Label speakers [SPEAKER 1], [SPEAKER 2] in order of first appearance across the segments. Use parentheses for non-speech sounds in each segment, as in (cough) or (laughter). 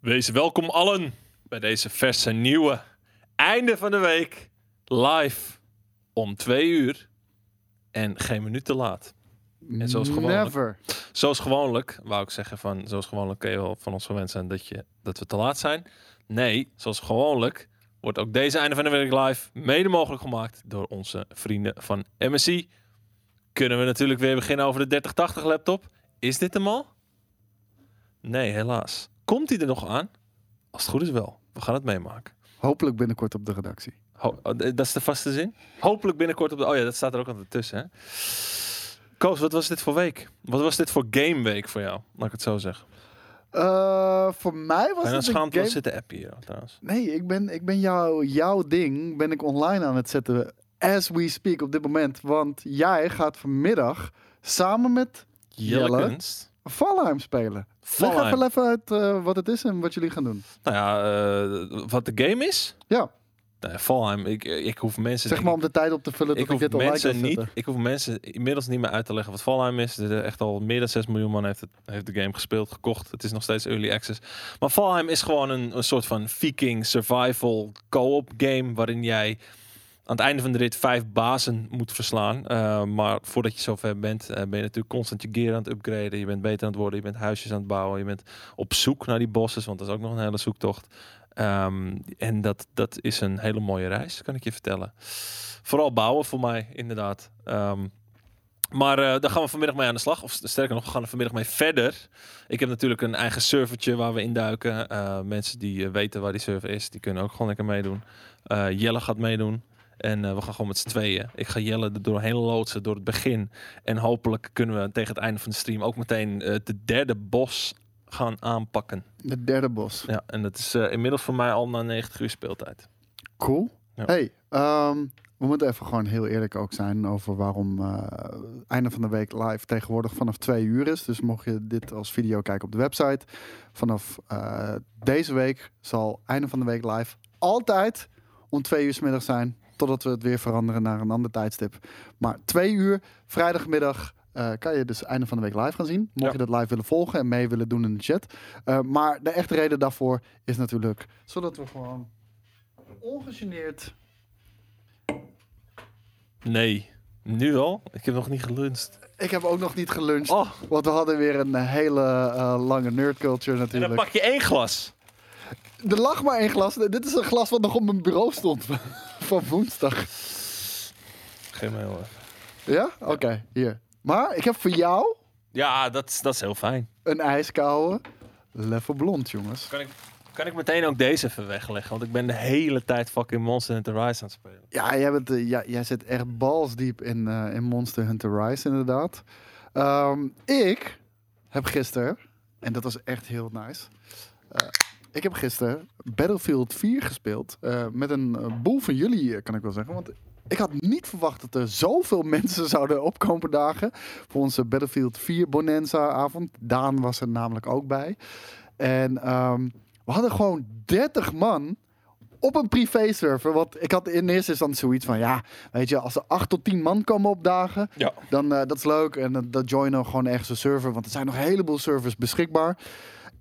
[SPEAKER 1] Wees welkom allen bij deze verse nieuwe einde van de week live om twee uur en geen minuut te laat. En zoals gewoonlijk.
[SPEAKER 2] Never.
[SPEAKER 1] Zoals gewoonlijk wou ik zeggen van zoals gewoonlijk kun je wel van ons gewend zijn dat, je, dat we te laat zijn. Nee, zoals gewoonlijk wordt ook deze einde van de week live mede mogelijk gemaakt door onze vrienden van MSI. Kunnen we natuurlijk weer beginnen over de 3080 laptop. Is dit hem al? Nee, helaas. Komt hij er nog aan? Als het goed is wel. We gaan het meemaken.
[SPEAKER 2] Hopelijk binnenkort op de redactie.
[SPEAKER 1] Ho- oh, d- dat is de vaste zin. Hopelijk binnenkort op de. Oh ja, dat staat er ook altijd tussen. Hè? Koos, wat was dit voor week? Wat was dit voor gameweek voor jou? Laat ik het zo zeggen.
[SPEAKER 2] Eh, voor mij was
[SPEAKER 1] en dan
[SPEAKER 2] het een
[SPEAKER 1] schaamt
[SPEAKER 2] game...
[SPEAKER 1] wel zitten appen hier hoor, trouwens.
[SPEAKER 2] Nee, ik ben, ik ben jou, jouw ding ben ik online aan het zetten. As we speak op dit moment. Want jij gaat vanmiddag samen met Jelle.
[SPEAKER 1] Jelle kunst.
[SPEAKER 2] Valheim spelen. Leg
[SPEAKER 1] Valheim.
[SPEAKER 2] even even uit eh, wat het is en wat jullie gaan doen.
[SPEAKER 1] Nou ja, eh, wat de game is?
[SPEAKER 2] Ja,
[SPEAKER 1] Nou ja, Valheim, ik, ik hoef mensen...
[SPEAKER 2] zeg
[SPEAKER 1] denk
[SPEAKER 2] maar om de tijd op te vullen
[SPEAKER 1] ik, ik
[SPEAKER 2] dat ik
[SPEAKER 1] hoef
[SPEAKER 2] dit online kan
[SPEAKER 1] mensen
[SPEAKER 2] zetten.
[SPEAKER 1] niet, ik hoef mensen inmiddels niet meer uit te leggen wat Valheim is. Er zijn echt al meer dan 6 miljoen man heeft, het, heeft de game gespeeld, gekocht. Het is nog steeds early access. Maar Valheim is gewoon een, een soort van viking survival co-op game waarin jij aan het einde van de rit vijf bazen moet verslaan. Eh, maar voordat je zover bent, eh, ben je natuurlijk constant je gear aan het upgraden. Je bent beter aan het worden, je bent huisjes aan het bouwen. Je bent op zoek naar die bosses, want dat is ook nog een hele zoektocht. Ehm, en dat, dat is een hele mooie reis, kan ik je vertellen. Vooral bouwen voor mij, inderdaad. Ehm, maar eh, daar gaan we vanmiddag mee aan de slag. Of sterker nog, we gaan er vanmiddag mee verder. Ik heb natuurlijk een eigen servertje waar we induiken. Eh mensen die eh, weten waar die server is, die kunnen ook gewoon lekker meedoen. Eh, Jelle gaat meedoen. En eh, we gaan gewoon met z'n tweeën. Ik ga Jelle er doorheen loodsen door het begin. En hopelijk kunnen we tegen het einde van de stream ook meteen eh, de derde bos gaan aanpakken.
[SPEAKER 2] De derde bos.
[SPEAKER 1] Ja, en dat is eh, inmiddels voor mij al na 90 uur speeltijd.
[SPEAKER 2] Cool.
[SPEAKER 1] Ja.
[SPEAKER 2] Hey, ehm, we moeten even gewoon heel eerlijk ook zijn over waarom eh, einde van de week live tegenwoordig vanaf twee uur is. Dus mocht je dit als video kijken op de website, vanaf eh, deze week zal einde van de week live altijd om twee uur 's middag zijn. Totdat we het weer veranderen naar een ander tijdstip. Maar twee uur, vrijdagmiddag, eh, kan je dus einde van de week live gaan zien. Mocht
[SPEAKER 1] Ja.
[SPEAKER 2] je dat live willen volgen en mee willen doen in de chat. Eh, maar de echte reden daarvoor is natuurlijk zodat we gewoon ongegeneerd.
[SPEAKER 1] Nee, nu al? Ik heb nog niet geluncht.
[SPEAKER 2] Ik heb ook nog niet geluncht,
[SPEAKER 1] Oh,
[SPEAKER 2] want we hadden weer een hele eh, lange nerdculture
[SPEAKER 1] en dan
[SPEAKER 2] natuurlijk.
[SPEAKER 1] pak je één glas.
[SPEAKER 2] Er lag maar één glas. Dit is een glas wat nog op mijn bureau stond (laughs) van- van woensdag.
[SPEAKER 1] Geen mail. hoor.
[SPEAKER 2] Ja? Oké, hier. Maar ik heb voor jou
[SPEAKER 1] Ja, dat, is- dat is heel fijn.
[SPEAKER 2] een ijskoude level blond, jongens.
[SPEAKER 1] Kan ik, kan ik meteen ook deze even wegleggen? Want ik ben de hele tijd fucking Monster Hunter Rise aan het spelen.
[SPEAKER 2] Ja, jij, bent, eh, ja, jij zit echt balsdiep in, eh, in Monster Hunter Rise, inderdaad. Ehm, ik heb gisteren, en dat was echt heel nice. eh, ik heb gisteren Battlefield 4 gespeeld. eh, met een eh, boel van jullie, eh, kan ik wel zeggen. Want ik had niet verwacht dat er zoveel (laughs) mensen zouden opkomen dagen. Voor onze Battlefield 4 Bonanza-avond. Daan was er namelijk ook bij. En ehm, we hadden gewoon 30 man op een privé-server. Want ik had in eerste instantie zoiets van... ja, weet je, als er 8 tot 10 man komen opdagen...
[SPEAKER 1] Ja.
[SPEAKER 2] dan eh, dat is leuk. En dan dan joinen we gewoon ergens een server. Want er zijn nog een heleboel servers beschikbaar.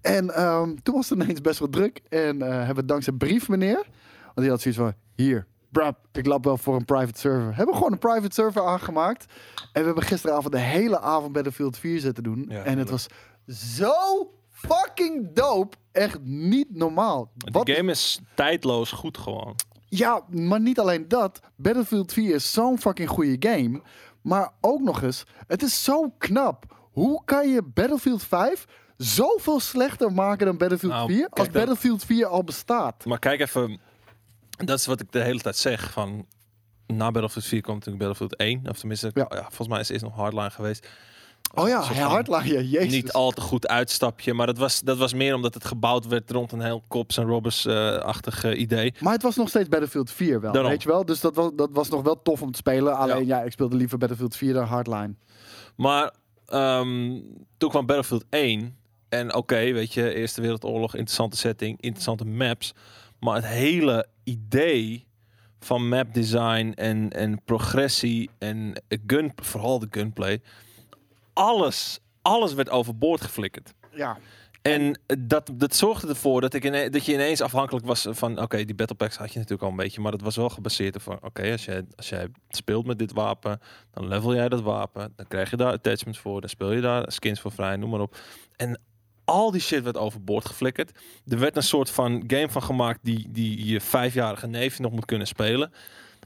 [SPEAKER 2] En ehm, toen was het ineens best wel druk. En eh, hebben we dankzij brief meneer... want die had zoiets van... hier, brap, ik lap wel voor een private server. Hebben we gewoon een private server aangemaakt. En we hebben gisteravond de hele avond Battlefield 4 zitten doen.
[SPEAKER 1] Ja,
[SPEAKER 2] en het
[SPEAKER 1] heerlijk.
[SPEAKER 2] was zo fucking dope. Echt niet normaal. Wat
[SPEAKER 1] De game is tijdloos goed gewoon.
[SPEAKER 2] ja, maar niet alleen dat. Battlefield 4 is zo'n fucking goede game. Maar ook nog eens, het is zo knap. Hoe kan je Battlefield 5 zoveel slechter maken dan Battlefield
[SPEAKER 1] Nou,
[SPEAKER 2] 4? Als
[SPEAKER 1] kijk dan.
[SPEAKER 2] Battlefield 4 al bestaat.
[SPEAKER 1] Maar kijk even, dat is wat ik de hele tijd zeg. Van, na Battlefield 4 komt natuurlijk Battlefield 1. Of tenminste,
[SPEAKER 2] Ja.
[SPEAKER 1] ja. volgens mij is eerst nog Hardline geweest.
[SPEAKER 2] Oh ja,
[SPEAKER 1] Soort van-
[SPEAKER 2] Hardline, jezus.
[SPEAKER 1] niet al te goed uitstapje. Maar dat was, dat was meer omdat het gebouwd werd rond een heel Cops en Robbers-achtig eh, idee.
[SPEAKER 2] Maar het was nog steeds Battlefield 4 wel,
[SPEAKER 1] Daarom.
[SPEAKER 2] weet je wel? Dus dat was, dat was nog wel tof om te spelen. Alleen ja, ik speelde liever Battlefield 4 dan Hardline.
[SPEAKER 1] Maar ehm, toen kwam Battlefield 1. En oké, weet je, Eerste Wereldoorlog, interessante setting, interessante maps. Maar het hele idee van map design en, en progressie en gun, vooral de gunplay. Alles, alles werd overboord geflikkerd.
[SPEAKER 2] Ja,
[SPEAKER 1] En dat, dat zorgde ervoor dat, ik ine- dat je ineens afhankelijk was van... Oké, die battle packs had je natuurlijk al een beetje. Maar dat was wel gebaseerd op van... Oké, als, jij, als jij speelt met dit wapen, dan level jij dat wapen. Dan krijg je daar attachments voor. Dan speel je daar skins voor vrij, noem maar op. En al die shit werd overboord geflikkerd. Er werd een soort van game van gemaakt... die, die je vijfjarige neef nog moet kunnen spelen.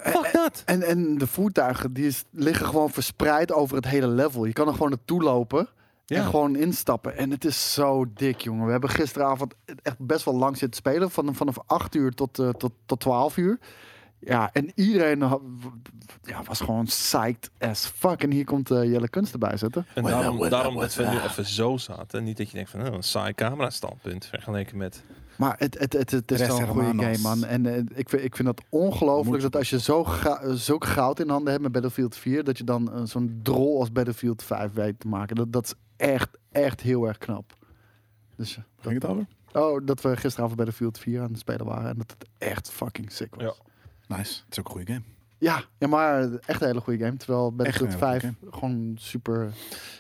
[SPEAKER 1] Fuck dat!
[SPEAKER 2] En, en de voertuigen die is- liggen gewoon verspreid over het hele level. Je kan er gewoon naartoe lopen en
[SPEAKER 1] Ja.
[SPEAKER 2] gewoon instappen. En het is zo dik, jongen. We hebben gisteravond echt best wel lang zitten spelen. Van, vanaf 8 uur tot, eh, tot, tot 12 uur. Ja, en iedereen had- ja, was gewoon psyched as fuck. En hier komt eh, Jelle Kunst erbij zetten.
[SPEAKER 1] En
[SPEAKER 3] Well,
[SPEAKER 1] daarom,
[SPEAKER 3] well,
[SPEAKER 1] daarom
[SPEAKER 3] well,
[SPEAKER 1] dat we nu
[SPEAKER 3] well.
[SPEAKER 1] even zo zaten. Niet dat je denkt van, oh, een saai camera standpunt. Vergeleken met...
[SPEAKER 2] Maar het, het, het, het is
[SPEAKER 3] Tres
[SPEAKER 2] wel een goede game,
[SPEAKER 3] hermanos.
[SPEAKER 2] man. En eh, ik, vind- ik vind dat
[SPEAKER 3] Moet
[SPEAKER 2] ongelooflijk
[SPEAKER 3] je
[SPEAKER 2] dat als je zo ga, eh, zulk goud in handen hebt met Battlefield 4, dat je dan eh, zo'n drol als Battlefield 5 weet te maken. Dat, dat is echt, echt heel erg knap. Dus, eh,
[SPEAKER 3] Ging het over?
[SPEAKER 2] dat, oh, dat we gisteravond Battlefield 4 aan het spelen waren en dat het echt fucking sick was.
[SPEAKER 1] Ja.
[SPEAKER 2] Ja,
[SPEAKER 3] Nice. Het is ook een goede game.
[SPEAKER 2] ja, maar eh, echt een hele goede game. Terwijl Battlefield
[SPEAKER 3] een hele
[SPEAKER 2] 5
[SPEAKER 3] goede
[SPEAKER 2] gewoon super.
[SPEAKER 1] En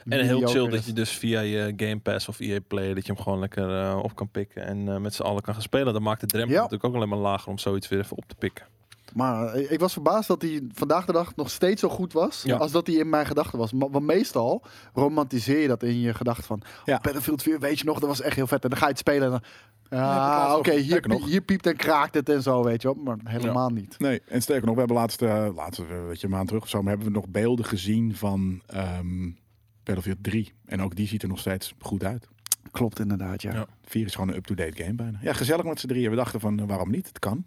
[SPEAKER 1] heel
[SPEAKER 2] mediocre
[SPEAKER 1] chill dat
[SPEAKER 2] is.
[SPEAKER 1] je dus via je Game Pass of EA Play dat je hem gewoon lekker eh, op kan pikken en eh, met z'n allen kan gaan spelen. Dat maakt de drempel
[SPEAKER 2] Ja.
[SPEAKER 1] natuurlijk ook alleen maar lager om zoiets weer even op te pikken.
[SPEAKER 2] Maar eh, ik was verbaasd dat hij vandaag de dag nog steeds zo goed was.
[SPEAKER 1] Ja.
[SPEAKER 2] Als dat hij in mijn gedachten was. Ma- Want meestal romantiseer je dat in je gedachten van.
[SPEAKER 3] Ja.
[SPEAKER 2] oh, Battlefield 4, weet je nog, dat was echt heel vet. En dan ga je het spelen. En dan,
[SPEAKER 3] heb ik
[SPEAKER 2] ah,
[SPEAKER 3] laatst
[SPEAKER 2] oké,
[SPEAKER 3] nog.
[SPEAKER 2] hier,
[SPEAKER 3] Lekker nog.
[SPEAKER 2] hier piept en kraakt het en zo, weet je wel. Maar helemaal niet.
[SPEAKER 3] Nee, en sterker nog, we hebben laatst, eh, laatst eh, weet je, een maand terug of zo, maar hebben we nog beelden gezien van ehm Battlefield 3. En ook die ziet er nog steeds goed uit.
[SPEAKER 2] Klopt inderdaad, ja.
[SPEAKER 1] Ja.
[SPEAKER 3] 4 is gewoon een up-to-date game bijna. Ja, gezellig met z'n drieën. We dachten van, eh, waarom niet? Het kan.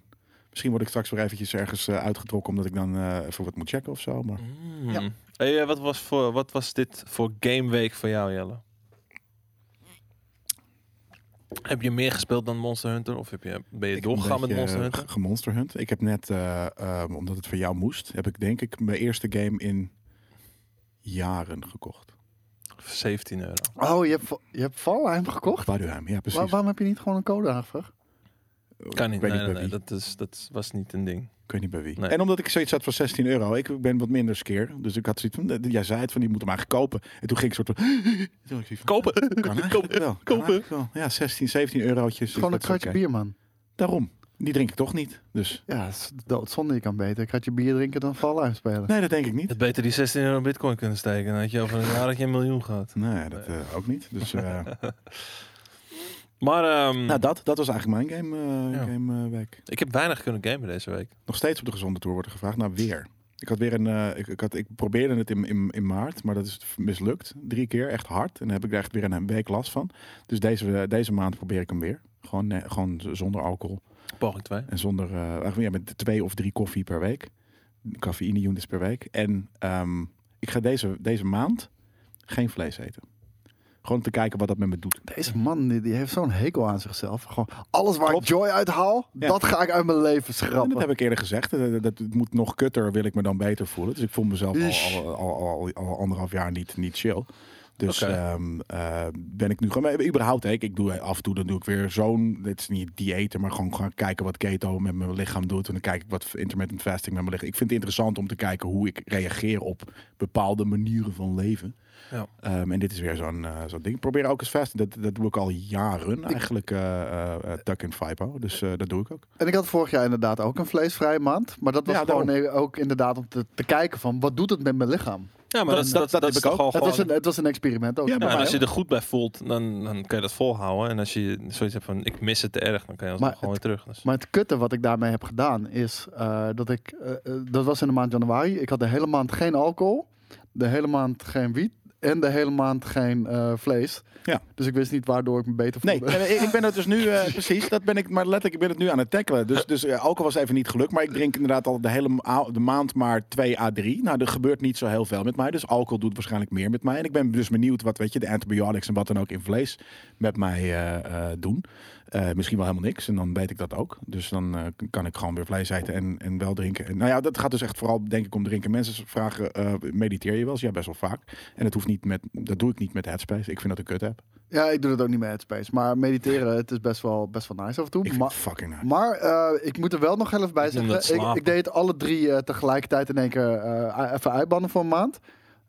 [SPEAKER 3] Misschien word ik straks weer eventjes ergens eh, uitgetrokken omdat ik dan eh, even wat moet checken of zo. Maar
[SPEAKER 1] Ja. Hey, eh, wat, was voor, wat was dit voor Game Week voor jou, Jelle? Heb je meer gespeeld dan Monster Hunter? Of heb je, ben je
[SPEAKER 3] Ik heb een
[SPEAKER 1] doorgegaan met
[SPEAKER 3] beetje,
[SPEAKER 1] Monster
[SPEAKER 3] eh,
[SPEAKER 1] Hunter?
[SPEAKER 3] ge- Gemonster Hunt. Ik heb net, eh, ehm, omdat het voor jou moest, heb ik denk ik mijn eerste game in jaren gekocht.
[SPEAKER 1] 17 euro.
[SPEAKER 2] Oh, je hebt, je hebt Valheim gekocht?
[SPEAKER 3] Waduheim, ja precies.
[SPEAKER 2] Waar- waarom heb je niet gewoon een code aangevraagd?
[SPEAKER 1] Kan niet.
[SPEAKER 3] Ik
[SPEAKER 1] Nee,
[SPEAKER 3] weet niet
[SPEAKER 1] nee,
[SPEAKER 3] bij
[SPEAKER 1] nee,
[SPEAKER 3] wie.
[SPEAKER 1] dat, is, dat was niet een ding.
[SPEAKER 3] Ik weet niet bij wie.
[SPEAKER 1] Nee.
[SPEAKER 3] En omdat ik zoiets had van 16 euro, ik ben wat minder skeer. Dus ik had zoiets van, eh, jij zei het van, die moet hem eigenlijk kopen. En toen ging ik soort van... (gasps) Toen had ik zoiets van,
[SPEAKER 1] (laughs) Kopen!
[SPEAKER 3] kan eigenlijk wel, kan
[SPEAKER 1] kopen.
[SPEAKER 3] eigenlijk wel. Ja, 16, 17 eurotjes. dus
[SPEAKER 2] Gewoon een
[SPEAKER 3] dat is
[SPEAKER 2] kratje
[SPEAKER 3] oké.
[SPEAKER 2] bier, man.
[SPEAKER 3] Daarom. Die drink ik toch niet. Dus
[SPEAKER 2] Ja, dat is doodzonde. Je kan beter een kratje bier drinken dan Valheim spelen.
[SPEAKER 3] nee, dat denk ik niet.
[SPEAKER 1] Het beter die 16 euro bitcoin kunnen steken. Dan had je over een jaar dat je een miljoen gehad.
[SPEAKER 3] Nee, dat eh, ook niet. Dus eh,
[SPEAKER 2] (laughs)
[SPEAKER 1] Maar ehm,
[SPEAKER 3] nou, dat, dat was eigenlijk mijn game, eh
[SPEAKER 1] Ja.
[SPEAKER 3] game eh, week.
[SPEAKER 1] ik heb weinig kunnen gamen deze week.
[SPEAKER 3] Nog steeds op de gezonde tour worden gevraagd. Nou, weer. Ik, had weer een, eh, ik, ik, had, ik probeerde het in, in, in maart, maar dat is mislukt. Drie keer, echt hard. En daar heb ik er echt weer een week last van. Dus deze, deze maand probeer ik hem weer. Gewoon, eh, gewoon z- zonder alcohol.
[SPEAKER 1] Poging 2.
[SPEAKER 3] En zonder, eh, eigenlijk ja, met twee of drie koffie per week. Cafeïne units per week. En ehm, ik ga deze, deze maand geen vlees eten. Gewoon om te kijken wat dat met me doet.
[SPEAKER 2] Deze man die, die heeft zo'n hekel aan zichzelf. Gewoon alles waar
[SPEAKER 3] Klopt.
[SPEAKER 2] ik joy uit haal,
[SPEAKER 3] Ja.
[SPEAKER 2] dat ga ik uit mijn leven
[SPEAKER 3] En dat
[SPEAKER 2] schrappen.
[SPEAKER 3] heb ik eerder gezegd. Eh, Dat, dat, dat moet nog kutter, wil ik me dan beter voelen. Dus ik voel mezelf
[SPEAKER 2] Ish.
[SPEAKER 3] al, al, al, al, al anderhalf jaar niet, niet chill. Dus
[SPEAKER 1] Oké.
[SPEAKER 3] ehm, eh, ben ik nu gewoon... maar Überhaupt, hè, ik, ik doe af en toe dan doe ik weer zo'n... Dit is niet diëten, maar gewoon gaan kijken wat keto met mijn lichaam doet. En dan kijk ik wat intermittent fasting met mijn lichaam... Ik vind het interessant om te kijken hoe ik reageer op bepaalde manieren van leven.
[SPEAKER 1] Ja.
[SPEAKER 3] Ehm, en dit is weer zo'n eh, zo'n ding. Ik probeer ook eens fasting. Dat, dat doe ik al jaren eigenlijk. eh eh eh, tuck in FIPO. Dus eh, dat doe ik ook.
[SPEAKER 2] En ik had vorig jaar inderdaad ook een vleesvrije maand. Maar dat was
[SPEAKER 3] Ja,
[SPEAKER 2] gewoon ook inderdaad om te, te kijken van wat doet het met mijn lichaam.
[SPEAKER 1] Ja, maar dat, is- dat, dat,
[SPEAKER 3] heb
[SPEAKER 1] is
[SPEAKER 3] ik
[SPEAKER 1] toch
[SPEAKER 3] ook.
[SPEAKER 1] al
[SPEAKER 2] Het
[SPEAKER 1] gewoon...
[SPEAKER 2] was, een, het was een experiment ook.
[SPEAKER 3] Ja,
[SPEAKER 1] Ja,
[SPEAKER 3] bij
[SPEAKER 1] en
[SPEAKER 3] mij
[SPEAKER 1] als je er goed bij voelt, dan, dan kan je dat volhouden. En als je zoiets hebt van, ik mis het te erg, dan kan je dat
[SPEAKER 2] Maar
[SPEAKER 1] gewoon weer terug. Dus.
[SPEAKER 2] Maar het kutte wat ik daarmee heb gedaan is eh, dat ik, eh, eh, dat was in de maand januari, ik had de hele maand geen alcohol, de hele maand geen wiet en de hele maand geen eh, vlees.
[SPEAKER 3] Ja.
[SPEAKER 2] Dus ik wist niet waardoor ik me beter voelde.
[SPEAKER 3] Nee, en ik- ik ben het dus nu, eh, precies, dat ben ik, maar letterlijk, ik ben het nu aan het tackelen. Dus, dus eh, alcohol was even niet gelukt, maar ik drink inderdaad al de hele ma- de maand maar 2 à 3. Nou, er gebeurt niet zo heel veel met mij, dus alcohol doet waarschijnlijk meer met mij. En ik ben dus benieuwd wat, weet je, de antibiotics en wat dan ook in vlees met mij eh, eh, doen. Eh, misschien wel helemaal niks, en dan weet ik dat ook. Dus dan eh, k- kan ik gewoon weer vlees eten en, en wel drinken. En, nou ja, dat gaat dus echt vooral, denk ik, om drinken. Mensen vragen, eh, mediteer je wel eens? Ja, best wel vaak. En dat hoeft niet met, dat doe ik niet met Headspace. Ik vind dat een kut app.
[SPEAKER 2] Ja, ik doe dat ook niet met Headspace. Maar mediteren, het is best wel, best wel nice af en toe.
[SPEAKER 3] Ik vind
[SPEAKER 2] Maar-
[SPEAKER 3] het fucking nice.
[SPEAKER 2] Maar eh, ik moet er wel nog heel even bij
[SPEAKER 1] Ik noem
[SPEAKER 2] zeggen.
[SPEAKER 1] dat
[SPEAKER 2] Ik, ik deed het alle drie eh, tegelijkertijd in één keer eh, even uitbannen voor een maand.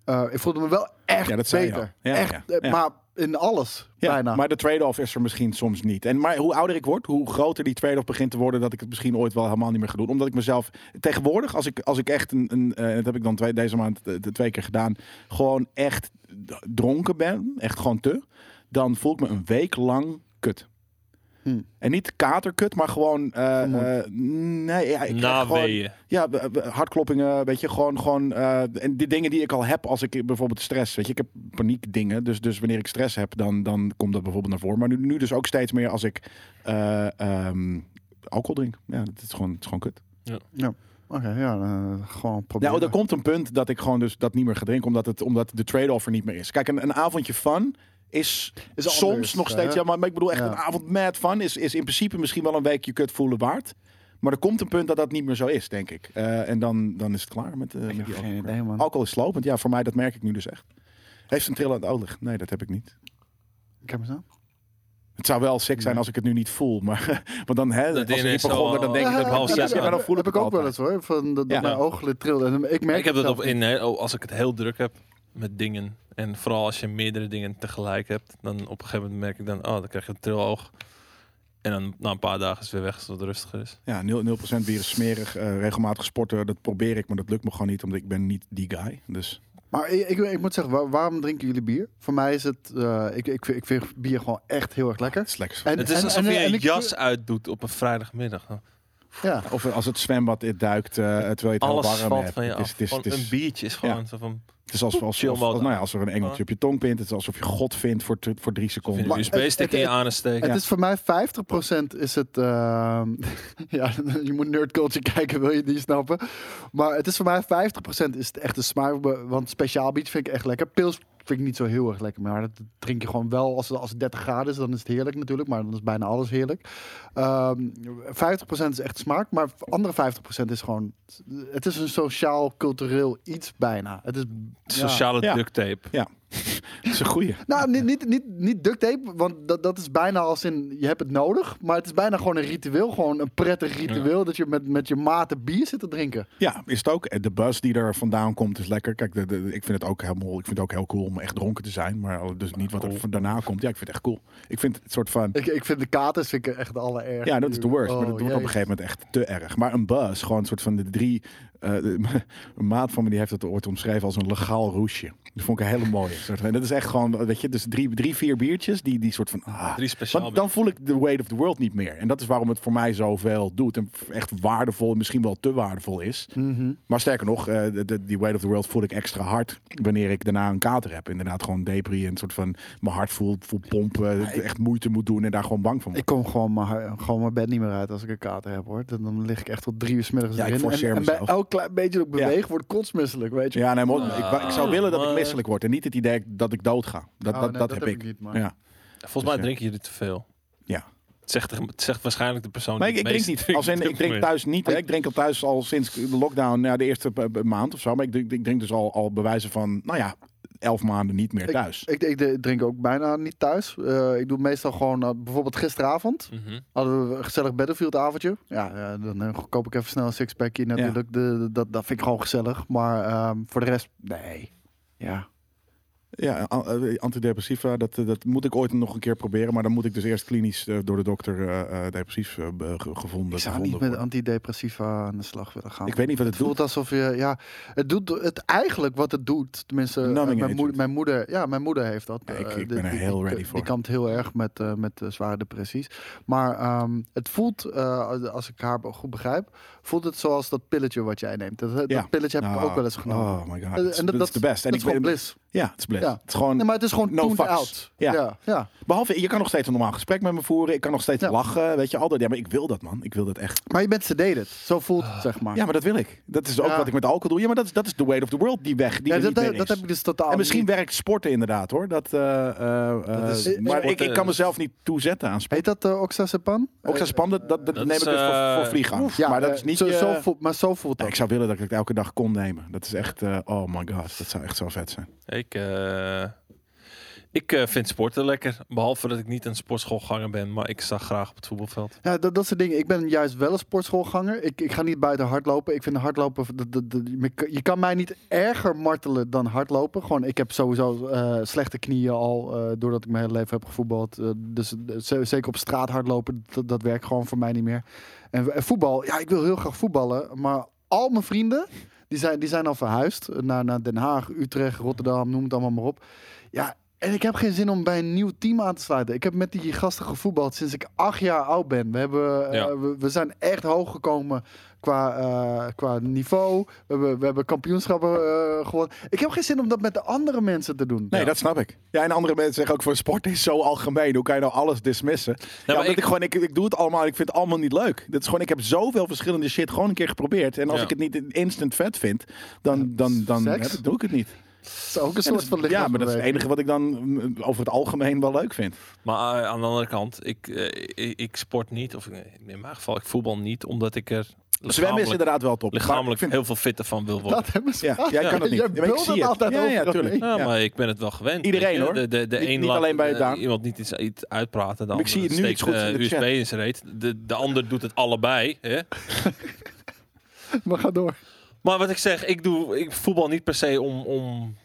[SPEAKER 2] Eh, ik voelde me wel echt
[SPEAKER 3] Ja, dat zei je
[SPEAKER 2] beter.
[SPEAKER 3] al. Ja,
[SPEAKER 2] echt,
[SPEAKER 3] ja,
[SPEAKER 2] eh,
[SPEAKER 3] ja.
[SPEAKER 2] Maar in alles,
[SPEAKER 3] Ja,
[SPEAKER 2] bijna.
[SPEAKER 3] Maar de trade-off is er misschien soms niet. En, maar hoe ouder ik word, hoe groter die trade-off begint te worden, dat ik het misschien ooit wel helemaal niet meer ga doen. Omdat ik mezelf tegenwoordig, als ik, als ik echt een, een eh, dat heb ik dan twee, deze maand eh, de twee keer gedaan, gewoon echt d- dronken ben, echt gewoon te, dan voel ik me een week lang kut.
[SPEAKER 2] Hm.
[SPEAKER 3] En niet katerkut, maar gewoon. eh,
[SPEAKER 2] Vermoeid.
[SPEAKER 3] eh, nee, ja, ik krijg
[SPEAKER 1] Na
[SPEAKER 3] gewoon,
[SPEAKER 1] weeën.
[SPEAKER 3] ja, b- b- hartkloppingen, weet je, gewoon, gewoon eh, en die dingen die ik al heb als ik bijvoorbeeld stress, weet je, ik heb paniekdingen, dus, dus wanneer ik stress heb, dan, dan komt dat bijvoorbeeld naar voren. Maar nu, nu dus ook steeds meer als ik eh, ehm, alcohol drink. Ja, dat is gewoon, het is gewoon kut.
[SPEAKER 2] Oké, ja, eh, gewoon proberen.
[SPEAKER 3] Nou, er komt een punt dat ik gewoon dus dat niet meer ga drinken, omdat, het, omdat de trade-off er niet meer is. Kijk, een, een avondje fun is,
[SPEAKER 2] Is
[SPEAKER 3] soms
[SPEAKER 2] anders, eh?
[SPEAKER 3] nog steeds,
[SPEAKER 2] hè?
[SPEAKER 3] ja, maar, maar ik bedoel echt
[SPEAKER 2] Ja.
[SPEAKER 3] een avond mad fun is, is in principe misschien wel een weekje kut voelen waard. Maar er komt een punt dat dat niet meer zo is, denk ik. Eh, en dan, dan is het klaar met, eh met
[SPEAKER 2] Ik
[SPEAKER 3] die
[SPEAKER 2] heb geen
[SPEAKER 3] alcohol.
[SPEAKER 2] idee, man.
[SPEAKER 3] Alcohol is slopend. Ja, voor mij, dat merk ik nu dus echt. Heeft ze een trillend oog? Nee, dat heb ik niet.
[SPEAKER 2] Ik heb hem zo.
[SPEAKER 3] Het zou wel sick zijn als ik het nu niet voel, maar (laughs) want dan hè,
[SPEAKER 1] Dat
[SPEAKER 3] als ik
[SPEAKER 1] ineens
[SPEAKER 3] begonnen,
[SPEAKER 1] al-
[SPEAKER 3] dan denk ik
[SPEAKER 1] Ja,
[SPEAKER 3] dat
[SPEAKER 1] ja, half
[SPEAKER 3] ja,
[SPEAKER 1] zes
[SPEAKER 3] ja, maar dan voel ik
[SPEAKER 2] heb ik
[SPEAKER 3] het
[SPEAKER 2] ook wel
[SPEAKER 3] altijd.
[SPEAKER 2] eens hoor. Van dat, dat
[SPEAKER 3] Ja.
[SPEAKER 2] mijn ooglid trilde. En ik merk
[SPEAKER 1] ik heb dat
[SPEAKER 2] het
[SPEAKER 1] op
[SPEAKER 2] zelf
[SPEAKER 1] in, hè, oh, als ik het heel druk heb met dingen. En vooral als je meerdere dingen tegelijk hebt, dan op een gegeven moment merk ik dan, oh, dan krijg je een triloog. En dan na een paar dagen is het weer weg, als het wat rustiger is.
[SPEAKER 3] Ja, 0%, 0 bier is smerig. eh, regelmatig sporten, dat probeer ik, maar dat lukt me gewoon niet, omdat ik ben niet die guy. Dus
[SPEAKER 2] Maar ik, ik, ik moet zeggen, waar- waarom drinken jullie bier? Voor mij is het... eh, ik, ik, vind- ik vind bier gewoon echt heel erg lekker.
[SPEAKER 3] het is lekker.
[SPEAKER 2] En-
[SPEAKER 1] het is
[SPEAKER 2] en-
[SPEAKER 1] alsof
[SPEAKER 2] en-
[SPEAKER 1] je
[SPEAKER 2] en
[SPEAKER 1] een
[SPEAKER 2] ik-
[SPEAKER 1] jas uitdoet op een vrijdagmiddag.
[SPEAKER 2] Ja.
[SPEAKER 3] Of als het zwembad in duikt, eh, terwijl je het
[SPEAKER 1] Alles
[SPEAKER 3] heel warm
[SPEAKER 1] valt
[SPEAKER 3] hebt.
[SPEAKER 1] van je
[SPEAKER 3] het is,
[SPEAKER 1] af.
[SPEAKER 3] het is,
[SPEAKER 1] Gewoon
[SPEAKER 3] het is,
[SPEAKER 1] een biertje is gewoon zo van...
[SPEAKER 3] het is alsof, als,
[SPEAKER 1] chill
[SPEAKER 3] als,
[SPEAKER 1] mode.
[SPEAKER 3] als- nou ja, als er een engeltje op je tong pint. Het is alsof je God vindt voor, t- voor drie
[SPEAKER 1] Of je
[SPEAKER 3] seconden.
[SPEAKER 1] een
[SPEAKER 2] Maar het-
[SPEAKER 1] USB-stick in je
[SPEAKER 2] het-
[SPEAKER 1] anus steken.
[SPEAKER 2] Het is voor mij 50% is het. ehm, (laughs) ja, je moet nerdculture kijken, wil je die snappen. Maar het is voor mij 50% is het echt de smaak. Want speciaal bier vind ik echt lekker. Pils vind ik niet zo heel erg lekker. Maar dat drink je gewoon wel als, het- als het 30 graden is. Dan is het heerlijk natuurlijk. Maar dan is bijna alles heerlijk. Ehm 50% is echt smaak. Maar andere 50% is gewoon. Het is een sociaal-cultureel iets bijna. Het is. ja.
[SPEAKER 1] Sociale
[SPEAKER 3] Ja. (laughs)
[SPEAKER 1] duct tape.
[SPEAKER 3] Dat is een goeie.
[SPEAKER 2] Nou, niet, niet, niet, niet duct tape, want dat, dat is bijna als in je hebt het nodig. Maar het is bijna gewoon een ritueel, gewoon een prettig ritueel dat je met, met je maten bier zit te drinken.
[SPEAKER 3] Ja, is het ook. Eh, De buzz die er vandaan komt is lekker. Kijk, de, de- ik vind het ook helemaal. Ik vind het ook heel cool om echt dronken te zijn, maar dus niet wat er van daarna komt. Ja, ik vind het echt cool. Ik vind het soort van.
[SPEAKER 2] Ik, ik vind de katers vind ik echt de allerergste.
[SPEAKER 3] Ja, dat is de worst. maar dat
[SPEAKER 2] Oh,
[SPEAKER 3] wordt op een
[SPEAKER 2] jee.
[SPEAKER 3] gegeven moment echt te erg. Maar een buzz, gewoon een soort van de drie. eh, de- (laughs) een maat van me die heeft het ooit omschreven als een legaal roesje. Dat vond ik een hele mooie. Soort van. Dat is echt gewoon, weet je, dus drie, drie vier biertjes die, die soort van. Ah,
[SPEAKER 1] Drie speciaal
[SPEAKER 3] want dan voel ik de weight of the world niet meer. En dat is waarom het voor mij zoveel doet. En echt waardevol, misschien wel te waardevol is.
[SPEAKER 2] Mhm.
[SPEAKER 3] Maar sterker nog, eh, de, de- die weight of the world voel ik extra hard wanneer ik daarna een kater heb. Inderdaad, gewoon depri en een soort van mijn hart voelt, voelt pompen, echt moeite moet doen en daar gewoon bang van word.
[SPEAKER 2] Ik kom gewoon mijn, gewoon mijn bed niet meer uit als ik een kater heb hoor. Dan, dan lig ik echt tot drie uur 's middags
[SPEAKER 3] Ja, ik
[SPEAKER 2] erin.
[SPEAKER 3] forceer
[SPEAKER 2] en, en bij
[SPEAKER 3] mezelf.
[SPEAKER 2] elk klein beetje dat ik
[SPEAKER 3] Ja.
[SPEAKER 2] beweeg, word ik Ah. kotsmisselijk, weet je.
[SPEAKER 3] Ja, nee, maar ik, wou- ik zou willen dat ik
[SPEAKER 1] maar-
[SPEAKER 3] misselijk word en niet het idee dat ik dood ga. Dat,
[SPEAKER 2] Oh,
[SPEAKER 3] dat,
[SPEAKER 2] nee,
[SPEAKER 3] dat, heb ik.
[SPEAKER 2] niet, maar...
[SPEAKER 3] Ja.
[SPEAKER 1] Volgens
[SPEAKER 3] Dus
[SPEAKER 1] mij
[SPEAKER 3] ja.
[SPEAKER 1] drinken jullie te veel.
[SPEAKER 3] Ja.
[SPEAKER 1] Het zegt, het zegt waarschijnlijk de persoon
[SPEAKER 3] Maar ik,
[SPEAKER 1] die
[SPEAKER 3] ik
[SPEAKER 1] het
[SPEAKER 3] drink
[SPEAKER 1] meest
[SPEAKER 3] niet.
[SPEAKER 1] (laughs)
[SPEAKER 3] Als in,
[SPEAKER 1] drinkt op
[SPEAKER 3] ik
[SPEAKER 1] dit
[SPEAKER 3] drink
[SPEAKER 1] moment.
[SPEAKER 3] thuis niet. hè. Ik drink al thuis al sinds de lockdown, ja, de eerste eh, maand of zo. Maar ik drink, ik drink dus al, al bewijzen van, nou ja, elf maanden niet meer thuis.
[SPEAKER 2] Ik, ik, ik drink ook bijna niet thuis. Eh, ik doe meestal gewoon, eh, bijvoorbeeld gisteravond,
[SPEAKER 1] Mhm.
[SPEAKER 2] Hadden we een gezellig Battlefield avondje. Ja, eh, dan eh, koop ik even snel een sixpackje natuurlijk. De, de- dat, dat vind ik gewoon gezellig. Maar ehm, voor de rest, nee. Ja.
[SPEAKER 3] Ja, a- eh, antidepressiva, dat, eh, dat moet ik ooit nog een keer proberen. Maar dan moet ik dus eerst klinisch eh, door de dokter eh, eh, depressief eh, be- ge- gevonden
[SPEAKER 2] Ik zou
[SPEAKER 3] gevonden
[SPEAKER 2] niet met
[SPEAKER 3] worden.
[SPEAKER 2] antidepressiva aan de slag willen gaan.
[SPEAKER 3] Ik weet niet wat het
[SPEAKER 2] het voelt
[SPEAKER 3] doet.
[SPEAKER 2] alsof je, ja, het doet het eigenlijk wat het doet. Tenminste, eh,
[SPEAKER 3] Numbing
[SPEAKER 2] mijn,
[SPEAKER 3] agent.
[SPEAKER 2] moeder, mijn moeder, ja, mijn moeder heeft dat.
[SPEAKER 3] Ja, ik-
[SPEAKER 2] Eh,
[SPEAKER 3] ik
[SPEAKER 2] die-
[SPEAKER 3] ben er
[SPEAKER 2] die-
[SPEAKER 3] heel
[SPEAKER 2] die-
[SPEAKER 3] ready voor.
[SPEAKER 2] Die kampt heel erg met, eh, met eh, zware depressies. Maar ehm, het voelt, eh, als- als ik haar goed begrijp, voelt het zoals dat pilletje wat jij neemt. Dat, dat
[SPEAKER 3] Ja.
[SPEAKER 2] pilletje heb
[SPEAKER 3] Ah,
[SPEAKER 2] ik ook wel eens genomen. Eh,
[SPEAKER 3] Oh my god,
[SPEAKER 2] En
[SPEAKER 3] dat, is-
[SPEAKER 2] dat-
[SPEAKER 3] dat is
[SPEAKER 2] dat-
[SPEAKER 3] de best. En
[SPEAKER 2] dat is
[SPEAKER 3] ik
[SPEAKER 2] gewoon
[SPEAKER 3] ben,
[SPEAKER 2] bliss.
[SPEAKER 3] ja, het is bliss.
[SPEAKER 2] Ja.
[SPEAKER 3] Het is gewoon
[SPEAKER 2] Nee, maar het is gewoon
[SPEAKER 3] No
[SPEAKER 2] tuned
[SPEAKER 3] fucks.
[SPEAKER 2] out.
[SPEAKER 3] Ja.
[SPEAKER 2] ja. ja.
[SPEAKER 3] Behalve, je kan nog steeds een normaal gesprek met me voeren. Ik kan nog steeds
[SPEAKER 2] Ja.
[SPEAKER 3] lachen, weet je, altijd. Ja, maar ik wil dat, man. Ik wil dat echt.
[SPEAKER 2] Maar je bent sedated. Zo voelt het, zeg maar.
[SPEAKER 3] Ja, maar dat wil ik. Dat is ook
[SPEAKER 2] Ja.
[SPEAKER 3] wat ik met alcohol doe. Ja, maar dat is, dat is the weight of the world, die weg, die
[SPEAKER 2] Ja,
[SPEAKER 3] er
[SPEAKER 2] dat,
[SPEAKER 3] niet
[SPEAKER 2] dat,
[SPEAKER 3] meer
[SPEAKER 2] dat
[SPEAKER 3] is.
[SPEAKER 2] heb ik dus totaal
[SPEAKER 3] en misschien
[SPEAKER 2] niet.
[SPEAKER 3] werkt sporten inderdaad, hoor. Dat, eh, eh, eh,
[SPEAKER 1] is-
[SPEAKER 3] maar ik, ik
[SPEAKER 1] sporten-
[SPEAKER 3] kan mezelf niet toezetten aan sporten.
[SPEAKER 2] Heet dat eh, oxazepam?
[SPEAKER 3] Ook dat spam, dat, dat, dat
[SPEAKER 1] Dat
[SPEAKER 3] neem
[SPEAKER 1] is,
[SPEAKER 3] ik dus voor,
[SPEAKER 1] eh,
[SPEAKER 3] voor vliegen.
[SPEAKER 2] Eh,
[SPEAKER 3] Ja,
[SPEAKER 2] ja,
[SPEAKER 3] maar dat
[SPEAKER 2] eh,
[SPEAKER 3] is niet...
[SPEAKER 2] Zo,
[SPEAKER 3] je-
[SPEAKER 2] zo voelt, maar zo voelt dat.
[SPEAKER 3] Nee, ik zou willen dat ik het elke dag kon nemen. Dat is echt... eh, oh my god, dat zou echt zo vet zijn.
[SPEAKER 1] Ik, eh, Ik eh, vind sporten lekker. Behalve dat ik niet een sportschoolganger ben, maar ik sta graag op het voetbalveld.
[SPEAKER 2] Ja, dat, dat soort dingen. Ik ben juist wel een sportschoolganger. Ik, ik ga niet buiten hardlopen. Ik vind hardlopen... Dat, dat, dat- je kan- je kan mij niet erger martelen dan hardlopen. Gewoon, ik heb sowieso eh, slechte knieën al, eh, doordat ik mijn hele leven heb gevoetbald. Eh, dus eh, z- zeker op straat hardlopen, dat, dat werkt gewoon voor mij niet meer. En, en voetbal, ja, ik wil heel graag voetballen. Maar al mijn vrienden, die zijn, die zijn al verhuisd naar, naar Den Haag, Utrecht, Rotterdam, noem het allemaal maar op. Ja, en ik heb geen zin om bij een nieuw team aan te sluiten. Ik heb met die gasten gevoetbald sinds ik acht jaar oud ben. We, hebben, eh,
[SPEAKER 1] Ja.
[SPEAKER 2] we, we zijn echt hoog gekomen qua, eh, qua niveau. We hebben, we hebben kampioenschappen eh, gewonnen. Ik heb geen zin om dat met de andere mensen te doen.
[SPEAKER 3] Nee,
[SPEAKER 1] Ja.
[SPEAKER 3] dat snap ik. Ja, en andere mensen zeggen ook voor sport is zo algemeen. Hoe kan je nou alles dismissen? ja,
[SPEAKER 1] maar
[SPEAKER 3] omdat
[SPEAKER 1] ik-
[SPEAKER 3] ik, gewoon, ik, ik doe het allemaal en ik vind het allemaal niet leuk. Dit is gewoon, ik heb zoveel verschillende shit gewoon een keer geprobeerd. En als
[SPEAKER 1] Ja.
[SPEAKER 3] ik het niet instant vet vind, dan, dan, dan,
[SPEAKER 2] seks.
[SPEAKER 3] hè, dan doe ik het niet.
[SPEAKER 2] Dat is ook een
[SPEAKER 3] En
[SPEAKER 2] soort
[SPEAKER 3] dat-
[SPEAKER 2] van
[SPEAKER 3] ja, maar dat is het
[SPEAKER 2] lichaamsbeweging.
[SPEAKER 3] enige wat ik dan mm, over het algemeen wel leuk vind.
[SPEAKER 1] Maar eh, aan de andere kant, ik, eh, ik, ik sport niet, of eh, in mijn geval, ik voetbal niet, omdat ik er
[SPEAKER 3] Zwemmen is
[SPEAKER 1] lichamelijk,
[SPEAKER 3] inderdaad wel top. Maar
[SPEAKER 1] lichamelijk
[SPEAKER 3] ik vind-
[SPEAKER 1] heel veel fitter van wil worden.
[SPEAKER 2] Dat hebben ze
[SPEAKER 3] Ja, jij kan het niet.
[SPEAKER 2] Jij
[SPEAKER 3] Ja, maar ik
[SPEAKER 2] bult
[SPEAKER 3] zie
[SPEAKER 2] het
[SPEAKER 3] het.
[SPEAKER 2] altijd
[SPEAKER 3] Ja, ja,
[SPEAKER 2] overal
[SPEAKER 3] tuurlijk.
[SPEAKER 2] heen.
[SPEAKER 1] Ja,
[SPEAKER 3] Ja.
[SPEAKER 1] maar ik ben het wel gewend.
[SPEAKER 3] Iedereen,
[SPEAKER 1] weet je.
[SPEAKER 3] hoor.
[SPEAKER 1] De, de, de
[SPEAKER 3] Niet-
[SPEAKER 1] een
[SPEAKER 3] niet
[SPEAKER 1] laat,
[SPEAKER 3] alleen bij
[SPEAKER 1] eh,
[SPEAKER 3] Daan.
[SPEAKER 1] iemand niet iets, iets uitpraten. De
[SPEAKER 3] Maar
[SPEAKER 1] ander
[SPEAKER 3] ik zie het nu
[SPEAKER 1] steekt
[SPEAKER 3] iets goeds
[SPEAKER 1] de
[SPEAKER 3] in de
[SPEAKER 1] USB
[SPEAKER 3] chat.
[SPEAKER 1] in zijn reet. De, de ander doet het allebei. Hè?
[SPEAKER 2] Maar ga door.
[SPEAKER 1] Maar wat ik zeg, ik doe ik voetbal niet per se om, om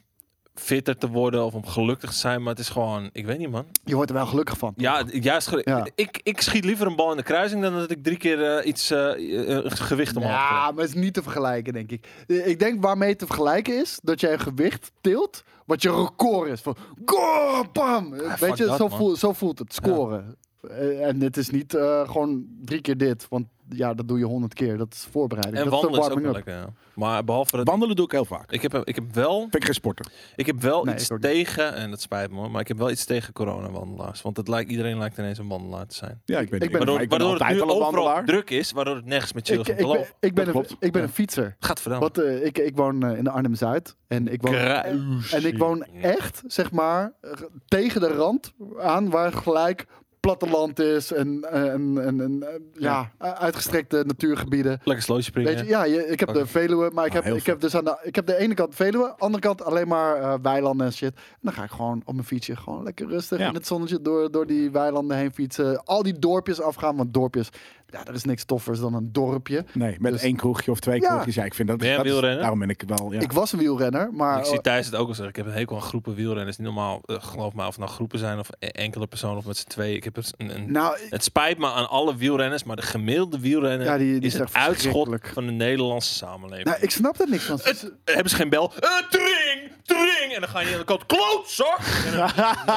[SPEAKER 1] fitter te worden of om gelukkig te zijn. Maar het is gewoon, ik weet niet man.
[SPEAKER 2] Je wordt er wel gelukkig van.
[SPEAKER 1] Ja, juist. ge-
[SPEAKER 2] Ja.
[SPEAKER 1] Ik, ik schiet liever een bal in de kruising dan dat ik drie keer eh, iets eh, eh, gewicht omhoog
[SPEAKER 2] Ja,
[SPEAKER 1] krijg.
[SPEAKER 2] maar het is niet te vergelijken, denk ik. Eh, Ik denk waarmee te vergelijken is dat jij een gewicht tilt wat je record is. Van go, bam! Eh,
[SPEAKER 1] Ah, fuck
[SPEAKER 2] Weet je,
[SPEAKER 1] dat,
[SPEAKER 2] zo,
[SPEAKER 1] man.
[SPEAKER 2] voel- zo voelt het, scoren. Eh, En het is niet eh, gewoon drie keer dit, want ja, dat doe je honderd keer. Dat is voorbereiding.
[SPEAKER 1] En
[SPEAKER 2] dat
[SPEAKER 1] wandelen is ook
[SPEAKER 2] warming
[SPEAKER 1] wel
[SPEAKER 2] up.
[SPEAKER 1] lekker. ja. Maar behalve dat...
[SPEAKER 3] Wandelen doe ik heel vaak.
[SPEAKER 1] Ik heb, ik heb wel
[SPEAKER 3] Vind ik geen sporter.
[SPEAKER 1] Ik heb wel
[SPEAKER 2] Nee,
[SPEAKER 1] iets
[SPEAKER 2] ik ook niet.
[SPEAKER 1] tegen, en dat spijt me hoor, maar ik heb wel iets tegen coronawandelaars. Want het lijkt, iedereen lijkt ineens een wandelaar te zijn.
[SPEAKER 3] Ja, ik ben,
[SPEAKER 2] Ik ben-
[SPEAKER 1] Waardoor,
[SPEAKER 3] ik ben
[SPEAKER 1] waardoor het
[SPEAKER 3] altijd
[SPEAKER 1] nu
[SPEAKER 3] al een
[SPEAKER 1] overal
[SPEAKER 3] wandelaar.
[SPEAKER 1] druk is, waardoor het nergens met chill is
[SPEAKER 2] Ik,
[SPEAKER 1] om
[SPEAKER 2] ik,
[SPEAKER 1] te
[SPEAKER 2] ben,
[SPEAKER 1] lopen.
[SPEAKER 2] ik, ben
[SPEAKER 3] Dat
[SPEAKER 2] een,
[SPEAKER 3] klopt.
[SPEAKER 2] ik ben
[SPEAKER 3] Ja.
[SPEAKER 2] een fietser.
[SPEAKER 1] Gaat verdamme.
[SPEAKER 2] Wat, eh, ik, ik woon eh, in de Arnhem-Zuid. En ik woon En ik woon echt, zeg maar, r- tegen de rand aan waar gelijk platteland is en, en, en, en, eh, ja, u- uitgestrekte natuurgebieden.
[SPEAKER 1] Lekker slootje springen.
[SPEAKER 2] Weet je, ja, je- ik heb de
[SPEAKER 1] Oké.
[SPEAKER 2] Veluwe, maar ik
[SPEAKER 3] Ah,
[SPEAKER 2] heb,
[SPEAKER 3] heel
[SPEAKER 2] ik heb dus aan de, ik heb de ene kant Veluwe, andere kant alleen maar eh, weilanden en shit. En dan ga ik gewoon op mijn fietsje gewoon lekker rustig
[SPEAKER 3] Ja.
[SPEAKER 2] in het zonnetje door, door die weilanden heen fietsen. Al die dorpjes afgaan, want dorpjes, ja, er is niks toffers dan een dorpje.
[SPEAKER 3] Nee, met
[SPEAKER 2] Dus-
[SPEAKER 3] één kroegje of twee
[SPEAKER 2] Ja.
[SPEAKER 3] kroegjes. Ja, ik vind dat,
[SPEAKER 1] Ben jij
[SPEAKER 3] dat is-
[SPEAKER 1] wielrenner?
[SPEAKER 3] daarom ben ik wel... Ja.
[SPEAKER 2] Ik was een wielrenner, maar...
[SPEAKER 1] Ik zie Thijs het ook al zeggen. Ik heb een hekel aan groepen wielrenners. Niet normaal, eh, geloof me, of het nou groepen zijn of e- enkele personen of met z'n tweeën. Ik heb dus een, een-
[SPEAKER 2] nou,
[SPEAKER 1] het spijt me aan alle wielrenners, maar de gemiddelde wielrenner
[SPEAKER 2] Ja, die- die
[SPEAKER 1] is
[SPEAKER 2] is
[SPEAKER 1] het
[SPEAKER 2] echt
[SPEAKER 1] uitschot
[SPEAKER 2] verschrikkelijk.
[SPEAKER 1] van de Nederlandse samenleving.
[SPEAKER 2] nou, ik snap dat niks van.
[SPEAKER 1] Het- hebben ze geen bel? Eh, tring, tring. En dan ga je aan de kant, klootzak. En dan,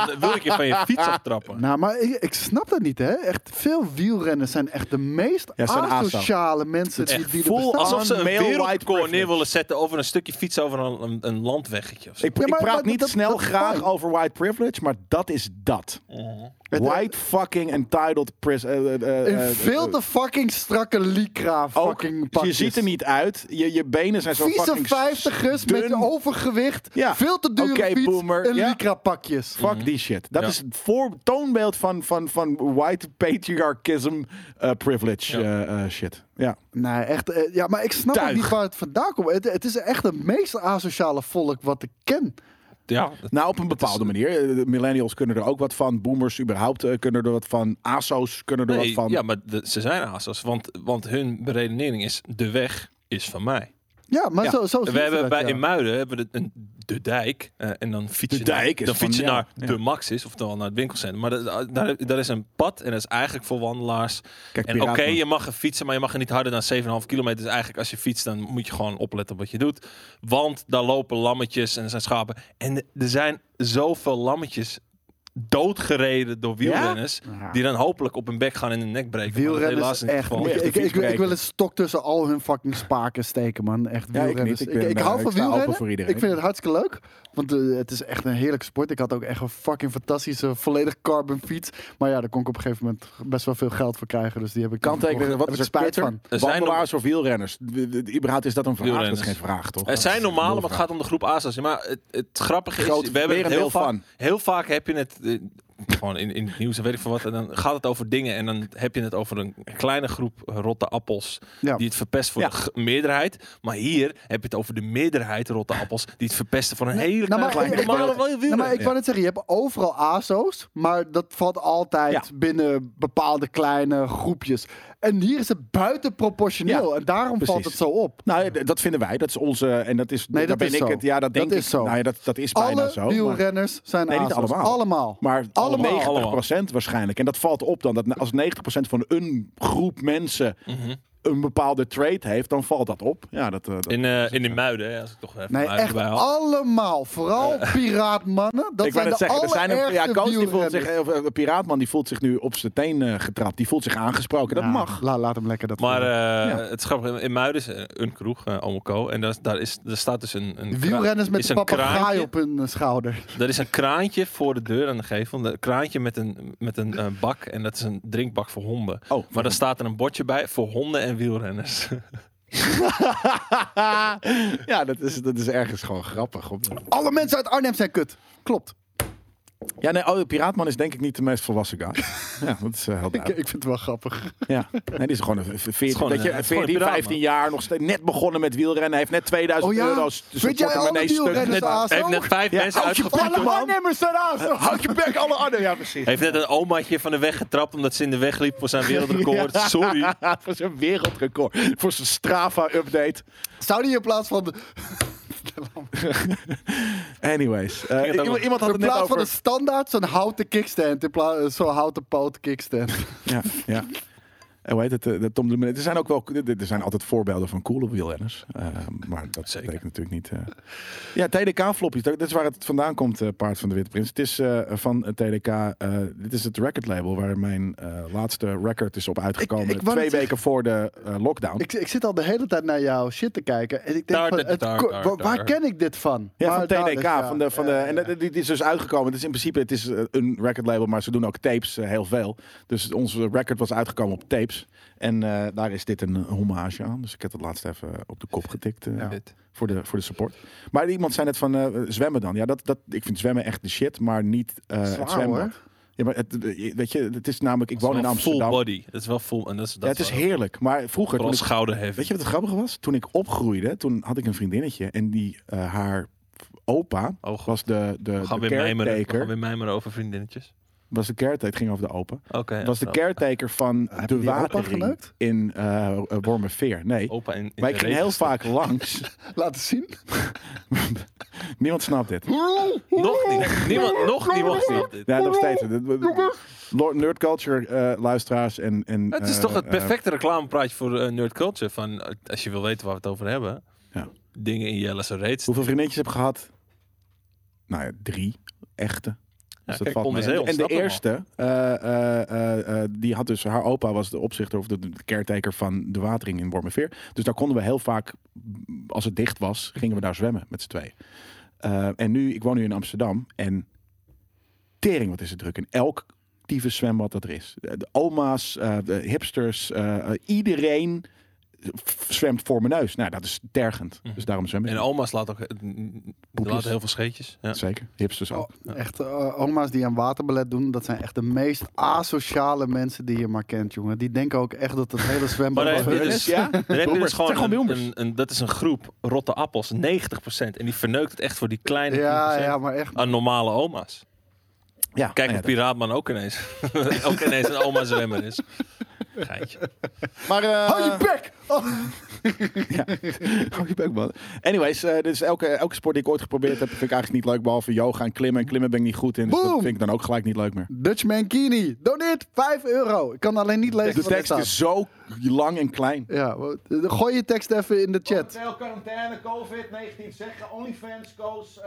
[SPEAKER 1] dan wil ik je van je fiets aftrappen.
[SPEAKER 2] Nou, maar ik, ik snap dat niet, hè? Echt veel wielrenners zijn echt de meest
[SPEAKER 3] Ja, ze zijn
[SPEAKER 2] asociale mensen die,
[SPEAKER 1] echt
[SPEAKER 2] die er
[SPEAKER 3] vol
[SPEAKER 2] bestaan.
[SPEAKER 1] Alsof ze een
[SPEAKER 3] Aan male white
[SPEAKER 1] wereldrecord neer
[SPEAKER 3] privilege.
[SPEAKER 1] willen zetten over een stukje fiets over een, een, een landweggetje of zo.
[SPEAKER 3] Ik,
[SPEAKER 2] Ja,
[SPEAKER 3] ik
[SPEAKER 2] maar-
[SPEAKER 3] praat
[SPEAKER 2] maar
[SPEAKER 3] niet
[SPEAKER 2] dat-
[SPEAKER 3] snel
[SPEAKER 2] dat is
[SPEAKER 3] graag
[SPEAKER 2] fijn.
[SPEAKER 3] over white privilege, maar dat is dat.
[SPEAKER 2] Het-
[SPEAKER 3] White fucking entitled pris. eh, eh, eh,
[SPEAKER 2] Een
[SPEAKER 3] eh,
[SPEAKER 2] veel te fucking strakke lycra
[SPEAKER 3] ook,
[SPEAKER 2] fucking
[SPEAKER 3] Je
[SPEAKER 2] pakjes.
[SPEAKER 3] ziet er niet uit. Je, je benen zijn zo
[SPEAKER 2] Vieze
[SPEAKER 3] fucking
[SPEAKER 2] vijftigers met
[SPEAKER 3] dun.
[SPEAKER 2] overgewicht,
[SPEAKER 3] Ja.
[SPEAKER 2] veel te dure
[SPEAKER 3] Oké,
[SPEAKER 2] fiets
[SPEAKER 3] boomer,
[SPEAKER 2] en
[SPEAKER 3] ja.
[SPEAKER 2] lycra pakjes.
[SPEAKER 3] Fuck die shit. Dat
[SPEAKER 1] Mhm. Ja.
[SPEAKER 3] is het voor, toonbeeld van, van, van white patriarchism eh, privilege eh, eh, shit. Ja.
[SPEAKER 2] Nee, echt. eh, Ja, maar ik snap ook
[SPEAKER 3] Tuig.
[SPEAKER 2] niet waar het vandaan komt. Het, het is echt het meest asociale volk wat ik ken.
[SPEAKER 1] Ja,
[SPEAKER 3] Nou, op een bepaalde manier. Eh, de Millennials kunnen er ook wat van. Boomers überhaupt eh, kunnen er wat van. ASO's kunnen er
[SPEAKER 1] nee,
[SPEAKER 3] wat van.
[SPEAKER 1] ja maar de- ze zijn ASOS. Want, want hun beredenering is, de weg is van mij.
[SPEAKER 2] Ja, maar
[SPEAKER 3] Ja.
[SPEAKER 2] zo, zo zien
[SPEAKER 1] We
[SPEAKER 2] ze
[SPEAKER 1] hebben
[SPEAKER 2] dat,
[SPEAKER 1] bij,
[SPEAKER 2] ja.
[SPEAKER 1] In Muiden hebben we de, een, de dijk. eh, en dan fiets
[SPEAKER 3] De
[SPEAKER 1] je naar,
[SPEAKER 3] dijk is
[SPEAKER 1] dan
[SPEAKER 3] van
[SPEAKER 1] fiets je
[SPEAKER 3] jou.
[SPEAKER 1] naar
[SPEAKER 3] Ja.
[SPEAKER 1] de Maxis, oftewel naar het winkelcentrum. Maar da- daar, daar is een pad en dat is eigenlijk voor wandelaars.
[SPEAKER 3] Kijk,
[SPEAKER 1] en oké,
[SPEAKER 3] Piraten.
[SPEAKER 1] je mag er fietsen, maar je mag er niet harder dan 7,5 kilometer. Dus eigenlijk als je fietst, dan moet je gewoon opletten op wat je doet. Want daar lopen lammetjes en er zijn schapen. En er zijn zoveel lammetjes doodgereden door wielrenners.
[SPEAKER 2] Ja.
[SPEAKER 1] Die dan hopelijk op hun bek gaan en hun nek breken. maar dat
[SPEAKER 2] Wielrenners
[SPEAKER 1] helaas niet het
[SPEAKER 2] echt.
[SPEAKER 1] geval
[SPEAKER 2] moet
[SPEAKER 1] is.
[SPEAKER 2] je-
[SPEAKER 3] Echt een
[SPEAKER 2] Ik, ik, ik,
[SPEAKER 3] fietsbreker.
[SPEAKER 2] wil een stok tussen al hun fucking spaken steken, man. Echt
[SPEAKER 3] Ja, ik niet.
[SPEAKER 2] wielrenners.
[SPEAKER 3] Ik ben,
[SPEAKER 2] hou
[SPEAKER 3] eh,
[SPEAKER 2] van
[SPEAKER 3] ik sta open
[SPEAKER 2] wielrennen.
[SPEAKER 3] voor
[SPEAKER 2] ik
[SPEAKER 3] iedereen.
[SPEAKER 2] vind het hartstikke leuk. Want eh, het is echt een heerlijke sport. Ik had ook echt een fucking fantastische, volledig carbon fiets. Maar ja, daar kon ik op een gegeven moment best wel veel geld voor krijgen. Dus die heb ik
[SPEAKER 3] Kan tegen
[SPEAKER 2] Daar
[SPEAKER 3] wat
[SPEAKER 2] heb
[SPEAKER 3] is
[SPEAKER 2] ik
[SPEAKER 3] er
[SPEAKER 2] spijt
[SPEAKER 3] spijt
[SPEAKER 2] van.
[SPEAKER 1] Er zijn
[SPEAKER 3] Wandelaars of wielrenners? De- de- de- Überhaupt is dat een vraag?
[SPEAKER 1] Wielrenners.
[SPEAKER 3] Dat is geen vraag, toch?
[SPEAKER 1] Het zijn normale,
[SPEAKER 3] normaal
[SPEAKER 1] maar het gaat om de groep ASOS. Maar het, het grappige
[SPEAKER 3] Groot
[SPEAKER 1] is, we hebben het heel
[SPEAKER 3] merendeel
[SPEAKER 1] vaak,
[SPEAKER 3] van.
[SPEAKER 1] heel vaak heb je het... eh, gewoon in, in het nieuws en weet ik veel wat. En dan gaat het over dingen en dan heb je het over een kleine groep rotte appels
[SPEAKER 2] Ja.
[SPEAKER 1] die het verpest voor
[SPEAKER 3] Ja.
[SPEAKER 1] de g- meerderheid. Maar hier heb je het over de meerderheid rotte appels die het verpesten van een hele
[SPEAKER 2] nou,
[SPEAKER 1] kleine
[SPEAKER 2] maar
[SPEAKER 1] groep.
[SPEAKER 2] ik- ik-
[SPEAKER 1] normale
[SPEAKER 2] Nou,
[SPEAKER 1] wielrenners.
[SPEAKER 2] maar ik wou net zeggen, je hebt overal ASO's, maar dat valt altijd binnen bepaalde kleine groepjes. En hier is het buitenproportioneel
[SPEAKER 3] Ja,
[SPEAKER 2] en daarom valt
[SPEAKER 3] precies.
[SPEAKER 2] het zo op.
[SPEAKER 3] Nou, ja, d- dat vinden wij. Dat is onze. En dat is.
[SPEAKER 2] Nee,
[SPEAKER 3] daar
[SPEAKER 2] dat
[SPEAKER 3] ben
[SPEAKER 2] is
[SPEAKER 3] ik
[SPEAKER 2] zo.
[SPEAKER 3] het. Ja, dat denk
[SPEAKER 2] Dat
[SPEAKER 3] ik.
[SPEAKER 2] is zo.
[SPEAKER 3] Nou ja, dat, dat is bijna
[SPEAKER 2] Alle
[SPEAKER 3] zo. maar-
[SPEAKER 2] wielrenners zijn
[SPEAKER 3] Nee, niet
[SPEAKER 2] ASO's.
[SPEAKER 3] allemaal.
[SPEAKER 2] Allemaal.
[SPEAKER 3] Maar
[SPEAKER 2] Allemaal.
[SPEAKER 3] allemaal 90% waarschijnlijk. En dat valt op dan. Dat als 90% van een groep mensen
[SPEAKER 1] Mhm.
[SPEAKER 3] een bepaalde trait heeft, dan valt dat op. Ja, dat, eh, dat-
[SPEAKER 1] in, eh, in de muiden, hè, als ik toch even
[SPEAKER 2] Nee,
[SPEAKER 1] muiden
[SPEAKER 2] echt
[SPEAKER 1] bij haal.
[SPEAKER 2] allemaal. Vooral piraatmannen. Dat
[SPEAKER 3] Eh. ik wou
[SPEAKER 2] zijn
[SPEAKER 3] net
[SPEAKER 2] de
[SPEAKER 3] zeggen, er zijn een ja,
[SPEAKER 2] allerergste
[SPEAKER 3] Koos die voelt
[SPEAKER 2] wielrenners.
[SPEAKER 3] zich, of, eh, een piraatman die voelt zich nu op zijn teen eh, getrapt. Die voelt zich aangesproken. Dat
[SPEAKER 2] Ja,
[SPEAKER 3] mag.
[SPEAKER 1] Oh,
[SPEAKER 2] la- laat hem lekker dat
[SPEAKER 1] Maar
[SPEAKER 2] doen.
[SPEAKER 1] eh, het is grappig, in- in Muiden is eh, een kroeg, eh Almoco. En daar, is- daar, is, daar staat dus een, een
[SPEAKER 2] Wielrenners met
[SPEAKER 1] is
[SPEAKER 2] de
[SPEAKER 1] een
[SPEAKER 2] papegaai
[SPEAKER 1] kraantje.
[SPEAKER 2] op hun eh, schouder.
[SPEAKER 1] Er is een kraantje voor de deur aan de gevel. Een kraantje met een, met een eh, bak. En dat is een drinkbak voor honden.
[SPEAKER 3] Oh,
[SPEAKER 1] Maar daar staat er een bordje bij voor honden en (laughs) wielrenners.
[SPEAKER 3] ja, dat is, dat is ergens gewoon grappig. Op.
[SPEAKER 2] Alle mensen uit Arnhem zijn kut. Klopt.
[SPEAKER 3] Ja, nee, oh, Piraatman is denk ik niet de meest volwassen guy. ja, dat is eh, heel
[SPEAKER 2] Ik, (laughs)
[SPEAKER 3] duidelijk.
[SPEAKER 2] ik vind het wel grappig.
[SPEAKER 3] Ja. Nee, die is gewoon een v-
[SPEAKER 1] is
[SPEAKER 3] 14,
[SPEAKER 1] gewoon
[SPEAKER 3] dat
[SPEAKER 1] een-
[SPEAKER 3] je,
[SPEAKER 1] het is gewoon een
[SPEAKER 3] 14
[SPEAKER 1] piraat,
[SPEAKER 3] 15 jaar, nog steeds, net begonnen met wielrennen. Heeft net 2000
[SPEAKER 2] Oh ja?
[SPEAKER 3] euro. s-
[SPEAKER 2] Weet
[SPEAKER 3] soort
[SPEAKER 2] jij alle
[SPEAKER 3] portemonnee stuk
[SPEAKER 2] wielrenners,
[SPEAKER 3] gedaan.
[SPEAKER 2] Aas?
[SPEAKER 1] Heeft net vijf
[SPEAKER 3] Ja,
[SPEAKER 1] mensen
[SPEAKER 3] houd je
[SPEAKER 1] uitgetrapt.
[SPEAKER 3] ballen,
[SPEAKER 1] hoor.
[SPEAKER 3] man.
[SPEAKER 2] Arnhemmers zijn ASO's.
[SPEAKER 3] Houd je bek, alle anderen. Ja, precies. (laughs)
[SPEAKER 1] Heeft net een omaatje van de weg getrapt omdat ze in de weg liep voor zijn wereldrecord. Sorry.
[SPEAKER 3] voor zijn wereldrecord. Voor zijn Strava-update.
[SPEAKER 2] Zou die in plaats
[SPEAKER 3] (laughs)
[SPEAKER 2] van... de-
[SPEAKER 3] Anyways. eh,
[SPEAKER 1] het ook
[SPEAKER 3] iemand,
[SPEAKER 1] nog-
[SPEAKER 3] iemand had
[SPEAKER 2] In
[SPEAKER 3] het net
[SPEAKER 2] plaats van
[SPEAKER 3] over...
[SPEAKER 2] een standaard, zo'n houten kickstand. In plaats zo'n houten poot kickstand.
[SPEAKER 3] Ja, ja. Eh, Hoe heet het? eh, de Tom de Minute. Er zijn ook wel, er er zijn altijd voorbeelden van coole wielrenners. Eh, maar dat
[SPEAKER 1] Zeker.
[SPEAKER 3] betekent natuurlijk niet. eh. Ja, TDK-flopjes. Dat dat is waar het vandaan komt, eh, Paard van de Witte Prins. Het is eh, van eh, TDK. eh, dit is het record label waar mijn eh, laatste record is op uitgekomen.
[SPEAKER 2] Ik- ik wou
[SPEAKER 3] twee
[SPEAKER 2] net zeggen-
[SPEAKER 3] weken voor de eh, lockdown.
[SPEAKER 2] Ik, ik zit al de hele tijd naar jouw shit te kijken. En ik denk
[SPEAKER 1] Daar,
[SPEAKER 2] van,
[SPEAKER 1] daar,
[SPEAKER 2] het
[SPEAKER 1] daar,
[SPEAKER 2] ko-
[SPEAKER 1] daar,
[SPEAKER 2] wa- waar
[SPEAKER 1] daar.
[SPEAKER 2] ken ik dit van?
[SPEAKER 3] Ja,
[SPEAKER 2] Maar
[SPEAKER 3] van
[SPEAKER 2] daar is-
[SPEAKER 3] TDK.
[SPEAKER 2] ja,
[SPEAKER 3] van de, van
[SPEAKER 2] ja,
[SPEAKER 3] de, en
[SPEAKER 2] ja.
[SPEAKER 3] dat- dit is dus uitgekomen. Het is in principe het is eh, een record label, maar ze doen ook tapes eh, heel veel. Dus onze record was uitgekomen op tapes. En eh, daar is dit een hommage aan. Dus ik heb het laatst even op de kop getikt eh, voor, de, voor de support. Maar iemand zei net van eh, zwemmen dan. Ja, dat, dat, ik vind zwemmen echt de shit, maar niet eh
[SPEAKER 2] Zwaar,
[SPEAKER 3] het zwembad.
[SPEAKER 2] hoor.
[SPEAKER 3] Ja, maar het, weet je, het is namelijk, ik
[SPEAKER 1] Dat
[SPEAKER 3] woon
[SPEAKER 1] is
[SPEAKER 3] in
[SPEAKER 1] wel
[SPEAKER 3] Amsterdam.
[SPEAKER 1] Full body. Dat is wel full. En dat is, dat
[SPEAKER 3] ja, het is heerlijk. Maar vroeger, toen
[SPEAKER 1] Vooral
[SPEAKER 3] ik
[SPEAKER 1] schouderheffing.
[SPEAKER 3] Weet je wat het grappige was? Toen ik opgroeide, toen had ik een vriendinnetje en die eh, haar opa
[SPEAKER 1] Oh, God.
[SPEAKER 3] was de, de,
[SPEAKER 1] We gaan
[SPEAKER 3] de
[SPEAKER 1] weer mijmeren. We gaan
[SPEAKER 3] caretaker.
[SPEAKER 1] weer mijmeren over vriendinnetjes.
[SPEAKER 3] Was de caretaker, het ging over de opa.
[SPEAKER 1] Oké.
[SPEAKER 3] was de
[SPEAKER 1] nou,
[SPEAKER 3] caretaker van
[SPEAKER 2] Heb je
[SPEAKER 3] de
[SPEAKER 2] die opa
[SPEAKER 3] watering
[SPEAKER 2] geneukt?
[SPEAKER 3] in eh Wormerveer. Nee,
[SPEAKER 1] Opa in, Oh, in
[SPEAKER 3] wij
[SPEAKER 1] de
[SPEAKER 3] gingen
[SPEAKER 1] regen
[SPEAKER 3] heel
[SPEAKER 1] staan. (laughs)
[SPEAKER 3] vaak langs. (laughs)
[SPEAKER 2] Laten zien.
[SPEAKER 3] Niemand snapt dit.
[SPEAKER 1] Nog
[SPEAKER 3] (laughs)
[SPEAKER 1] niet. Niemand, nog niemand snapt dit.
[SPEAKER 3] Ja, nog steeds. Lord- Nerd culture eh, luisteraars en... en
[SPEAKER 1] Het is
[SPEAKER 3] eh,
[SPEAKER 1] toch het
[SPEAKER 3] eh,
[SPEAKER 1] perfecte reclamepraatje voor eh, nerd culture. Van, eh, als je wil weten waar we het over hebben.
[SPEAKER 3] Ja.
[SPEAKER 1] Dingen in Jelle's reeds.
[SPEAKER 3] hoeveel vriendinnetjes heb ik gehad? Nou ja, drie echte. Dus dat
[SPEAKER 1] kijk,
[SPEAKER 3] valt
[SPEAKER 1] onder
[SPEAKER 3] mee.
[SPEAKER 1] zee
[SPEAKER 3] en de
[SPEAKER 1] ontsnapt
[SPEAKER 3] eerste, eh, eh, eh, eh, die had dus haar opa was de opzichter of de, de caretaker van de watering in Wormerveer. Dus daar konden we heel vaak, m, als het dicht was, gingen we daar zwemmen met z'n tweeën. Eh, en nu, ik woon nu in Amsterdam en tering, wat is het druk in elk tieve zwembad dat er is. De, de oma's, eh, de hipsters, eh, eh, iedereen f- zwemt voor mijn neus. Nou, dat is tergend. Dus daarom zwem ik.
[SPEAKER 1] Mhm. En
[SPEAKER 3] niet.
[SPEAKER 1] oma's laat ook eh, die laten heel veel scheetjes. Ja.
[SPEAKER 3] Zeker, hipsters ook.
[SPEAKER 2] Oh, echt, eh, oma's die aan waterbelet doen, dat zijn echt de meest asociale mensen die je maar kent, jongen. Die denken ook echt dat het hele
[SPEAKER 1] (laughs)
[SPEAKER 2] zwembad...
[SPEAKER 1] Maar daar heb
[SPEAKER 2] van
[SPEAKER 1] je
[SPEAKER 2] hun
[SPEAKER 1] dus,
[SPEAKER 2] is.
[SPEAKER 3] ja?
[SPEAKER 1] daar heb je dus
[SPEAKER 3] Boomers. Het
[SPEAKER 1] gewoon,
[SPEAKER 3] zijn gewoon
[SPEAKER 1] een,
[SPEAKER 3] boomers.
[SPEAKER 1] een- een- dat is een groep rotte appels, 90%. En die verneukt het echt voor die kleine
[SPEAKER 2] Ja,
[SPEAKER 1] 10%
[SPEAKER 2] ja, maar echt.
[SPEAKER 1] aan normale oma's.
[SPEAKER 3] Ja,
[SPEAKER 1] Kijk,
[SPEAKER 3] nou
[SPEAKER 1] hoe
[SPEAKER 3] ja,
[SPEAKER 1] Piraatman ook ineens, (laughs) ook ineens een oma zwemmer
[SPEAKER 3] (laughs)
[SPEAKER 1] is. Geintje.
[SPEAKER 3] Maar, eh,
[SPEAKER 2] Hou je
[SPEAKER 3] (laughs)
[SPEAKER 2] bek! Oh.
[SPEAKER 3] Hou je bek, man. Anyways, eh, dus elke, elke sport die ik ooit geprobeerd heb, vind ik eigenlijk niet leuk. Behalve yoga en klimmen. En klimmen ben ik niet goed in. Dus dat
[SPEAKER 2] Boom!
[SPEAKER 3] vind ik dan ook gelijk niet leuk meer.
[SPEAKER 2] Dutch Mankini, doneert 5 euro. Ik kan alleen niet lezen
[SPEAKER 3] De
[SPEAKER 2] wat er
[SPEAKER 3] tekst
[SPEAKER 2] staat.
[SPEAKER 3] is zo lang en klein.
[SPEAKER 2] Ja, wat- gooi je tekst even in de chat.
[SPEAKER 4] Hotel, quarantaine, COVID-19, zeggen OnlyFans, Koos, uh,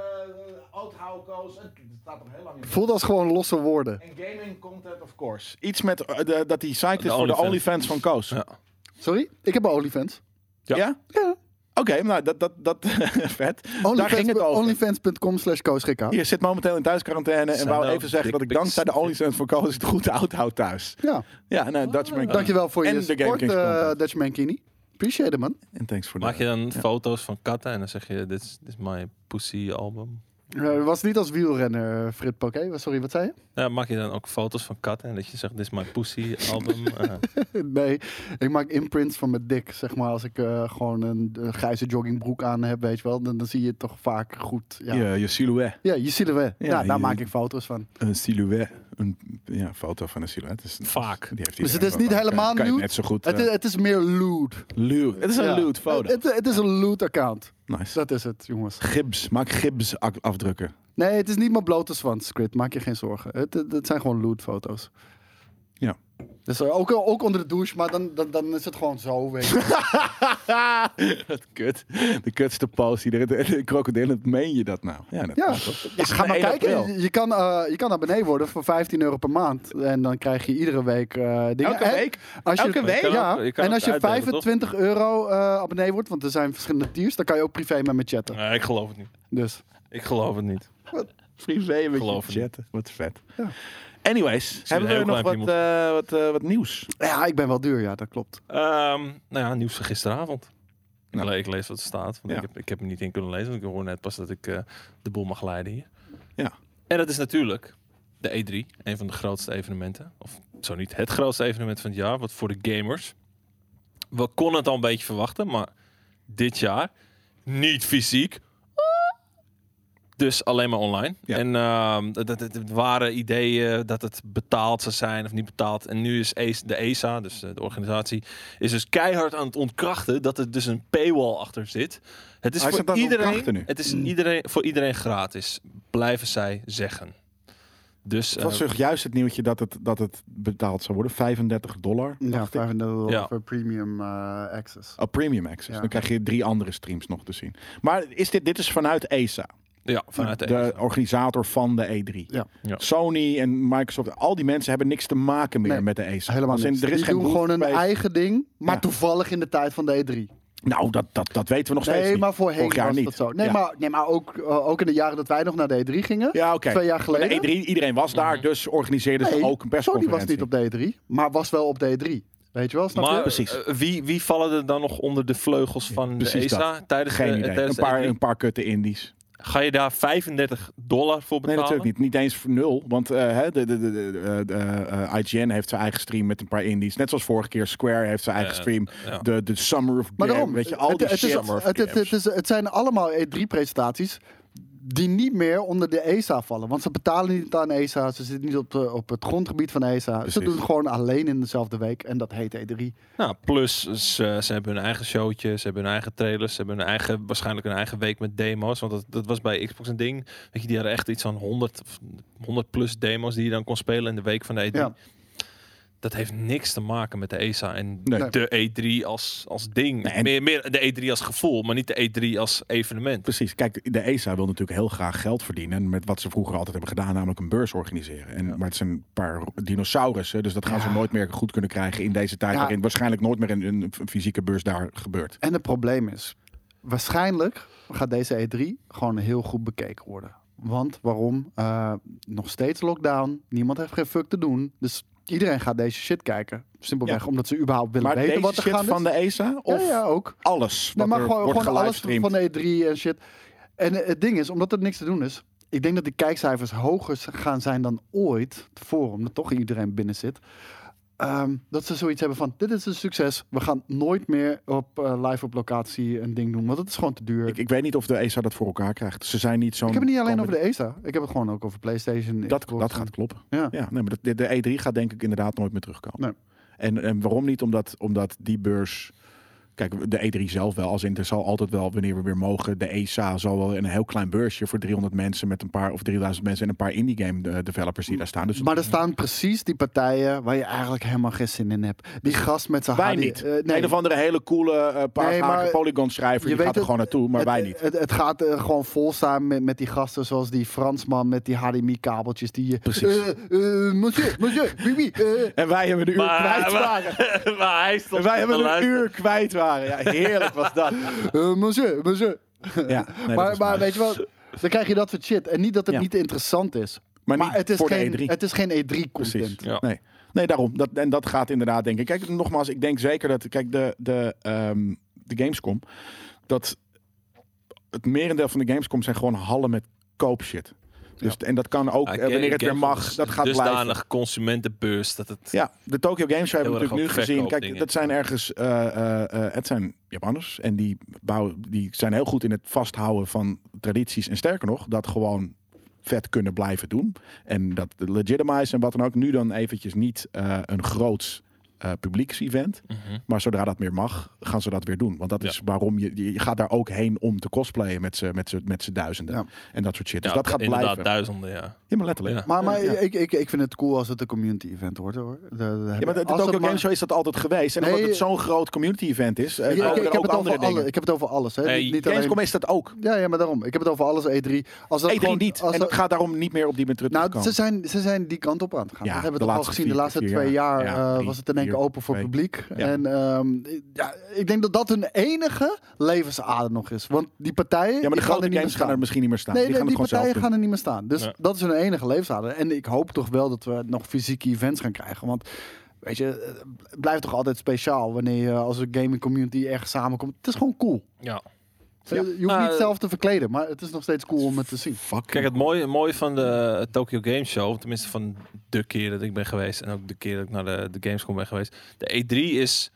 [SPEAKER 4] Oudhouwkoos. Het staat er heel lang in.
[SPEAKER 2] Voelt als gewoon losse woorden.
[SPEAKER 4] En gaming content, of course.
[SPEAKER 3] Iets met eh, de- dat hij psyched
[SPEAKER 1] De
[SPEAKER 3] is voor de
[SPEAKER 1] OnlyFans.
[SPEAKER 3] OnlyFans van Koos.
[SPEAKER 1] Ja.
[SPEAKER 3] Ja?
[SPEAKER 2] Sorry? Ik heb een OnlyFans.
[SPEAKER 1] Ja.
[SPEAKER 2] Ja.
[SPEAKER 3] Oké, nou, dat, dat, (laughs) dat vet. Daar
[SPEAKER 2] Onlyfans-
[SPEAKER 3] ging het over.
[SPEAKER 2] Onlyfans.com slash Koos Gikhout.
[SPEAKER 3] Je zit momenteel in thuisquarantaine en
[SPEAKER 1] Zijn
[SPEAKER 3] wou
[SPEAKER 1] wel
[SPEAKER 3] even zeggen dat ik
[SPEAKER 1] dickpics.
[SPEAKER 3] dankzij de OnlyFans van Koos het goed uithoud thuis.
[SPEAKER 2] Ja.
[SPEAKER 3] Ja, nou, Dutch man.
[SPEAKER 2] Oh. Dankjewel voor
[SPEAKER 3] En
[SPEAKER 2] je
[SPEAKER 3] de
[SPEAKER 2] support,
[SPEAKER 3] GameKings
[SPEAKER 2] eh
[SPEAKER 3] content.
[SPEAKER 2] Dutch Mankini. Appreciate it, man.
[SPEAKER 3] En thanks voor de...
[SPEAKER 1] Maak je dan foto's van katten en dan zeg je, dit is, dit is my pussy album.
[SPEAKER 2] Eh, Het was niet als wielrenner, eh, Frit Poké. Sorry, wat zei je? (laughs)
[SPEAKER 1] Ja, maak je dan ook foto's van katten en dat je zegt, dit is mijn pussy album.
[SPEAKER 3] (laughs)
[SPEAKER 1] Eh,
[SPEAKER 2] Nee, ik maak imprints van mijn dik, zeg maar. Als ik eh, gewoon een eh, grijze joggingbroek aan heb, weet je wel. Dan, dan zie je het toch vaak goed. Ja, ja.
[SPEAKER 3] Je, je silhouet.
[SPEAKER 2] je silhouet. Ja,
[SPEAKER 3] Ja,
[SPEAKER 2] Nou, daar
[SPEAKER 3] je-
[SPEAKER 2] maak ik foto's van.
[SPEAKER 3] Een silhouet. Een ja, foto van een silhouet. is een-
[SPEAKER 1] Vaak.
[SPEAKER 3] Die heeft
[SPEAKER 2] Dus het
[SPEAKER 3] iedereen
[SPEAKER 2] is niet
[SPEAKER 3] wel.
[SPEAKER 2] helemaal
[SPEAKER 3] Kan- kan je
[SPEAKER 2] nude.
[SPEAKER 3] Net zo goed.
[SPEAKER 2] Het,
[SPEAKER 3] eh,
[SPEAKER 2] is, het is meer lewd.
[SPEAKER 3] lewd. Het is
[SPEAKER 2] Ja.
[SPEAKER 3] een lewd foto.
[SPEAKER 2] Het, het, het is een lewd account.
[SPEAKER 3] Nice.
[SPEAKER 2] Dat is het, jongens.
[SPEAKER 3] Gibbs. Maak Gibbs ak- afdrukken. (laughs)
[SPEAKER 2] Nee, het is niet mijn blote zwans, Squid. Maak je geen zorgen. Het, het, het zijn gewoon lewd foto's.
[SPEAKER 3] Ja.
[SPEAKER 2] Dus eh, ook, ook onder de douche, maar dan, dan, dan is het gewoon zo. Weet je.
[SPEAKER 3] Wat kut. De kutste pose die er de, de krokodillen, meen je dat nou? Ja, dat
[SPEAKER 2] Ja.
[SPEAKER 3] klopt.
[SPEAKER 2] Ja, ga maar
[SPEAKER 3] Nee, dat
[SPEAKER 2] kijken.
[SPEAKER 3] wel.
[SPEAKER 2] Je, je kan, eh je kan abonnee worden voor 15 euro per maand. En dan krijg je iedere week eh dingen.
[SPEAKER 3] Elke
[SPEAKER 2] En
[SPEAKER 3] week?
[SPEAKER 2] Als je,
[SPEAKER 3] Elke week?
[SPEAKER 1] Je kan
[SPEAKER 2] Ja.
[SPEAKER 1] ook- je kan
[SPEAKER 2] en
[SPEAKER 1] ook
[SPEAKER 2] als je
[SPEAKER 1] uitdelen, toch?
[SPEAKER 2] 25 euro eh, abonnee wordt, want er zijn verschillende tiers, dan kan je ook privé met me chatten.
[SPEAKER 1] nee, ik geloof het niet.
[SPEAKER 2] Dus
[SPEAKER 1] Ik geloof het niet.
[SPEAKER 3] Privé met
[SPEAKER 1] Geloof
[SPEAKER 3] je
[SPEAKER 1] het
[SPEAKER 3] chatten. Wat vet.
[SPEAKER 2] Ja.
[SPEAKER 3] Anyways, hebben
[SPEAKER 1] heel
[SPEAKER 3] we nog wat,
[SPEAKER 1] klein
[SPEAKER 3] eh, wat, eh, wat nieuws?
[SPEAKER 2] ja, ik ben wel duur, ja, dat klopt.
[SPEAKER 1] Ehm, nou ja, nieuws van gisteravond. Ik,
[SPEAKER 3] Nou.
[SPEAKER 1] le- ik lees wat er staat. Want
[SPEAKER 3] Ja.
[SPEAKER 1] ik, heb, ik heb hem niet in kunnen lezen. Want ik hoor net pas dat ik eh, de boel mag leiden hier.
[SPEAKER 3] Ja.
[SPEAKER 1] En dat is natuurlijk de E3. Een van de grootste evenementen. Of zo niet het grootste evenement van het jaar. Wat voor de gamers. We konden het al een beetje verwachten. Maar dit jaar niet fysiek. Dus alleen maar online.
[SPEAKER 3] Ja.
[SPEAKER 1] En ehm, dat dat- het waren ideeën dat het betaald zou zijn of niet betaald. En nu is ES de ESA, dus eh, de organisatie, is dus keihard aan het ontkrachten dat er dus een paywall achter zit. Het is,
[SPEAKER 3] Hij
[SPEAKER 1] voor
[SPEAKER 3] staat aan het
[SPEAKER 1] iedereen,
[SPEAKER 3] ontkrachten nu.
[SPEAKER 1] het is iedereen, voor iedereen gratis, blijven zij zeggen. Dus
[SPEAKER 3] Het was
[SPEAKER 1] eh,
[SPEAKER 3] toch juist het nieuwtje dat het, dat het betaald zou worden. 35 dollar.
[SPEAKER 2] Ja,
[SPEAKER 3] dacht ik.
[SPEAKER 2] 35 euro
[SPEAKER 1] Ja.
[SPEAKER 2] voor premium eh, access.
[SPEAKER 3] Oh, premium access.
[SPEAKER 2] Ja.
[SPEAKER 3] Dan krijg je drie andere streams nog te zien. Maar is dit, dit is vanuit ESA.
[SPEAKER 1] ja, vanuit de, E
[SPEAKER 3] de organisator van de E3.
[SPEAKER 2] Ja.
[SPEAKER 1] Ja.
[SPEAKER 3] Sony en Microsoft, al die mensen hebben niks te maken meer
[SPEAKER 2] Nee,
[SPEAKER 3] met de E ESA.
[SPEAKER 2] Helemaal
[SPEAKER 3] Als Dus in,
[SPEAKER 2] niks.
[SPEAKER 3] Er is
[SPEAKER 2] Die
[SPEAKER 3] geen
[SPEAKER 2] doen
[SPEAKER 3] behoefte
[SPEAKER 2] gewoon hun
[SPEAKER 3] bij-
[SPEAKER 2] eigen ding, maar
[SPEAKER 3] Ja.
[SPEAKER 2] toevallig in de tijd van de E3.
[SPEAKER 3] Nou, dat, dat, dat weten we nog steeds
[SPEAKER 2] Nee,
[SPEAKER 3] niet.
[SPEAKER 2] maar voorheen
[SPEAKER 3] Vorig jaar
[SPEAKER 2] was
[SPEAKER 3] niet.
[SPEAKER 2] dat zo. Nee,
[SPEAKER 3] Ja.
[SPEAKER 2] maar, nee, maar ook, eh, ook in de jaren dat wij nog naar de E3 gingen.
[SPEAKER 3] Ja, oké.
[SPEAKER 2] Twee jaar
[SPEAKER 3] Maar
[SPEAKER 2] geleden.
[SPEAKER 3] De E3, iedereen was
[SPEAKER 1] Mhm.
[SPEAKER 3] daar, dus organiseerden ze
[SPEAKER 2] Nee,
[SPEAKER 3] ook een
[SPEAKER 2] Sony
[SPEAKER 3] persconferentie.
[SPEAKER 2] was niet op de E3, maar was wel op de E3. Weet je wel, snap
[SPEAKER 1] maar
[SPEAKER 2] je?
[SPEAKER 3] Precies.
[SPEAKER 1] eh, wie, wie vallen er dan nog onder de vleugels van de
[SPEAKER 3] precies
[SPEAKER 1] ESA tijdens de,
[SPEAKER 3] Geen idee.
[SPEAKER 1] tijdens
[SPEAKER 3] Een
[SPEAKER 1] de
[SPEAKER 3] paar,
[SPEAKER 1] E3?
[SPEAKER 3] een paar kutte indies.
[SPEAKER 1] Ga je daar 35 dollar voor
[SPEAKER 3] Nee,
[SPEAKER 1] betalen?
[SPEAKER 3] natuurlijk niet. Niet eens voor nul. Want eh, hè, de, de, de, de, de, eh, IGN heeft zijn eigen stream met een paar indies. Net zoals vorige keer Square heeft zijn eigen
[SPEAKER 1] Eh,
[SPEAKER 3] stream.
[SPEAKER 1] ja.
[SPEAKER 3] De, de Summer of
[SPEAKER 2] Maar
[SPEAKER 3] Game,
[SPEAKER 2] daarom,
[SPEAKER 3] Weet je, al
[SPEAKER 2] het,
[SPEAKER 3] die
[SPEAKER 2] het
[SPEAKER 3] shit.
[SPEAKER 2] is, het, het, het is, het zijn allemaal E3-presentaties die niet meer onder de ESA vallen. Want ze betalen niet aan ESA, ze zitten niet op, de, op het grondgebied van ESA. Ze
[SPEAKER 3] Precies.
[SPEAKER 2] doen het gewoon alleen in dezelfde week en dat heet E E3.
[SPEAKER 1] Nou, plus eh, ze, ze hebben hun eigen showtje, ze hebben hun eigen trailers, ze hebben hun eigen, waarschijnlijk hun eigen week met demo's. Want dat, dat was bij Xbox een ding. Weet je, die hadden echt iets van 100, of 100 plus demo's die je dan kon spelen in de week van de E3.
[SPEAKER 2] Ja.
[SPEAKER 1] Dat heeft niks te maken met de ESA en
[SPEAKER 3] Nee.
[SPEAKER 1] de E3 als, als ding.
[SPEAKER 3] Nee, en-
[SPEAKER 1] meer, meer de E3 als gevoel, maar niet de E3 als evenement.
[SPEAKER 3] Precies. Kijk, de ESA wil natuurlijk heel graag geld verdienen. Met wat ze vroeger altijd hebben gedaan, namelijk een beurs organiseren. En, Maar het zijn een paar dinosaurussen. Dus dat gaan ze nooit meer goed kunnen krijgen in deze tijd.
[SPEAKER 2] Ja.
[SPEAKER 3] Waarin waarschijnlijk nooit meer een, een fysieke beurs daar gebeurt.
[SPEAKER 2] En het probleem is, waarschijnlijk gaat deze E3 gewoon heel goed bekeken worden. Want waarom? Eh, nog steeds lockdown, niemand heeft geen fuck te doen. Dus iedereen gaat deze shit kijken. Simpelweg omdat ze überhaupt willen
[SPEAKER 3] Maar
[SPEAKER 2] weten
[SPEAKER 3] deze
[SPEAKER 2] wat er
[SPEAKER 3] shit
[SPEAKER 2] gaande is.
[SPEAKER 3] van de ESA? Of
[SPEAKER 2] ja, ja, ook.
[SPEAKER 3] alles
[SPEAKER 2] Nee,
[SPEAKER 3] wat
[SPEAKER 2] maar
[SPEAKER 3] er
[SPEAKER 2] gewoon,
[SPEAKER 3] wordt
[SPEAKER 2] gewoon alles
[SPEAKER 3] gelivestreamd?
[SPEAKER 2] van de E3 en shit. En eh, het ding is, omdat er niks te doen is... Ik denk dat die kijkcijfers hoger z- gaan zijn dan ooit tevoren. Omdat toch iedereen binnen zit. Ehm, dat ze zoiets hebben van, dit is een succes. We gaan nooit meer op eh, live op locatie een ding doen. Want het is gewoon te duur.
[SPEAKER 3] Ik,
[SPEAKER 2] Ik,
[SPEAKER 3] ik weet niet of de ESA dat voor elkaar krijgt. Ze zijn niet zo'n...
[SPEAKER 2] heb het niet alleen
[SPEAKER 3] komen-
[SPEAKER 2] over de E ESA. Ik heb het gewoon ook over PlayStation.
[SPEAKER 3] Dat,
[SPEAKER 2] Xbox
[SPEAKER 3] dat
[SPEAKER 2] en-
[SPEAKER 3] gaat kloppen.
[SPEAKER 2] Ja.
[SPEAKER 3] Ja, nee, maar dat- de, de E3 gaat denk ik inderdaad nooit meer terugkomen.
[SPEAKER 2] Nee.
[SPEAKER 3] En, en waarom niet? Omdat, omdat die beurs... Kijk, de E3 zelf wel. Als in, er zal altijd wel, wanneer we weer mogen... De ESA zal wel een heel klein beursje voor 300 mensen... Met een paar, of 3000 mensen en een paar indie game eh, developers die daar staan. Dus
[SPEAKER 2] Maar er staan precies die partijen waar je eigenlijk helemaal geen zin in hebt. Die gast met zijn
[SPEAKER 3] wij
[SPEAKER 2] haar. die-
[SPEAKER 3] niet.
[SPEAKER 2] eh, nee.
[SPEAKER 3] Een of andere hele coole eh paardhaken
[SPEAKER 2] maar
[SPEAKER 3] polygon schrijver...
[SPEAKER 2] je
[SPEAKER 3] Die
[SPEAKER 2] weet
[SPEAKER 3] gaat er
[SPEAKER 2] het-
[SPEAKER 3] gewoon naartoe, maar
[SPEAKER 2] het,
[SPEAKER 3] wij niet.
[SPEAKER 2] Het, het gaat eh, gewoon vol staan met, met die gasten zoals die Fransman met die HDMI-kabeltjes. Die, eh,
[SPEAKER 3] Precies.
[SPEAKER 2] eh, eh, monsieur, monsieur, wie, wie, eh.
[SPEAKER 3] En wij hebben een uur kwijt waren.
[SPEAKER 1] maar, (laughs) maar hij stond
[SPEAKER 3] En wij
[SPEAKER 1] te
[SPEAKER 3] hebben een
[SPEAKER 1] luisteren.
[SPEAKER 3] uur kwijt waren. Ja, heerlijk was dat.
[SPEAKER 2] Eh, monsieur, monsieur.
[SPEAKER 3] Ja, nee, dat
[SPEAKER 2] maar maar
[SPEAKER 3] is waar.
[SPEAKER 2] weet je wel, dan krijg je dat soort shit. En niet dat het
[SPEAKER 3] Ja.
[SPEAKER 2] niet interessant is.
[SPEAKER 3] Maar
[SPEAKER 2] Maar,
[SPEAKER 3] niet
[SPEAKER 2] het, is
[SPEAKER 3] voor de
[SPEAKER 2] geen,
[SPEAKER 3] E3.
[SPEAKER 2] het is geen E
[SPEAKER 3] Precies.
[SPEAKER 2] E3-content.
[SPEAKER 1] Ja.
[SPEAKER 3] Nee. nee, daarom. Dat, en dat gaat inderdaad, denk ik. Kijk, nogmaals, ik denk zeker dat. Kijk, de, de, ehm, de Gamescom. Dat het merendeel van de Gamescom zijn gewoon hallen met goedkoop shit. Dus, En dat kan ook, eh, wanneer het weer mag, dat gaat
[SPEAKER 1] dusdanig
[SPEAKER 3] blijven.
[SPEAKER 1] consumentenbeurs dat het...
[SPEAKER 3] Ja, de Tokyo Games Show hebben we
[SPEAKER 1] Heel erg
[SPEAKER 3] natuurlijk nu
[SPEAKER 1] ook
[SPEAKER 3] gezien. Kijk,
[SPEAKER 1] verkoopdingen.
[SPEAKER 3] dat zijn ergens, eh, eh, eh, het zijn Japanners en die, bouwen, die zijn heel goed in het vasthouden van tradities. En sterker nog, dat gewoon vet kunnen blijven doen. En dat legitimize en wat dan ook. Nu dan eventjes niet eh, een groots eh publieks-event.
[SPEAKER 1] Mhm.
[SPEAKER 3] Maar zodra dat meer mag, gaan ze dat weer doen. Want dat
[SPEAKER 1] Ja.
[SPEAKER 3] is waarom je, je je gaat daar ook heen om te cosplayen met z'n met z'n- met z'n duizenden.
[SPEAKER 2] Ja.
[SPEAKER 3] En dat soort shit. Dus
[SPEAKER 1] Ja,
[SPEAKER 3] dat gaat
[SPEAKER 1] inderdaad,
[SPEAKER 3] blijven.
[SPEAKER 1] duizenden, ja.
[SPEAKER 3] Ja, maar letterlijk.
[SPEAKER 1] Ja.
[SPEAKER 2] Maar, maar
[SPEAKER 3] Ja.
[SPEAKER 2] ik, ik, ik vind het cool als het een community event wordt hoor. De, de,
[SPEAKER 3] Ja, maar de, de
[SPEAKER 2] als het
[SPEAKER 3] Tokyo
[SPEAKER 2] maar-
[SPEAKER 3] Game Show is dat altijd geweest. En
[SPEAKER 2] Nee,
[SPEAKER 3] omdat het zo'n groot community event is, eh,
[SPEAKER 2] Ik- ik,
[SPEAKER 3] komen
[SPEAKER 2] ik,
[SPEAKER 3] er
[SPEAKER 2] heb
[SPEAKER 3] ook
[SPEAKER 2] het over
[SPEAKER 3] andere dingen.
[SPEAKER 2] alle, ik heb het over alles. Hè?
[SPEAKER 1] Nee,
[SPEAKER 2] niet, niet alleen...
[SPEAKER 3] Gamescom is dat ook.
[SPEAKER 2] ja, ja, maar daarom. Ik heb het over alles E3. Als dat
[SPEAKER 3] E3
[SPEAKER 2] gewoon,
[SPEAKER 3] niet.
[SPEAKER 2] Als
[SPEAKER 3] en
[SPEAKER 2] dat-
[SPEAKER 3] dat gaat daarom niet meer op die manier terug te
[SPEAKER 2] nou,
[SPEAKER 3] komen.
[SPEAKER 2] ze zijn, ze zijn die kant op aan het gaan.
[SPEAKER 3] Ja,
[SPEAKER 2] dat hebben
[SPEAKER 3] de
[SPEAKER 2] we toch al
[SPEAKER 3] laatste
[SPEAKER 2] gezien. de
[SPEAKER 3] vier-
[SPEAKER 2] laatste
[SPEAKER 3] vier
[SPEAKER 2] twee
[SPEAKER 3] jaar.
[SPEAKER 2] jaar
[SPEAKER 3] Ja,
[SPEAKER 2] eh,
[SPEAKER 3] drie,
[SPEAKER 2] was het in één keer
[SPEAKER 3] vier,
[SPEAKER 2] open voor
[SPEAKER 3] twee.
[SPEAKER 2] publiek.
[SPEAKER 3] Ja.
[SPEAKER 2] En ehm, ja, ik denk dat dat hun enige levensader nog is. Want die partijen
[SPEAKER 3] Ja, maar de
[SPEAKER 2] die gaan er
[SPEAKER 3] grote
[SPEAKER 2] niet
[SPEAKER 3] games
[SPEAKER 2] meer staan.
[SPEAKER 3] gaan er misschien niet meer staan.
[SPEAKER 2] Nee,
[SPEAKER 3] die
[SPEAKER 2] nee,
[SPEAKER 3] gaan
[SPEAKER 2] die,
[SPEAKER 3] het gewoon
[SPEAKER 2] partijen
[SPEAKER 3] zelf doen.
[SPEAKER 2] gaan er niet meer staan. Dus
[SPEAKER 1] Ja.
[SPEAKER 2] dat is hun enige levensader. En ik hoop toch wel dat we nog fysieke events gaan krijgen. Want weet je, het blijft toch altijd speciaal wanneer je als een gaming community ergens samenkomt. Het is gewoon cool.
[SPEAKER 1] ja.
[SPEAKER 2] Je je hoeft
[SPEAKER 1] Nou,
[SPEAKER 2] niet zelf te verkleden, maar het is nog steeds cool om het te zien.
[SPEAKER 1] Kijk, het mooie, het mooie van de Tokyo Game Show, tenminste van de keer dat ik ben geweest en ook de keer dat ik naar de, de Gamescom ben geweest, de E3 is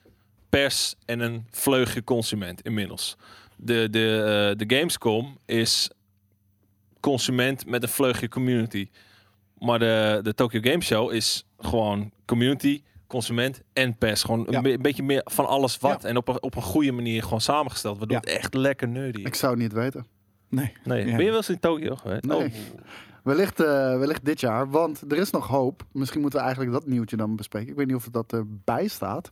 [SPEAKER 1] pers en een vleugje consument inmiddels. De, de, eh, de Gamescom is consument met een vleugje community. Maar de, de Tokyo Game Show is gewoon community, consument en pers. Gewoon
[SPEAKER 3] Ja.
[SPEAKER 1] een, be- een beetje meer van alles wat. En op een, op een goede manier gewoon samengesteld. Waardoor
[SPEAKER 3] Ja.
[SPEAKER 1] het echt lekker nerdy
[SPEAKER 2] Ik
[SPEAKER 1] is.
[SPEAKER 2] zou het niet weten.
[SPEAKER 3] Nee.
[SPEAKER 1] Nee.
[SPEAKER 3] Ja.
[SPEAKER 1] Ben je wel eens in Tokyo geweest?
[SPEAKER 2] Nee.
[SPEAKER 1] Oh.
[SPEAKER 2] Wellicht, eh, wellicht dit jaar, want er is nog hoop. Misschien moeten we eigenlijk dat nieuwtje dan bespreken. Ik weet niet of dat erbij staat.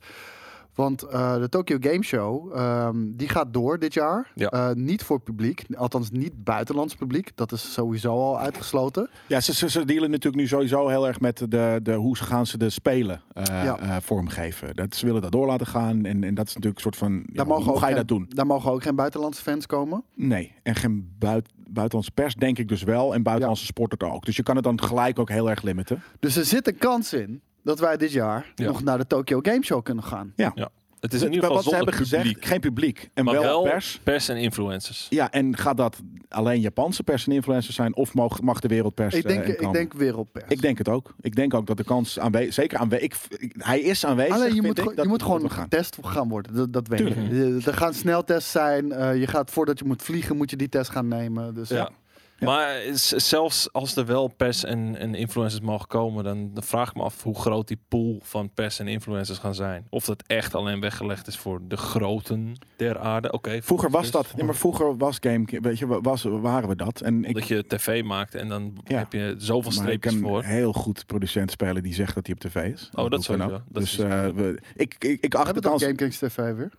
[SPEAKER 2] Want eh, de Tokyo Game Show, ehm, die gaat door dit jaar.
[SPEAKER 1] Ja.
[SPEAKER 2] Eh, niet voor publiek, althans niet buitenlands publiek. Dat is sowieso al uitgesloten.
[SPEAKER 3] Ja, ze, ze, ze dealen natuurlijk nu sowieso heel erg met de, de hoe ze gaan ze de spelen eh,
[SPEAKER 2] Ja.
[SPEAKER 3] eh, vormgeven. Dat, ze willen dat door laten gaan. En, en dat is natuurlijk een soort van. Ja,
[SPEAKER 2] Daar
[SPEAKER 3] maar
[SPEAKER 2] mogen
[SPEAKER 3] hoe
[SPEAKER 2] ook
[SPEAKER 3] ga je
[SPEAKER 2] geen-
[SPEAKER 3] dat doen?
[SPEAKER 2] Daar mogen ook geen buitenlandse fans komen.
[SPEAKER 3] Nee, en geen buit, buitenlandse pers denk ik dus wel. En buitenlandse sporters ook. Dus je kan het dan gelijk ook heel erg limiten.
[SPEAKER 2] Dus er zit een kans in dat wij dit jaar
[SPEAKER 1] Ja.
[SPEAKER 2] nog naar de Tokyo Game Show kunnen gaan.
[SPEAKER 1] Het is in ieder geval
[SPEAKER 3] wat ze
[SPEAKER 1] zonder
[SPEAKER 3] hebben
[SPEAKER 1] publiek.
[SPEAKER 3] gezegd, geen publiek. En
[SPEAKER 1] maar wel,
[SPEAKER 3] pers.
[SPEAKER 1] pers. en influencers.
[SPEAKER 3] Ja, en gaat dat alleen Japanse pers en influencers zijn? Of mag, mag de wereldpers
[SPEAKER 2] Ik denk,
[SPEAKER 3] eh, in
[SPEAKER 2] ik
[SPEAKER 3] komen?
[SPEAKER 2] denk wereldpers.
[SPEAKER 3] Ik denk het ook. Ik denk ook dat de kans aanwezig... Zeker aanwezig... Hij is aanwezig,
[SPEAKER 2] Alleen je
[SPEAKER 3] vind
[SPEAKER 2] moet,
[SPEAKER 3] ik,
[SPEAKER 2] gewoon-
[SPEAKER 3] dat-
[SPEAKER 2] je moet
[SPEAKER 3] dat
[SPEAKER 2] gewoon
[SPEAKER 3] we gaan.
[SPEAKER 2] getest gaan worden. Dat, dat weet ik. Eh, Er gaan sneltests zijn. eh, je gaat voordat je moet vliegen, moet je die test gaan nemen. Dus
[SPEAKER 1] Ja. Maar s- zelfs als er wel pers en, en influencers mogen komen, dan, dan vraag ik me af hoe groot die pool van pers en influencers gaan zijn. Of dat echt alleen weggelegd is voor de groten der aarde. Oké,
[SPEAKER 3] Vroeger was
[SPEAKER 1] dus-
[SPEAKER 3] dat... Nee, maar vroeger was game... Weet je, was, waren we dat. En ik,
[SPEAKER 1] Dat je tv maakt en dan
[SPEAKER 3] Ja.
[SPEAKER 1] heb je zoveel
[SPEAKER 3] maar ik
[SPEAKER 1] streepjes
[SPEAKER 3] kan
[SPEAKER 1] voor. Oh,
[SPEAKER 3] heel goed producent spelen die zegt dat hij op tv is.
[SPEAKER 1] dat
[SPEAKER 3] doe ik dan
[SPEAKER 1] sowieso.
[SPEAKER 3] ook.
[SPEAKER 1] Dat
[SPEAKER 3] dus
[SPEAKER 1] is-
[SPEAKER 3] eh, we, ik, ik, ik acht
[SPEAKER 2] Hebben
[SPEAKER 3] het
[SPEAKER 2] we dan
[SPEAKER 3] als...
[SPEAKER 2] GameKings TV weer?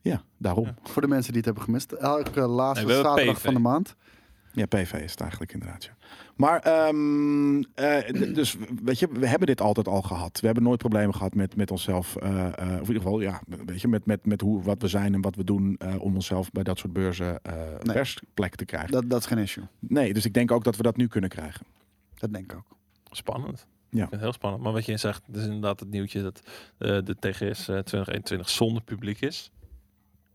[SPEAKER 3] Ja, daarom. Ja.
[SPEAKER 2] Voor de mensen die het hebben gemist. Elke laatste
[SPEAKER 1] Nee, we hebben
[SPEAKER 2] zaterdag
[SPEAKER 1] PV.
[SPEAKER 2] van de maand.
[SPEAKER 3] PV is het eigenlijk inderdaad, ja. Maar, ehm, eh, d- dus weet je, we hebben dit altijd al gehad. We hebben nooit problemen gehad met, met onszelf. eh, eh, of in ieder geval, ja, weet je, met, met, met hoe, wat we zijn en wat we doen eh, om onszelf bij dat soort beurzen eh
[SPEAKER 2] Nee.
[SPEAKER 3] persplek te krijgen.
[SPEAKER 2] Dat, dat is geen issue.
[SPEAKER 3] Nee, dus ik denk ook dat we dat nu kunnen krijgen.
[SPEAKER 2] Dat denk ik ook.
[SPEAKER 1] Spannend.
[SPEAKER 3] Ja.
[SPEAKER 1] Ik vind het heel spannend. Maar wat je zegt, dat is inderdaad het nieuwtje dat eh, de TGS eh, 2021 zonder publiek is.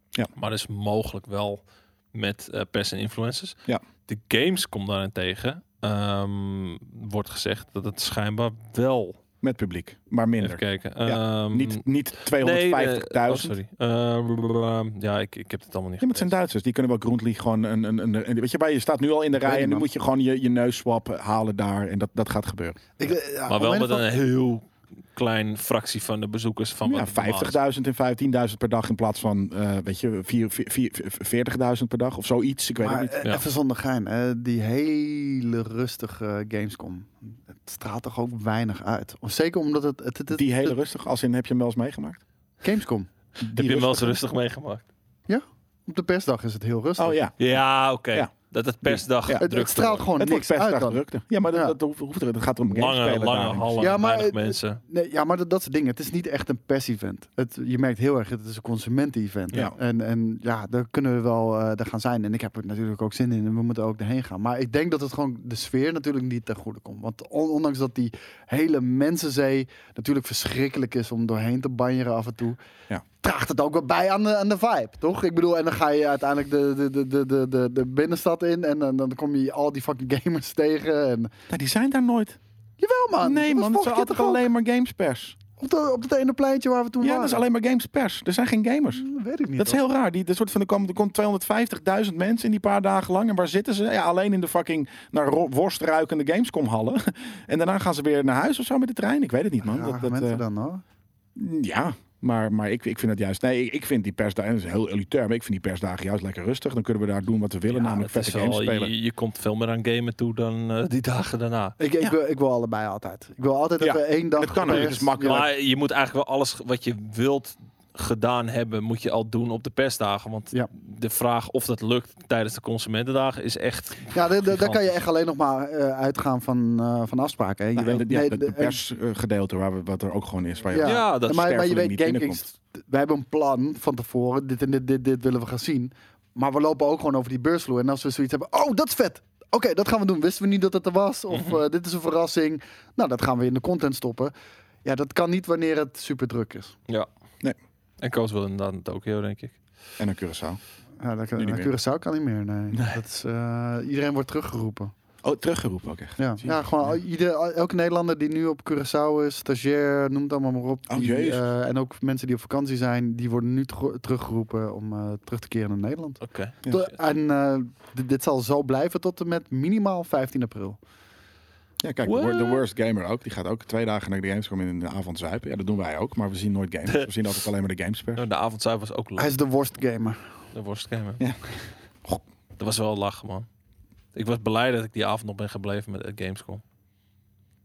[SPEAKER 3] Ja.
[SPEAKER 1] Maar dus mogelijk wel met eh, pers en influencers.
[SPEAKER 3] Ja.
[SPEAKER 1] De Gamescom daarentegen ehm, wordt gezegd dat het schijnbaar wel...
[SPEAKER 3] Met publiek, maar
[SPEAKER 1] Even
[SPEAKER 3] minder.
[SPEAKER 1] kijken.
[SPEAKER 3] Ja,
[SPEAKER 1] Ehm,
[SPEAKER 3] Niet, niet 250.000.
[SPEAKER 1] nee, eh, oh,
[SPEAKER 3] ja,
[SPEAKER 1] sorry. Eh, blablabla. ja, ik, ik heb het allemaal niet
[SPEAKER 3] maar het
[SPEAKER 1] gelezen.
[SPEAKER 3] zijn Duitsers. Die kunnen wel Grundly gewoon een, een, een, een- Weet je, bij je staat nu al in de
[SPEAKER 2] weet
[SPEAKER 3] rij en
[SPEAKER 2] niet,
[SPEAKER 3] nu
[SPEAKER 2] man.
[SPEAKER 3] moet je gewoon je, je neuswap halen daar. En dat, dat gaat gebeuren.
[SPEAKER 2] Ik, eh, ja,
[SPEAKER 1] Maar
[SPEAKER 2] om
[SPEAKER 1] wel
[SPEAKER 2] een
[SPEAKER 1] met
[SPEAKER 2] of andere-
[SPEAKER 1] een heel klein fractie van de bezoekers van wat
[SPEAKER 3] ja,
[SPEAKER 1] het normaal is.
[SPEAKER 3] 50.000 en 15.000 per dag in plaats van, eh, weet je, vier- vier- vier- 40.000 per dag of zoiets. Ik weet het
[SPEAKER 2] Maar
[SPEAKER 3] niet.
[SPEAKER 2] eh,
[SPEAKER 1] Ja.
[SPEAKER 2] even zonder gein. eh, die hele rustige Gamescom. Het straalt toch ook weinig uit. Of zeker omdat het... het, het, het-
[SPEAKER 3] Die hele
[SPEAKER 2] het-
[SPEAKER 3] rustig, als in heb je hem wel eens meegemaakt?
[SPEAKER 2] Gamescom.
[SPEAKER 1] Heb je hem wel eens
[SPEAKER 3] rustige?
[SPEAKER 1] rustig meegemaakt?
[SPEAKER 2] Op de persdag is het heel rustig.
[SPEAKER 3] Oh ja,
[SPEAKER 1] Ja, oké.
[SPEAKER 3] Ja.
[SPEAKER 1] Dat het persdag
[SPEAKER 3] Ja.
[SPEAKER 1] ja.
[SPEAKER 2] Het, het straalt gewoon
[SPEAKER 3] het wordt
[SPEAKER 2] Oh, niks
[SPEAKER 3] best
[SPEAKER 2] uit
[SPEAKER 3] erg
[SPEAKER 2] dan.
[SPEAKER 3] drukte. Ja, maar dat,
[SPEAKER 2] Ja.
[SPEAKER 3] dat hoeft, hoeft er. Het gaat om
[SPEAKER 1] lange,
[SPEAKER 3] gamespelen
[SPEAKER 1] lange
[SPEAKER 3] daarin.
[SPEAKER 1] hallen,
[SPEAKER 2] Ja, maar
[SPEAKER 1] weinig
[SPEAKER 2] het-
[SPEAKER 1] mensen.
[SPEAKER 2] Nee, ja, maar dat, dat soort dingen. Het is niet echt een pers-event. Het, je merkt heel erg, het is een consumenten-event.
[SPEAKER 3] Ja.
[SPEAKER 2] En, en ja, daar kunnen we wel eh, daar gaan zijn. En ik heb er natuurlijk ook zin in en we moeten ook erheen gaan. Maar ik denk dat het gewoon de sfeer natuurlijk niet ten goede komt. Want on- ondanks dat die hele mensenzee natuurlijk verschrikkelijk is om doorheen te banjeren af en toe...
[SPEAKER 3] Ja.
[SPEAKER 2] Draagt het ook wel bij aan de, aan de vibe, toch? Ik bedoel, en dan ga je uiteindelijk de, de, de, de, de, de binnenstad in en, dan- dan kom je al die fucking gamers (laughs) tegen. En...
[SPEAKER 3] Nou, die zijn daar nooit.
[SPEAKER 2] Jawel man.
[SPEAKER 3] nee
[SPEAKER 2] Dat
[SPEAKER 3] man, het
[SPEAKER 2] was vorige
[SPEAKER 3] zijn
[SPEAKER 2] keer
[SPEAKER 3] altijd
[SPEAKER 2] toch ook?
[SPEAKER 3] alleen maar gamespers.
[SPEAKER 2] Op, de, op dat ene pleintje waar we toen
[SPEAKER 3] Ja, dat
[SPEAKER 2] waren. Hmm,
[SPEAKER 3] is alleen maar gamespers. Er zijn geen gamers.
[SPEAKER 2] Weet ik niet.
[SPEAKER 3] Dat is heel raar. Die, de soort van, er komen er komt 250.000 mensen in die paar dagen lang. En waar zitten ze? Ja, alleen in de fucking naar ro- worst ruikende Gamescom hallen. (laughs) en daarna gaan ze weer naar huis of zo met de trein. Ik weet het niet, man.
[SPEAKER 2] man.
[SPEAKER 3] dat, dat, eh,
[SPEAKER 2] dan hoor.
[SPEAKER 3] ja, maar, maar ik, ik vind het juist... Nee, ik, ik vind die persdagen... Dat is heel elitair, maar ik vind die persdagen juist lekker rustig. Dan kunnen we daar doen wat we willen, namelijk
[SPEAKER 1] het is
[SPEAKER 3] vette games
[SPEAKER 1] wel-
[SPEAKER 3] spelen.
[SPEAKER 1] Je, je komt veel meer aan gamen toe dan eh, die dagen daarna.
[SPEAKER 2] Ik, ik,
[SPEAKER 3] Ja.
[SPEAKER 2] wil, ik wil allebei altijd. Ik wil altijd
[SPEAKER 3] Ja,
[SPEAKER 2] dat we één dag...
[SPEAKER 3] dat kan ook,
[SPEAKER 2] pers-
[SPEAKER 3] dat is makkelijk.
[SPEAKER 1] Maar je moet eigenlijk wel alles wat je wilt gedaan hebben, moet je al doen op de persdagen. Want
[SPEAKER 2] Ja.
[SPEAKER 1] de vraag of dat lukt tijdens de consumentendagen is echt...
[SPEAKER 2] Ja, daar- daar daar kan je echt alleen nog maar eh, uitgaan van, eh, van afspraken. hè. Je
[SPEAKER 3] Nou, en
[SPEAKER 2] weet,
[SPEAKER 3] de- ja,
[SPEAKER 2] nee,
[SPEAKER 3] de,
[SPEAKER 2] de- eh,
[SPEAKER 3] de persgedeelte waar we, wat er ook gewoon is. Waar je-
[SPEAKER 2] Ja.
[SPEAKER 1] Ja, dat
[SPEAKER 2] maar, maar je
[SPEAKER 3] sterveling
[SPEAKER 2] weet,
[SPEAKER 3] niet
[SPEAKER 2] GameKings, wij hebben een plan van tevoren. Dit en dit, dit, dit willen we gaan zien. Maar we lopen ook gewoon over die beursvloer. En als we zoiets hebben, oh, dat is vet. Oké, dat gaan we doen. Wisten we niet dat het er was? Of
[SPEAKER 3] Mhm.
[SPEAKER 2] eh, dit is een verrassing. Nou, dat gaan we in de content stoppen. Ja, dat kan niet wanneer het super druk is.
[SPEAKER 1] Ja.
[SPEAKER 3] Nee.
[SPEAKER 1] En Koos wil inderdaad naar Tokio, denk ik.
[SPEAKER 3] En een Curaçao.
[SPEAKER 2] Ja, dat kan,
[SPEAKER 3] Nu niet
[SPEAKER 2] naar Curaçao kan niet meer. Nee. Dat is, eh, iedereen wordt teruggeroepen.
[SPEAKER 3] Oh, teruggeroepen ook echt.
[SPEAKER 2] Ja,
[SPEAKER 3] Zie je.
[SPEAKER 2] ja gewoon al- ieder, al- elke Nederlander die nu op Curaçao is, stagiair, noem het allemaal maar op.
[SPEAKER 3] Oh,
[SPEAKER 2] die,
[SPEAKER 3] jezus.
[SPEAKER 2] eh, en ook mensen die op vakantie zijn, die worden nu terug- teruggeroepen om eh, terug te keren naar Nederland.
[SPEAKER 1] Oké.
[SPEAKER 3] Ja.
[SPEAKER 2] Tot- en eh, dit- dit zal zo blijven tot en met minimaal 15 april.
[SPEAKER 3] Ja, kijk, de wor- de worst gamer ook. Die gaat ook twee dagen naar de Gamescom in de avond zuipen. Ja, dat doen wij ook, maar we zien nooit
[SPEAKER 1] (laughs)
[SPEAKER 3] games. We zien altijd alleen maar de gamespers.
[SPEAKER 1] Nou, De avondzuip was ook
[SPEAKER 2] Hij
[SPEAKER 1] leuk.
[SPEAKER 2] is de worst gamer.
[SPEAKER 1] De worstgamer.
[SPEAKER 3] Ja.
[SPEAKER 1] Goh, (laughs) Dat was wel lachen, man. Ik was blij dat ik die avond nog ben gebleven met eh, Gamescom.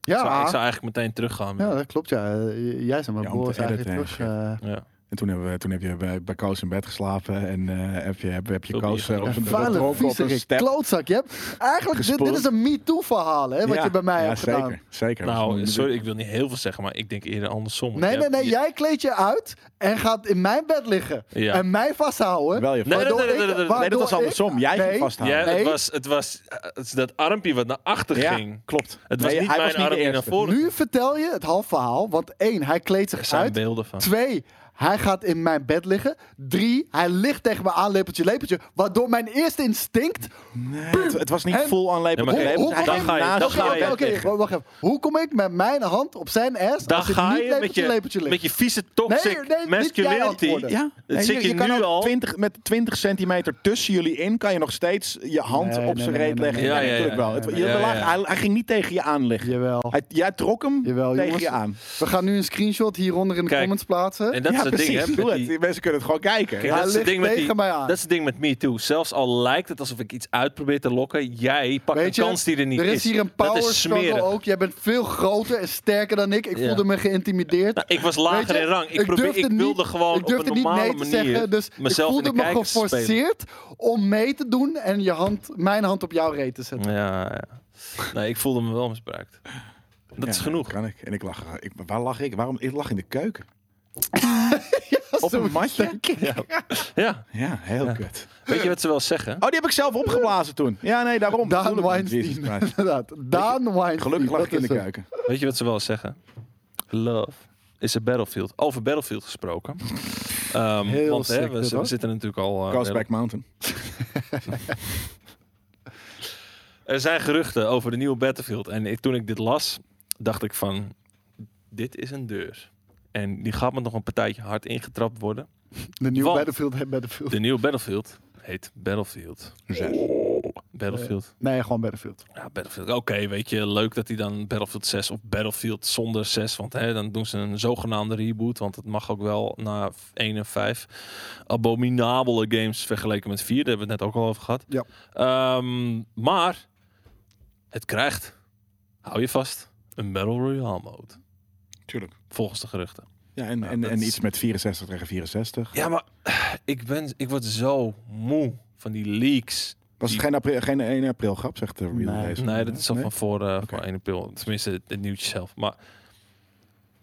[SPEAKER 1] Ik, zou,
[SPEAKER 2] Ja,
[SPEAKER 1] ik zou eigenlijk meteen teruggaan.
[SPEAKER 2] ja, dat klopt. Ja. Eh, Jij zijn
[SPEAKER 3] Ja,
[SPEAKER 2] maar
[SPEAKER 3] om te
[SPEAKER 2] Boris eigenlijk
[SPEAKER 3] editen en
[SPEAKER 2] terug. eh,
[SPEAKER 1] Ja.
[SPEAKER 3] En toen, hebben we, toen heb je bij, bij Koos in bed geslapen en eh, heb je, heb, heb je
[SPEAKER 1] Veel
[SPEAKER 3] Koos
[SPEAKER 1] bier
[SPEAKER 3] eh, op
[SPEAKER 1] gedronken.
[SPEAKER 3] zijn
[SPEAKER 2] Vuile,
[SPEAKER 3] dronken op een
[SPEAKER 2] viezerik,
[SPEAKER 3] step.
[SPEAKER 2] klootzak. Je hebt, eigenlijk, dit, dit is een MeToo-verhaal, hè, wat
[SPEAKER 3] Ja,
[SPEAKER 2] je bij mij
[SPEAKER 3] ja,
[SPEAKER 2] hebt
[SPEAKER 3] zeker,
[SPEAKER 2] gedaan.
[SPEAKER 3] Zeker. Dat is
[SPEAKER 1] Nou,
[SPEAKER 3] een-
[SPEAKER 1] sorry, ik wil niet heel veel zeggen, maar ik denk eerder andersom. Want
[SPEAKER 2] Nee,
[SPEAKER 1] je
[SPEAKER 2] nee, nee.
[SPEAKER 1] hebt-
[SPEAKER 2] Jij kleedt je uit en gaat in mijn bed liggen.
[SPEAKER 1] Ja.
[SPEAKER 2] En mij vasthouden.
[SPEAKER 3] Wel je
[SPEAKER 1] Nee, nee,
[SPEAKER 2] waardoor
[SPEAKER 1] nee, nee,
[SPEAKER 2] ik-
[SPEAKER 1] nee, nee, nee,
[SPEAKER 3] nee, dat
[SPEAKER 2] waardoor
[SPEAKER 3] was
[SPEAKER 2] ik-
[SPEAKER 3] andersom. Jij ging
[SPEAKER 2] Nee.
[SPEAKER 3] vasthouden.
[SPEAKER 1] Ja,
[SPEAKER 2] Nee.
[SPEAKER 1] het was, het was eh, het is dat armpje wat naar achter ging.
[SPEAKER 3] klopt.
[SPEAKER 1] Het was
[SPEAKER 3] Nee,
[SPEAKER 1] niet
[SPEAKER 3] hij
[SPEAKER 1] mijn
[SPEAKER 3] was niet de
[SPEAKER 1] arm die naar
[SPEAKER 3] eerste.
[SPEAKER 1] voren
[SPEAKER 2] Nu vertel je het half verhaal. Want één, hij kleedt
[SPEAKER 1] Er
[SPEAKER 2] zich
[SPEAKER 1] zijn
[SPEAKER 2] uit.
[SPEAKER 1] beelden van.
[SPEAKER 2] Twee, hij gaat in mijn bed liggen. Drie, hij ligt tegen me aan, lepeltje, lepeltje. Waardoor mijn eerste instinct...
[SPEAKER 3] Nee, het, het was niet
[SPEAKER 2] En-
[SPEAKER 3] vol aan lepel.
[SPEAKER 1] Ja, maar
[SPEAKER 3] Nee,
[SPEAKER 2] hoe-
[SPEAKER 3] want hij
[SPEAKER 2] hoe-
[SPEAKER 3] ging
[SPEAKER 1] dan ga je-
[SPEAKER 3] naast
[SPEAKER 1] dan
[SPEAKER 2] Oké,
[SPEAKER 1] ga je
[SPEAKER 2] oké, oké,
[SPEAKER 1] tegen.
[SPEAKER 2] wacht even. Hoe kom ik met mijn hand op zijn ass
[SPEAKER 1] Daar
[SPEAKER 2] als het
[SPEAKER 1] ga
[SPEAKER 2] niet
[SPEAKER 1] je met
[SPEAKER 2] lepeltje,
[SPEAKER 1] je,
[SPEAKER 2] lepeltje,
[SPEAKER 1] met
[SPEAKER 2] lepeltje?
[SPEAKER 1] je vieze toxic
[SPEAKER 2] Nee, nee, niet jij
[SPEAKER 1] masculinity.
[SPEAKER 2] antwoorden.
[SPEAKER 3] Ja,
[SPEAKER 1] Dat
[SPEAKER 3] en
[SPEAKER 1] zit je nu
[SPEAKER 3] kan ook
[SPEAKER 1] al.
[SPEAKER 3] 20, met 20 centimeter tussen jullie in, kan je nog steeds je hand
[SPEAKER 2] Nee,
[SPEAKER 3] op
[SPEAKER 2] nee,
[SPEAKER 3] zijn
[SPEAKER 2] nee,
[SPEAKER 3] reet
[SPEAKER 2] nee,
[SPEAKER 3] leggen.
[SPEAKER 1] nee,
[SPEAKER 3] Ja,
[SPEAKER 1] nee, nee,
[SPEAKER 3] natuurlijk wel.
[SPEAKER 1] nee,
[SPEAKER 3] Het-
[SPEAKER 1] nee,
[SPEAKER 3] je-
[SPEAKER 1] nee,
[SPEAKER 3] lag-
[SPEAKER 1] nee.
[SPEAKER 3] Hij, hij ging niet tegen je aan liggen.
[SPEAKER 2] Jawel.
[SPEAKER 3] Hij- jij trok hem
[SPEAKER 2] Jawel,
[SPEAKER 3] tegen
[SPEAKER 2] jongens.
[SPEAKER 3] je aan.
[SPEAKER 2] We gaan nu een screenshot hieronder in de
[SPEAKER 1] Kijk,
[SPEAKER 2] comments plaatsen.
[SPEAKER 1] En dat
[SPEAKER 3] ja,
[SPEAKER 1] is het
[SPEAKER 3] precies.
[SPEAKER 1] ding, hè?
[SPEAKER 3] Doe
[SPEAKER 1] met
[SPEAKER 3] het.
[SPEAKER 1] die-
[SPEAKER 3] Die mensen kunnen het gewoon kijken.
[SPEAKER 1] Kijk,
[SPEAKER 2] Hij
[SPEAKER 1] dat, is het
[SPEAKER 2] ligt
[SPEAKER 1] ding met die,
[SPEAKER 2] tegen mij aan.
[SPEAKER 1] dat is het ding met me too. Zelfs al lijkt het alsof ik iets uit probeer te lokken, jij pakt
[SPEAKER 2] Weet
[SPEAKER 1] een
[SPEAKER 2] je,
[SPEAKER 1] kans die er niet
[SPEAKER 2] Er is hier een power
[SPEAKER 1] dat is
[SPEAKER 2] struggle
[SPEAKER 1] smerig.
[SPEAKER 2] ook. Jij bent veel groter en sterker dan ik. Ik
[SPEAKER 1] Ja.
[SPEAKER 2] voelde me geïntimideerd.
[SPEAKER 1] Nou, ik was lager
[SPEAKER 2] Weet je,
[SPEAKER 1] in rang. Ik, probeer,
[SPEAKER 2] durfde
[SPEAKER 1] ik wilde
[SPEAKER 2] niet-
[SPEAKER 1] gewoon
[SPEAKER 2] ik
[SPEAKER 1] op
[SPEAKER 2] durfde
[SPEAKER 1] een
[SPEAKER 2] niet
[SPEAKER 1] normale
[SPEAKER 2] nee te
[SPEAKER 1] manier
[SPEAKER 2] zeggen, dus ik
[SPEAKER 1] mezelf
[SPEAKER 2] voelde
[SPEAKER 1] in de
[SPEAKER 2] me
[SPEAKER 1] kijkers te spelen.
[SPEAKER 2] geforceerd om mee te doen en je hand, mijn hand op jouw reet te zetten.
[SPEAKER 1] Ja, ja. (laughs) Nee, ik voelde me wel misbruikt. Dat
[SPEAKER 3] Ja,
[SPEAKER 1] is genoeg.
[SPEAKER 3] Kan ik. En ik lag. Ik, waar lag ik? Waarom? Ik lag in de keuken.
[SPEAKER 2] (laughs)
[SPEAKER 3] Op
[SPEAKER 2] Zo
[SPEAKER 3] een matje?
[SPEAKER 1] Ja.
[SPEAKER 3] Ja, heel kut.
[SPEAKER 1] Weet je wat ze wel zeggen?
[SPEAKER 3] Oh, die heb ik zelf opgeblazen toen. Ja, nee, daarom.
[SPEAKER 2] Daan
[SPEAKER 3] Bedoel ik niet.
[SPEAKER 2] Weinstein.
[SPEAKER 3] Jezus Christus.
[SPEAKER 2] Inderdaad. Daan Weinstein.
[SPEAKER 3] Gelukkig lag
[SPEAKER 2] dat
[SPEAKER 3] ik in de
[SPEAKER 2] is hem.
[SPEAKER 3] keuken.
[SPEAKER 1] Weet je wat ze wel zeggen? Love is a battlefield. Over battlefield gesproken. Ehm,
[SPEAKER 2] Heel
[SPEAKER 1] want hè,
[SPEAKER 2] sick,
[SPEAKER 1] we,
[SPEAKER 2] dit,
[SPEAKER 1] we
[SPEAKER 2] hoor.
[SPEAKER 1] zitten natuurlijk al... eh,
[SPEAKER 3] Coastback Mountain.
[SPEAKER 1] Er zijn geruchten over de nieuwe Battlefield. En ik- toen ik dit las, dacht ik van... Dit is een deur. En die gaat me nog een partijtje hard ingetrapt worden.
[SPEAKER 2] De nieuwe
[SPEAKER 1] Want-
[SPEAKER 2] Battlefield heet Battlefield.
[SPEAKER 1] De nieuwe Battlefield heet Battlefield. Battlefield.
[SPEAKER 2] Nee, gewoon Battlefield.
[SPEAKER 1] Ja, Battlefield. Oké, weet je, leuk dat hij dan Battlefield 6 of Battlefield zonder 6, want hè, dan doen ze een zogenaamde reboot, want het mag ook wel na 1 en 5. Abominabele games vergeleken met 4, daar hebben we het net ook al over gehad.
[SPEAKER 2] Ja.
[SPEAKER 1] Ehm, maar het krijgt, hou je vast, een Battle Royale mode,
[SPEAKER 3] Tuurlijk.
[SPEAKER 1] volgens de geruchten.
[SPEAKER 3] Ja, en,
[SPEAKER 1] Nou,
[SPEAKER 3] en,
[SPEAKER 1] dat
[SPEAKER 3] en
[SPEAKER 1] is-
[SPEAKER 3] iets met 64 tegen 64.
[SPEAKER 1] Ja, maar ik, ben, ik word zo moe van die leaks.
[SPEAKER 3] Was het geen, april, geen 1 april grap, zegt de real
[SPEAKER 2] Nee.
[SPEAKER 3] Racer.
[SPEAKER 1] Nee, dat is al
[SPEAKER 3] Nee?
[SPEAKER 1] van voor, eh
[SPEAKER 3] Oké.
[SPEAKER 1] voor 1 april. Tenminste, het, het nieuwtje zelf. Maar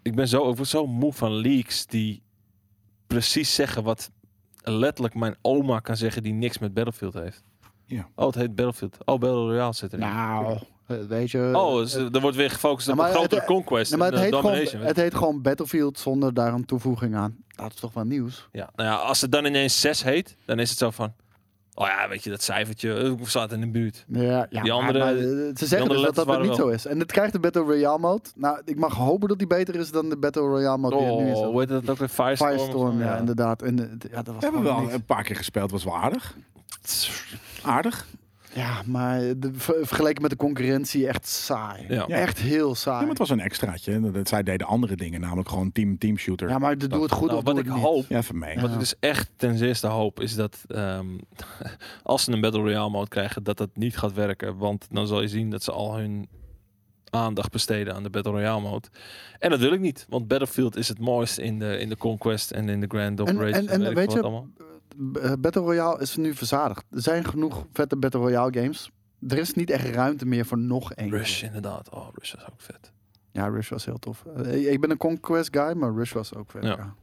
[SPEAKER 1] ik ben zo, ik word zo moe van leaks die precies zeggen wat letterlijk mijn oma kan zeggen die niks met Battlefield heeft.
[SPEAKER 3] Ja.
[SPEAKER 1] Oh, het heet Battlefield. Oh, Battle Royale zit erin.
[SPEAKER 2] Nou, eh, weet je...
[SPEAKER 1] oh, dus, eh, er wordt weer gefocust
[SPEAKER 2] Ja,
[SPEAKER 1] op een
[SPEAKER 2] maar het-
[SPEAKER 1] grotere
[SPEAKER 2] eh,
[SPEAKER 1] conquest.
[SPEAKER 2] Nee,
[SPEAKER 1] en,
[SPEAKER 2] maar het,
[SPEAKER 1] eh,
[SPEAKER 2] heet
[SPEAKER 1] domination.
[SPEAKER 2] gewoon, het heet gewoon Battlefield zonder daar een toevoeging aan. Dat is Nou, toch wel nieuws?
[SPEAKER 1] ja, nou ja, als het dan ineens 6 heet, dan is het zo van... Oh ja, weet je, dat cijfertje eh, staat in de buurt.
[SPEAKER 2] Ja, ja,
[SPEAKER 1] Die andere-
[SPEAKER 2] maar, eh, ze zeggen dus
[SPEAKER 1] letters
[SPEAKER 2] dat dat nog
[SPEAKER 1] waren
[SPEAKER 2] niet
[SPEAKER 1] wel-
[SPEAKER 2] zo is. En het krijgt de Battle Royale mode. Nou, ik mag hopen dat die beter is dan de Battle Royale mode die er nu is.
[SPEAKER 1] Oh, weet dat ook weer? Firestorm. of
[SPEAKER 2] Firestorm,
[SPEAKER 1] zo?
[SPEAKER 2] ja, inderdaad. En, eh, d- ja, dat was
[SPEAKER 3] We hebben
[SPEAKER 2] gewoon
[SPEAKER 3] wel
[SPEAKER 2] niks.
[SPEAKER 3] een paar keer gespeeld, was wel aardig. Aardig.
[SPEAKER 2] Ja, maar de, ver- vergeleken met de concurrentie echt saai.
[SPEAKER 1] Ja. Ja.
[SPEAKER 2] Echt heel
[SPEAKER 3] Ja,
[SPEAKER 2] saai.
[SPEAKER 3] maar het was een extraatje. En Dat, zij deden andere dingen, namelijk gewoon team, team shooter. Ja,
[SPEAKER 2] de- doe het goed
[SPEAKER 1] Nou,
[SPEAKER 2] of doe
[SPEAKER 1] wat
[SPEAKER 2] het
[SPEAKER 1] ik
[SPEAKER 2] niet.
[SPEAKER 1] hoop,
[SPEAKER 3] ja van mij.
[SPEAKER 1] wat ik dus echt ten zeerste hoop, is dat ehm, (laughs) als ze een Battle Royale mode krijgen, dat dat niet gaat werken. Want dan zal je zien dat ze al hun aandacht besteden aan de Battle Royale mode. En dat wil ik niet, want Battlefield is het mooiste in de, in de Conquest en in de Grand Operation.
[SPEAKER 2] en- en
[SPEAKER 1] ik
[SPEAKER 2] weet
[SPEAKER 1] wat
[SPEAKER 2] je-
[SPEAKER 1] allemaal.
[SPEAKER 2] B- eh, Battle Royale is nu verzadigd. Er zijn genoeg vette Battle Royale games. Er is niet echt ruimte meer voor nog één.
[SPEAKER 1] Rush inderdaad. Oh, Rush is ook vet.
[SPEAKER 2] Ja, Rush was heel tof. Eh, ik ben een Conquest guy, maar Rush was ook vet.
[SPEAKER 1] Ja. Hm.
[SPEAKER 2] ja.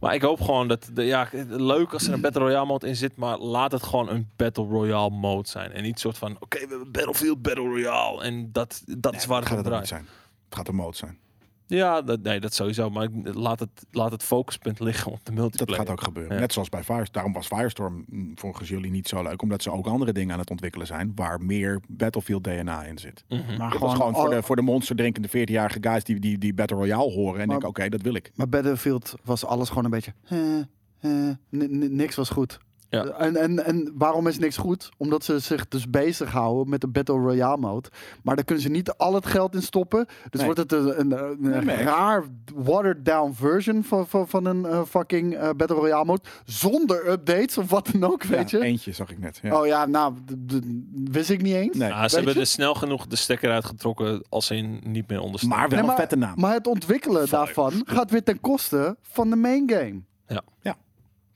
[SPEAKER 1] Maar ik hoop gewoon dat, de, ja, leuk als er een Battle Royale mode in zit, maar laat het gewoon een Battle Royale mode zijn. En niet soort van, oké, we hebben Battlefield Battle Royale. En dat, dat is waar het
[SPEAKER 3] gaat
[SPEAKER 1] om
[SPEAKER 3] het ook
[SPEAKER 1] draait.
[SPEAKER 3] niet zijn. Het gaat een mode zijn.
[SPEAKER 1] Ja, dat, nee, dat sowieso. Maar ik- laat het, laat het focuspunt liggen op de
[SPEAKER 3] Dat
[SPEAKER 1] multiplayer.
[SPEAKER 3] gaat ook gebeuren.
[SPEAKER 1] Ja.
[SPEAKER 3] Net zoals bij Firestorm. Daarom was Firestorm mm, volgens jullie niet zo leuk. Omdat ze ook andere dingen aan het ontwikkelen zijn. Waar meer Battlefield DNA in zit.
[SPEAKER 1] Mhm.
[SPEAKER 2] Maar
[SPEAKER 3] Dit was
[SPEAKER 2] gewoon,
[SPEAKER 3] gewoon voor
[SPEAKER 2] oh,
[SPEAKER 3] de, voor de monster drinkende 14-jarige guys die, die, die Battle Royale horen. En
[SPEAKER 2] Maar-
[SPEAKER 3] denken, oké, dat wil ik.
[SPEAKER 2] Maar Battlefield was alles gewoon een beetje. eh, eh, n- n- niks was goed.
[SPEAKER 1] Ja.
[SPEAKER 2] En, en, en waarom is niks goed? Omdat ze zich dus bezighouden met de Battle Royale mode. Maar daar kunnen ze niet al het geld in stoppen. Dus
[SPEAKER 3] Nee.
[SPEAKER 2] wordt het een, een, een
[SPEAKER 3] maar echt.
[SPEAKER 2] raar, watered-down version van, van, van een eh, fucking eh, Battle Royale mode. Zonder updates of wat dan ook, weet
[SPEAKER 3] Ja,
[SPEAKER 2] je?
[SPEAKER 3] Eentje zag ik net. Ja.
[SPEAKER 2] Oh ja, nou, d- d- wist ik niet eens.
[SPEAKER 3] nee.
[SPEAKER 1] Ja, ze
[SPEAKER 2] Weet
[SPEAKER 1] hebben
[SPEAKER 2] je?
[SPEAKER 1] er snel genoeg de stekker uitgetrokken als ze in niet meer ondersteunen.
[SPEAKER 3] Maar wel
[SPEAKER 2] Nee,
[SPEAKER 3] een vette naam.
[SPEAKER 2] Maar het ontwikkelen daarvan gaat weer ten koste van de main game.
[SPEAKER 1] Ja.
[SPEAKER 3] Ja.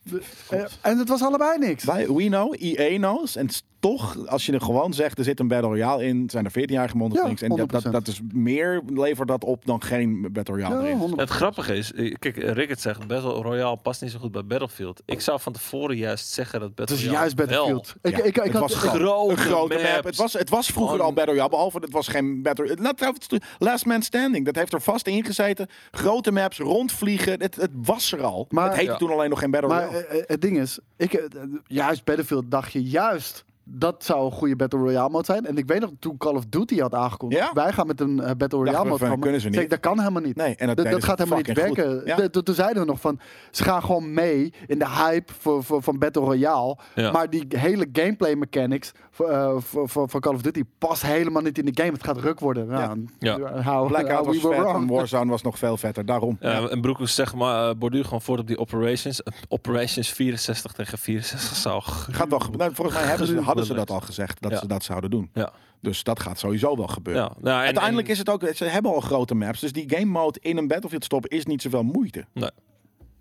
[SPEAKER 2] De- eh, en het was allebei niks.
[SPEAKER 3] Wij, we know, EA knows. En s- toch, als je er gewoon zegt, er zit een Battle Royale in. Zijn er 14-jarige monster
[SPEAKER 2] Ja,
[SPEAKER 3] drinks. En dat, dat,
[SPEAKER 2] 100%.
[SPEAKER 3] dat is meer, levert dat op dan geen Battle Royale
[SPEAKER 2] Ja,
[SPEAKER 3] erin.
[SPEAKER 2] 100%.
[SPEAKER 1] Het grappige is, eh, kijk, Rickert zegt Battle Royale past niet zo goed bij Battlefield. Ik zou van tevoren juist zeggen dat
[SPEAKER 2] Het
[SPEAKER 1] Battle
[SPEAKER 2] is
[SPEAKER 1] Royale
[SPEAKER 2] juist Battlefield. Ik,
[SPEAKER 3] Ja,
[SPEAKER 2] ik, ik,
[SPEAKER 3] het
[SPEAKER 2] had,
[SPEAKER 3] was
[SPEAKER 2] ik-
[SPEAKER 3] groot.
[SPEAKER 1] grote,
[SPEAKER 3] Een grote
[SPEAKER 1] maps.
[SPEAKER 3] map. Het was, het was vroeger
[SPEAKER 1] Gewoon-
[SPEAKER 3] al Battle Royale, behalve dat was geen Battle Royale. Nou, trouwens, Last Man Standing, dat heeft er vast in gezeten. Grote maps, rondvliegen, het, het was er al.
[SPEAKER 2] Maar-
[SPEAKER 3] het heette
[SPEAKER 1] Ja.
[SPEAKER 3] toen alleen nog geen Battle
[SPEAKER 2] maar
[SPEAKER 3] Royale.
[SPEAKER 2] eh, eh, het ding is, ik, eh, eh, juist Battlefield dacht je juist. Dat zou een goede Battle Royale mode zijn. En ik weet nog toen Call of Duty had aangekondigd.
[SPEAKER 3] Ja?
[SPEAKER 2] Wij gaan met een eh, Battle
[SPEAKER 3] we
[SPEAKER 2] Royale
[SPEAKER 3] van,
[SPEAKER 2] mode komen.
[SPEAKER 3] kunnen ze
[SPEAKER 2] Zeg,
[SPEAKER 3] niet.
[SPEAKER 2] dat kan helemaal niet.
[SPEAKER 3] Nee, en dat,
[SPEAKER 2] dat,
[SPEAKER 3] deden
[SPEAKER 2] dat
[SPEAKER 3] ze
[SPEAKER 2] gaat helemaal niet
[SPEAKER 3] fucking goed.
[SPEAKER 2] werken.
[SPEAKER 3] Ja.
[SPEAKER 2] De- de- Toen zeiden we nog van, ze gaan gewoon mee in de hype voor, voor, van Battle Royale.
[SPEAKER 1] Ja.
[SPEAKER 2] Maar die hele gameplay mechanics voor, eh, voor, voor, voor Call of Duty past helemaal niet in de game. Het gaat ruk worden. Nou,
[SPEAKER 1] Ja.
[SPEAKER 2] how-
[SPEAKER 3] Blackout
[SPEAKER 2] how
[SPEAKER 3] was
[SPEAKER 2] we were
[SPEAKER 3] vet en
[SPEAKER 2] wrong.
[SPEAKER 3] Warzone was nog veel vetter, daarom.
[SPEAKER 1] Ja, eh, En Broekhoes zegt maar, eh, borduur gewoon voort op die operations. Eh, Operations 64 tegen 64 zou... g-
[SPEAKER 3] Gaat wel gebeuren. Nou, volgens mij hebben ze, hadden ze dat al gezegd, dat
[SPEAKER 1] Ja.
[SPEAKER 3] ze dat zouden doen.
[SPEAKER 1] Ja.
[SPEAKER 3] Dus dat gaat sowieso wel gebeuren.
[SPEAKER 1] Ja. Nou, en-
[SPEAKER 3] Uiteindelijk
[SPEAKER 1] en-
[SPEAKER 3] is het ook, ze hebben al grote maps, dus die game mode in een Battlefield stoppen is niet zoveel moeite.
[SPEAKER 1] Nee.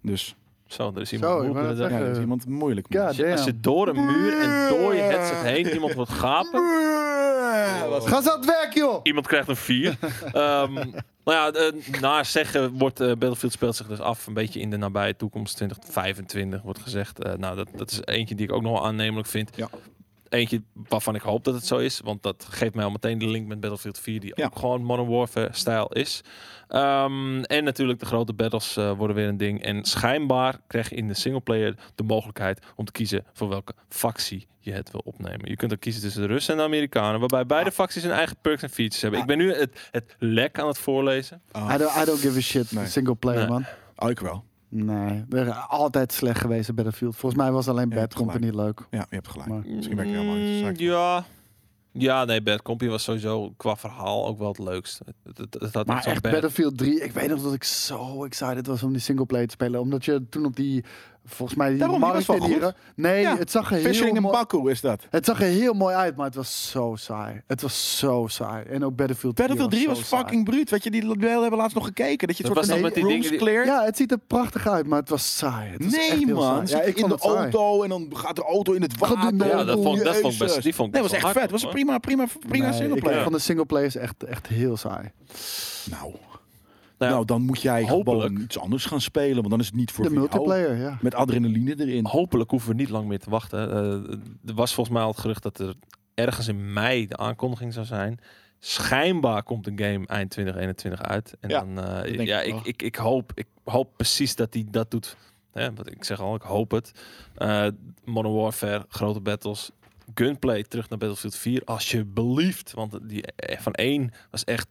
[SPEAKER 3] Dus
[SPEAKER 1] Zo, er is
[SPEAKER 2] Zo,
[SPEAKER 1] iemand...
[SPEAKER 2] ik
[SPEAKER 1] roepen
[SPEAKER 2] wou net
[SPEAKER 1] dat-
[SPEAKER 3] ja, dat is
[SPEAKER 2] eh,
[SPEAKER 3] iemand moeilijk.
[SPEAKER 2] (laughs) God
[SPEAKER 1] Als je- Als je door een muur en door je headset heen iemand wordt gapen...
[SPEAKER 2] Ga ze aan het werk, joh!
[SPEAKER 1] Iemand krijgt een
[SPEAKER 3] (laughs)
[SPEAKER 1] 4. Ehm nou ja, eh, naar zeggen wordt eh, Battlefield speelt zich dus af een beetje in de nabije toekomst. 2025 wordt gezegd. Eh, nou, dat, dat is eentje die ik ook nog wel aannemelijk vind.
[SPEAKER 3] Ja.
[SPEAKER 1] Eentje waarvan ik hoop dat het zo is. Want dat geeft mij al meteen de link met Battlefield 4. Die
[SPEAKER 3] Ja.
[SPEAKER 1] ook gewoon Modern Warfare-stijl is. Ehm, en natuurlijk de grote battles eh, worden weer een ding. En schijnbaar krijg je in de singleplayer de mogelijkheid om te kiezen voor welke factie je het wil opnemen. Je kunt ook kiezen tussen de Russen en de Amerikanen, waarbij beide facties hun eigen perks en features hebben. Ik ben nu het, het lek aan het voorlezen.
[SPEAKER 3] Oh.
[SPEAKER 2] I don't, I don't give a shit,
[SPEAKER 3] Nee.
[SPEAKER 2] single player,
[SPEAKER 1] Nee.
[SPEAKER 2] man.
[SPEAKER 3] Oh, ik wel.
[SPEAKER 2] Nee, we zijn altijd slecht geweest in Battlefield. Volgens mij was alleen
[SPEAKER 3] Ja,
[SPEAKER 2] Bad
[SPEAKER 3] gelijk.
[SPEAKER 2] Company leuk.
[SPEAKER 3] Ja, je hebt gelijk.
[SPEAKER 2] Maar-
[SPEAKER 3] Misschien ben ik helemaal niet.
[SPEAKER 1] Mm,
[SPEAKER 3] interessant.
[SPEAKER 1] Ja. Ja, nee, Bad Company was sowieso qua verhaal ook wel het leukst. Het, het, het had
[SPEAKER 2] Maar
[SPEAKER 1] echt zo'n
[SPEAKER 2] echt
[SPEAKER 1] bad-
[SPEAKER 2] Battlefield 3, ik weet nog dat ik zo excited was om die singleplayer te spelen. Omdat je toen op die, volgens mij die
[SPEAKER 3] Daarom, die was
[SPEAKER 2] markt
[SPEAKER 3] wel
[SPEAKER 2] in die...
[SPEAKER 3] goed.
[SPEAKER 2] Nee,
[SPEAKER 3] Ja,
[SPEAKER 2] het zag er heel
[SPEAKER 3] Fishing in
[SPEAKER 2] mooi...
[SPEAKER 3] Baku is dat.
[SPEAKER 2] Het zag er heel mooi uit, maar het was zo saai. Het was zo saai. En ook Battlefield 3
[SPEAKER 3] Battlefield 3 was
[SPEAKER 2] zo saai.
[SPEAKER 3] fucking bruut. Weet je, die deel hebben laatst nog gekeken. Dat je het
[SPEAKER 1] Dat
[SPEAKER 3] soort
[SPEAKER 1] was
[SPEAKER 3] van
[SPEAKER 1] nog met die
[SPEAKER 3] rooms
[SPEAKER 1] dingen die-
[SPEAKER 3] cleared.
[SPEAKER 2] Ja, het ziet er prachtig uit, maar het was saai. Het was echt
[SPEAKER 3] Nee
[SPEAKER 2] heel
[SPEAKER 3] man,
[SPEAKER 2] saai.
[SPEAKER 3] Zit
[SPEAKER 2] Ja, ik
[SPEAKER 3] in
[SPEAKER 2] vond
[SPEAKER 3] de
[SPEAKER 2] het saai.
[SPEAKER 3] auto en dan gaat de auto in het
[SPEAKER 2] Gaat
[SPEAKER 3] water.
[SPEAKER 2] de-
[SPEAKER 1] Ja, dat vond, dat vond ik
[SPEAKER 3] Jezus.
[SPEAKER 1] best, die vond ik
[SPEAKER 3] Nee,
[SPEAKER 1] best
[SPEAKER 3] was echt
[SPEAKER 1] wel
[SPEAKER 3] vet.
[SPEAKER 1] hard,
[SPEAKER 3] was een
[SPEAKER 1] hoor.
[SPEAKER 3] prima, prima, prima
[SPEAKER 2] Nee, ik
[SPEAKER 3] singleplayer.
[SPEAKER 2] vond de singleplayers echt, echt heel saai.
[SPEAKER 3] Nou,
[SPEAKER 1] Nou ja,
[SPEAKER 3] nou, dan moet jij
[SPEAKER 1] hopelijk.
[SPEAKER 3] gewoon iets anders gaan spelen. Want dan is het niet voor
[SPEAKER 2] De
[SPEAKER 3] jou.
[SPEAKER 2] multiplayer, ja.
[SPEAKER 3] Met adrenaline erin.
[SPEAKER 1] Hopelijk hoeven we niet lang meer te wachten. Eh, er was volgens mij al het gerucht dat er ergens in mei de aankondiging zou zijn. Schijnbaar komt de game eind 2021 uit. En
[SPEAKER 3] Ja,
[SPEAKER 1] dan, eh,
[SPEAKER 3] denk
[SPEAKER 1] ja,
[SPEAKER 3] ik
[SPEAKER 1] ik,
[SPEAKER 3] wel.
[SPEAKER 1] ik, ik, hoop, ik hoop precies dat hij dat doet Hè, wat ik zeg al, ik hoop het. Eh, Modern Warfare, grote battles. Gunplay terug naar Battlefield 4, alsjeblieft. Want die eh, van 1 was echt.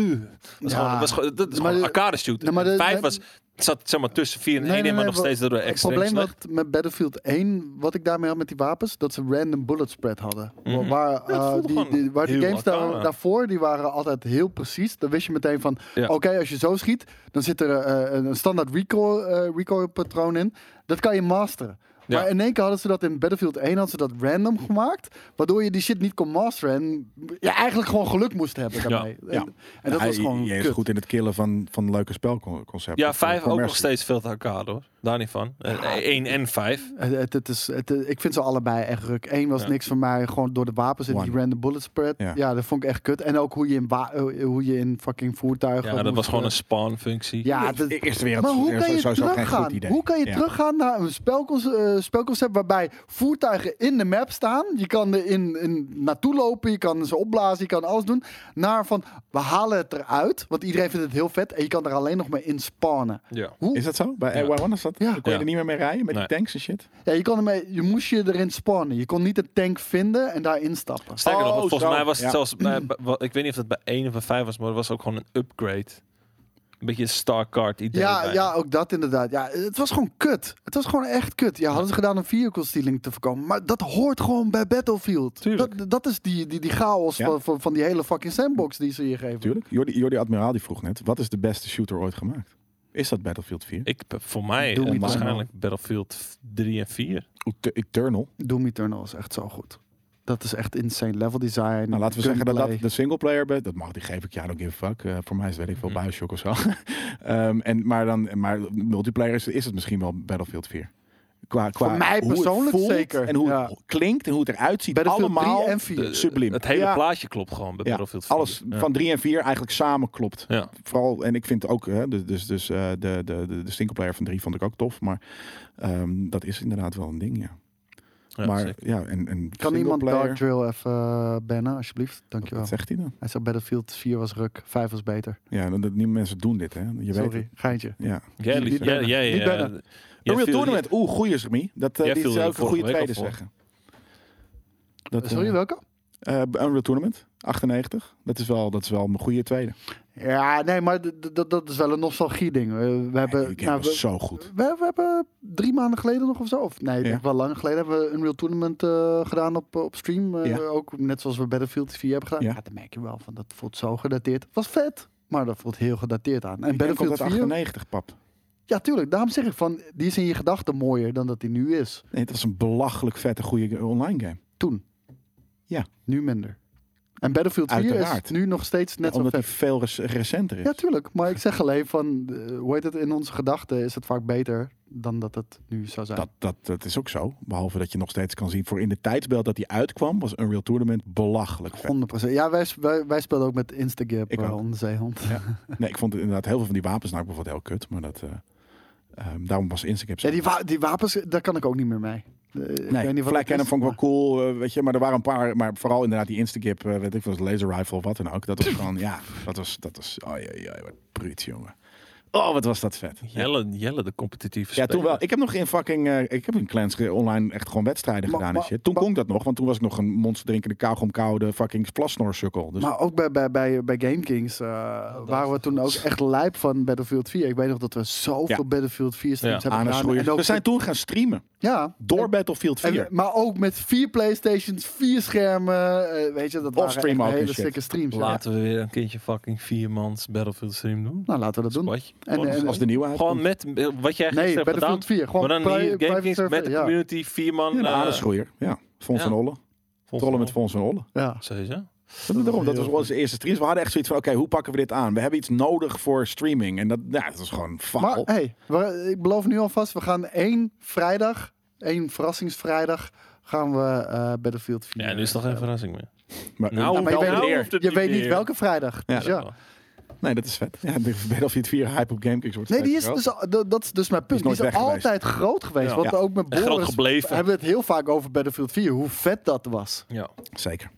[SPEAKER 1] Uh, was
[SPEAKER 2] Ja.
[SPEAKER 1] gewoon, was gewoon, dat is
[SPEAKER 2] Maar
[SPEAKER 1] gewoon
[SPEAKER 2] de-
[SPEAKER 1] arcade shooter.
[SPEAKER 2] Nee, maar
[SPEAKER 1] En
[SPEAKER 2] de-
[SPEAKER 1] vijf
[SPEAKER 2] nee-
[SPEAKER 1] was, zat zeg maar tussen 4 en 1
[SPEAKER 2] Nee, nee,
[SPEAKER 1] in, maar
[SPEAKER 2] nee,
[SPEAKER 1] nog steeds door
[SPEAKER 2] Het
[SPEAKER 1] extreem
[SPEAKER 2] probleem
[SPEAKER 1] slecht.
[SPEAKER 2] wat met Battlefield 1, wat ik daarmee had met die wapens, dat ze random bullet spread hadden. Wa-
[SPEAKER 1] Mhm.
[SPEAKER 2] Waar, eh,
[SPEAKER 1] voelde
[SPEAKER 2] die,
[SPEAKER 1] gewoon
[SPEAKER 2] die, waar die
[SPEAKER 1] heel
[SPEAKER 2] games daar-
[SPEAKER 1] arcane.
[SPEAKER 2] daarvoor, die waren altijd heel precies. Dan wist je meteen van,
[SPEAKER 1] Ja.
[SPEAKER 2] oké, als je zo schiet, dan zit er eh, een, een standaard recoil, eh, recoil patroon in. Dat kan je masteren.
[SPEAKER 1] Ja.
[SPEAKER 2] Maar in één keer hadden ze dat in Battlefield 1 hadden ze dat random gemaakt, waardoor je die shit niet kon masteren en je eigenlijk gewoon geluk moest hebben daarmee. En,
[SPEAKER 3] Ja.
[SPEAKER 2] en dat
[SPEAKER 3] Hij-
[SPEAKER 2] was gewoon
[SPEAKER 3] hij is
[SPEAKER 2] kut.
[SPEAKER 3] goed in het killen van, van leuke spelconcepten.
[SPEAKER 1] Ja, 5 ook nog
[SPEAKER 3] Commercie.
[SPEAKER 1] steeds veel te arcade hoor. Daar niet van. 1 en 5.
[SPEAKER 2] Het, het- het is, het, eh, ik vind ze allebei echt ruk. Eén was
[SPEAKER 1] Ja.
[SPEAKER 2] niks voor mij, gewoon door de wapens en die
[SPEAKER 3] One.
[SPEAKER 2] random bullet spread. Ja.
[SPEAKER 3] Ja.
[SPEAKER 2] dat vond ik echt kut. En ook hoe je in, wa- eh, hoe je in fucking voertuigen...
[SPEAKER 1] Ja, dat
[SPEAKER 2] moest,
[SPEAKER 1] was gewoon
[SPEAKER 2] eh,
[SPEAKER 1] een spawn-functie.
[SPEAKER 2] Ja, dat-
[SPEAKER 3] E- Eerste wereld
[SPEAKER 2] maar hoe
[SPEAKER 3] is
[SPEAKER 2] kan je
[SPEAKER 3] sowieso geen goed
[SPEAKER 2] teruggaan?
[SPEAKER 3] idee.
[SPEAKER 2] Hoe kan je
[SPEAKER 3] Ja.
[SPEAKER 2] teruggaan naar een spelconcept, spelconcept waarbij voertuigen in de map staan? Je kan er in, in naartoe lopen, je kan ze opblazen, je kan alles doen. Naar van, we halen het eruit, want iedereen vindt het heel vet. En je kan er alleen nog maar in spawnen.
[SPEAKER 1] Ja.
[SPEAKER 2] Hoe?
[SPEAKER 3] Is dat zo? Bij
[SPEAKER 1] Ja.
[SPEAKER 3] Air One is dat?
[SPEAKER 2] Ja.
[SPEAKER 3] Dan kon je
[SPEAKER 1] Ja.
[SPEAKER 3] er niet meer mee rijden met
[SPEAKER 1] Nee.
[SPEAKER 3] die tanks en shit?
[SPEAKER 2] Ja, je, kon ermee, je moest je erin spawnen. Je kon niet de tank vinden en daarin stappen.
[SPEAKER 1] Sterker nog,
[SPEAKER 3] Oh,
[SPEAKER 1] want volgens
[SPEAKER 3] zo.
[SPEAKER 1] mij was het
[SPEAKER 3] Ja.
[SPEAKER 1] zelfs... bij-
[SPEAKER 3] (clears throat)
[SPEAKER 1] bij- wel, ik weet niet of het bij 1 of bij 5 was, maar het was ook gewoon een upgrade. Een beetje een StarCard idee.
[SPEAKER 2] Ja,
[SPEAKER 1] bijna.
[SPEAKER 2] ja, ook dat inderdaad. Ja, het was gewoon kut. Het was gewoon echt kut. Ja, hadden ze gedaan om vehicle stealing te voorkomen. Maar dat hoort gewoon bij Battlefield.
[SPEAKER 1] Tuurlijk.
[SPEAKER 2] Dat, dat is die, die, die chaos
[SPEAKER 3] Ja.
[SPEAKER 2] van, van, van die hele fucking sandbox die ze je geven.
[SPEAKER 3] Tuurlijk. Jordi, Jordi Admiraal die vroeg net, wat is de beste shooter ooit gemaakt? Is dat Battlefield 4?
[SPEAKER 1] Ik, voor mij
[SPEAKER 2] Doe
[SPEAKER 1] eh,
[SPEAKER 2] niet
[SPEAKER 1] waarschijnlijk Battlefield 3 en 4.
[SPEAKER 3] Oet- Eternal.
[SPEAKER 2] Doom Eternal is echt zo goed. Dat is echt insane level design.
[SPEAKER 3] Nou, laten we zeggen dat
[SPEAKER 2] gunplay.
[SPEAKER 3] dat de singleplayer... be- Dat mag, die geef ik ja, don't give a fuck. Eh, voor mij is het, weet ik veel,
[SPEAKER 1] Mhm.
[SPEAKER 3] Bioshock of zo. (laughs) Ehm, en, maar, dan, maar multiplayer is, is het misschien wel Battlefield 4. Qua, qua
[SPEAKER 2] Voor mij
[SPEAKER 3] hoe het
[SPEAKER 2] persoonlijk
[SPEAKER 3] voelt
[SPEAKER 2] zeker,
[SPEAKER 3] En hoe
[SPEAKER 2] ja.
[SPEAKER 3] het klinkt en hoe het eruit ziet.
[SPEAKER 2] Battlefield
[SPEAKER 3] allemaal
[SPEAKER 2] 3 en 4.
[SPEAKER 1] De-
[SPEAKER 3] subliem.
[SPEAKER 1] Het hele
[SPEAKER 3] Ja.
[SPEAKER 1] plaatje klopt gewoon bij
[SPEAKER 3] Ja,
[SPEAKER 1] Battlefield 4.
[SPEAKER 3] Alles
[SPEAKER 1] Ja.
[SPEAKER 3] van 3 en 4 eigenlijk samen klopt.
[SPEAKER 1] Ja.
[SPEAKER 3] Vooral, en ik vind ook, hè, dus, dus, dus eh, de, de, de, de singleplayer van 3 vond ik ook tof. Maar ehm, dat is inderdaad wel een ding, ja.
[SPEAKER 1] Ja,
[SPEAKER 3] maar
[SPEAKER 1] zeker.
[SPEAKER 3] ja, en, en
[SPEAKER 2] Kan iemand
[SPEAKER 3] singleplayer-
[SPEAKER 2] Dark Drill even eh, bannen, alsjeblieft? Dankjewel.
[SPEAKER 3] Wat zegt hij dan?
[SPEAKER 2] Hij zei Battlefield 4 was ruk, 5 was beter.
[SPEAKER 3] Ja, dat, dat, niet mensen doen dit, hè. Je weet
[SPEAKER 2] Sorry,
[SPEAKER 3] het.
[SPEAKER 2] geintje.
[SPEAKER 3] Ja.
[SPEAKER 1] Jij,
[SPEAKER 2] niet
[SPEAKER 1] lief- jij,
[SPEAKER 2] bellen.
[SPEAKER 1] jij,
[SPEAKER 2] Niet
[SPEAKER 1] eh,
[SPEAKER 2] bellen.
[SPEAKER 1] jij
[SPEAKER 3] Unreal
[SPEAKER 1] viel-
[SPEAKER 3] Tournament. Oeh, goeie Remy. Dat, eh,
[SPEAKER 1] Jij
[SPEAKER 3] die
[SPEAKER 1] viel
[SPEAKER 3] zou
[SPEAKER 1] er
[SPEAKER 3] ik een goede
[SPEAKER 1] vorige week
[SPEAKER 3] tweede
[SPEAKER 1] al voor.
[SPEAKER 3] zeggen. Dat,
[SPEAKER 2] Sorry,
[SPEAKER 3] eh,
[SPEAKER 2] welke?
[SPEAKER 3] eh, Unreal Tournament, 98. Dat is wel, dat is wel mijn goede tweede.
[SPEAKER 2] Ja, nee, maar d- d- dat- dat is wel een nostalgie-ding. Eh, We
[SPEAKER 3] Die
[SPEAKER 2] hebben,
[SPEAKER 3] game
[SPEAKER 2] nou,
[SPEAKER 3] was
[SPEAKER 2] we,
[SPEAKER 3] zo goed.
[SPEAKER 2] we, we hebben drie maanden geleden nog of zo, of nee,
[SPEAKER 3] Ja.
[SPEAKER 2] echt wel lang geleden, hebben we een real tournament eh, gedaan op, eh, op stream. Eh,
[SPEAKER 3] Ja.
[SPEAKER 2] Ook net zoals we Battlefield 4 hebben gedaan. Ja.
[SPEAKER 3] Ja.
[SPEAKER 2] dan merk je wel van dat voelt zo gedateerd. Was vet, maar dat voelt heel gedateerd aan. En
[SPEAKER 3] Ik denk dat
[SPEAKER 2] Battlefield 4,
[SPEAKER 3] 98, pap.
[SPEAKER 2] ja, tuurlijk. Daarom zeg ik van die is in je gedachten mooier dan dat die nu is.
[SPEAKER 3] Nee, het was een belachelijk vette goede ge- online game.
[SPEAKER 2] Toen.
[SPEAKER 3] Ja.
[SPEAKER 2] Nu minder. En Battlefield 4
[SPEAKER 3] Uiteraard.
[SPEAKER 2] is nu nog steeds net zo
[SPEAKER 3] Omdat
[SPEAKER 2] vet.
[SPEAKER 3] hij veel rec- recenter is.
[SPEAKER 2] Ja, tuurlijk. Maar ik zeg alleen van, eh, hoe heet het, in onze gedachten is het vaak beter dan dat het nu zou zijn.
[SPEAKER 3] dat, dat, dat is ook zo. Behalve dat je nog steeds kan zien voor in de tijdsbeeld dat hij uitkwam, was Unreal Tournament belachelijk vet.
[SPEAKER 2] 100%. Ja, wij, wij, wij speelden ook met Instagap
[SPEAKER 3] Ik
[SPEAKER 2] eh,
[SPEAKER 3] ook.
[SPEAKER 2] onder zeehond.
[SPEAKER 3] Nee, ik vond inderdaad heel veel van die wapens nou bijvoorbeeld heel kut. Maar dat, eh, ehm, daarom was Instacap zo.
[SPEAKER 2] Ja, die, wa- die wapens, daar kan ik ook niet meer mee. Eh, ik weet niet wat
[SPEAKER 3] Nee, Flag
[SPEAKER 2] het is,
[SPEAKER 3] Cannon vond ik
[SPEAKER 2] maar-
[SPEAKER 3] wel cool, eh, weet je. Maar er waren een paar, maar vooral inderdaad die Instagip, eh, weet ik veel, laser rifle of wat dan ook. Dat was gewoon, ja, dat was, dat was, oh ja, ja, wat bruut, jongen. Oh, wat was dat vet. Ja.
[SPEAKER 1] Jelle, Jelle, de competitieve
[SPEAKER 3] Ja, toen
[SPEAKER 1] speler.
[SPEAKER 3] wel. Ik heb nog in fucking. eh, ik heb in Clans ge- online echt gewoon wedstrijden
[SPEAKER 2] Maar-
[SPEAKER 3] gedaan
[SPEAKER 2] maar-
[SPEAKER 3] en shit. Toen
[SPEAKER 2] maar-
[SPEAKER 3] kon ik dat nog, want toen was ik nog een monster drinkende kauwgom koude fucking plasnorsukkel. Dus
[SPEAKER 2] Maar ook bij, bij, bij, bij Game Kings eh, waren we toen ook echt lijp van Battlefield 4. Ik weet nog dat we zoveel
[SPEAKER 3] Ja.
[SPEAKER 2] Battlefield 4 streams
[SPEAKER 1] Ja,
[SPEAKER 2] hebben
[SPEAKER 3] aan
[SPEAKER 2] gedaan. En ook,
[SPEAKER 3] We zijn toen gaan streamen
[SPEAKER 2] ja,
[SPEAKER 3] door
[SPEAKER 2] En-
[SPEAKER 3] Battlefield 4.
[SPEAKER 2] en- maar ook met vier Playstations, vier schermen. eh, weet je, dat waren
[SPEAKER 3] Offstream
[SPEAKER 2] echt
[SPEAKER 3] ook en
[SPEAKER 2] hele
[SPEAKER 3] shit.
[SPEAKER 2] stikke streams. ja.
[SPEAKER 1] Laten we weer een kindje fucking viermans Battlefield stream doen.
[SPEAKER 2] Nou, laten we dat doen.
[SPEAKER 1] Squadje.
[SPEAKER 2] En,
[SPEAKER 1] Gewoon-
[SPEAKER 2] en-
[SPEAKER 3] als de nieuwe uitkomt.
[SPEAKER 1] Gewoon met eh, wat jij gisteren
[SPEAKER 2] Nee,
[SPEAKER 1] hebt gedaan.
[SPEAKER 2] Battlefield 4. Gewoon
[SPEAKER 1] Maar dan
[SPEAKER 2] pri-
[SPEAKER 1] hier
[SPEAKER 2] private
[SPEAKER 1] Game Kings
[SPEAKER 2] server,
[SPEAKER 1] met de
[SPEAKER 2] ja.
[SPEAKER 1] community, vier man.
[SPEAKER 3] Ja, een
[SPEAKER 1] eh,
[SPEAKER 3] aardeschoeier. Ja, Fons
[SPEAKER 1] ja.
[SPEAKER 3] van Olle.
[SPEAKER 1] volgens
[SPEAKER 3] Trollen met
[SPEAKER 1] mij.
[SPEAKER 3] Fons van Olle.
[SPEAKER 2] Ja.
[SPEAKER 1] Sowieso.
[SPEAKER 3] Dat, daarom, dat was onze eerste streams. We hadden echt zoiets van, oké, hoe pakken we dit aan? We hebben iets nodig voor streaming. En dat, ja, dat was gewoon
[SPEAKER 2] Maar
[SPEAKER 3] faal.
[SPEAKER 2] hey, we- ik beloof nu alvast, we gaan één vrijdag, één verrassingsvrijdag, gaan we eh Battlefield 4.
[SPEAKER 1] Ja, nu is toch geen verrassing meer.
[SPEAKER 3] Maar,
[SPEAKER 1] Nou,
[SPEAKER 2] maar je
[SPEAKER 1] Nou
[SPEAKER 2] weet,
[SPEAKER 1] hoeft
[SPEAKER 2] niet-
[SPEAKER 1] het
[SPEAKER 2] je
[SPEAKER 1] niet
[SPEAKER 2] weet niet
[SPEAKER 1] meer.
[SPEAKER 2] welke vrijdag.
[SPEAKER 3] Ja,
[SPEAKER 2] dus ja.
[SPEAKER 3] nee, dat is vet. Ja, de Battlefield 4 hype op GameKings wordt
[SPEAKER 2] Nee, die is
[SPEAKER 3] steeds
[SPEAKER 2] dus, al- dat dat is dus mijn punt. Die
[SPEAKER 3] nooit
[SPEAKER 2] is,
[SPEAKER 3] weg geweest.
[SPEAKER 2] altijd groot geweest.
[SPEAKER 1] Ja.
[SPEAKER 2] Want
[SPEAKER 3] Ja.
[SPEAKER 2] ook met
[SPEAKER 1] En
[SPEAKER 2] Boris
[SPEAKER 1] groot gebleven.
[SPEAKER 2] hebben we het heel vaak over Battlefield 4. Hoe vet dat was.
[SPEAKER 1] Ja.
[SPEAKER 3] groter. Zeker.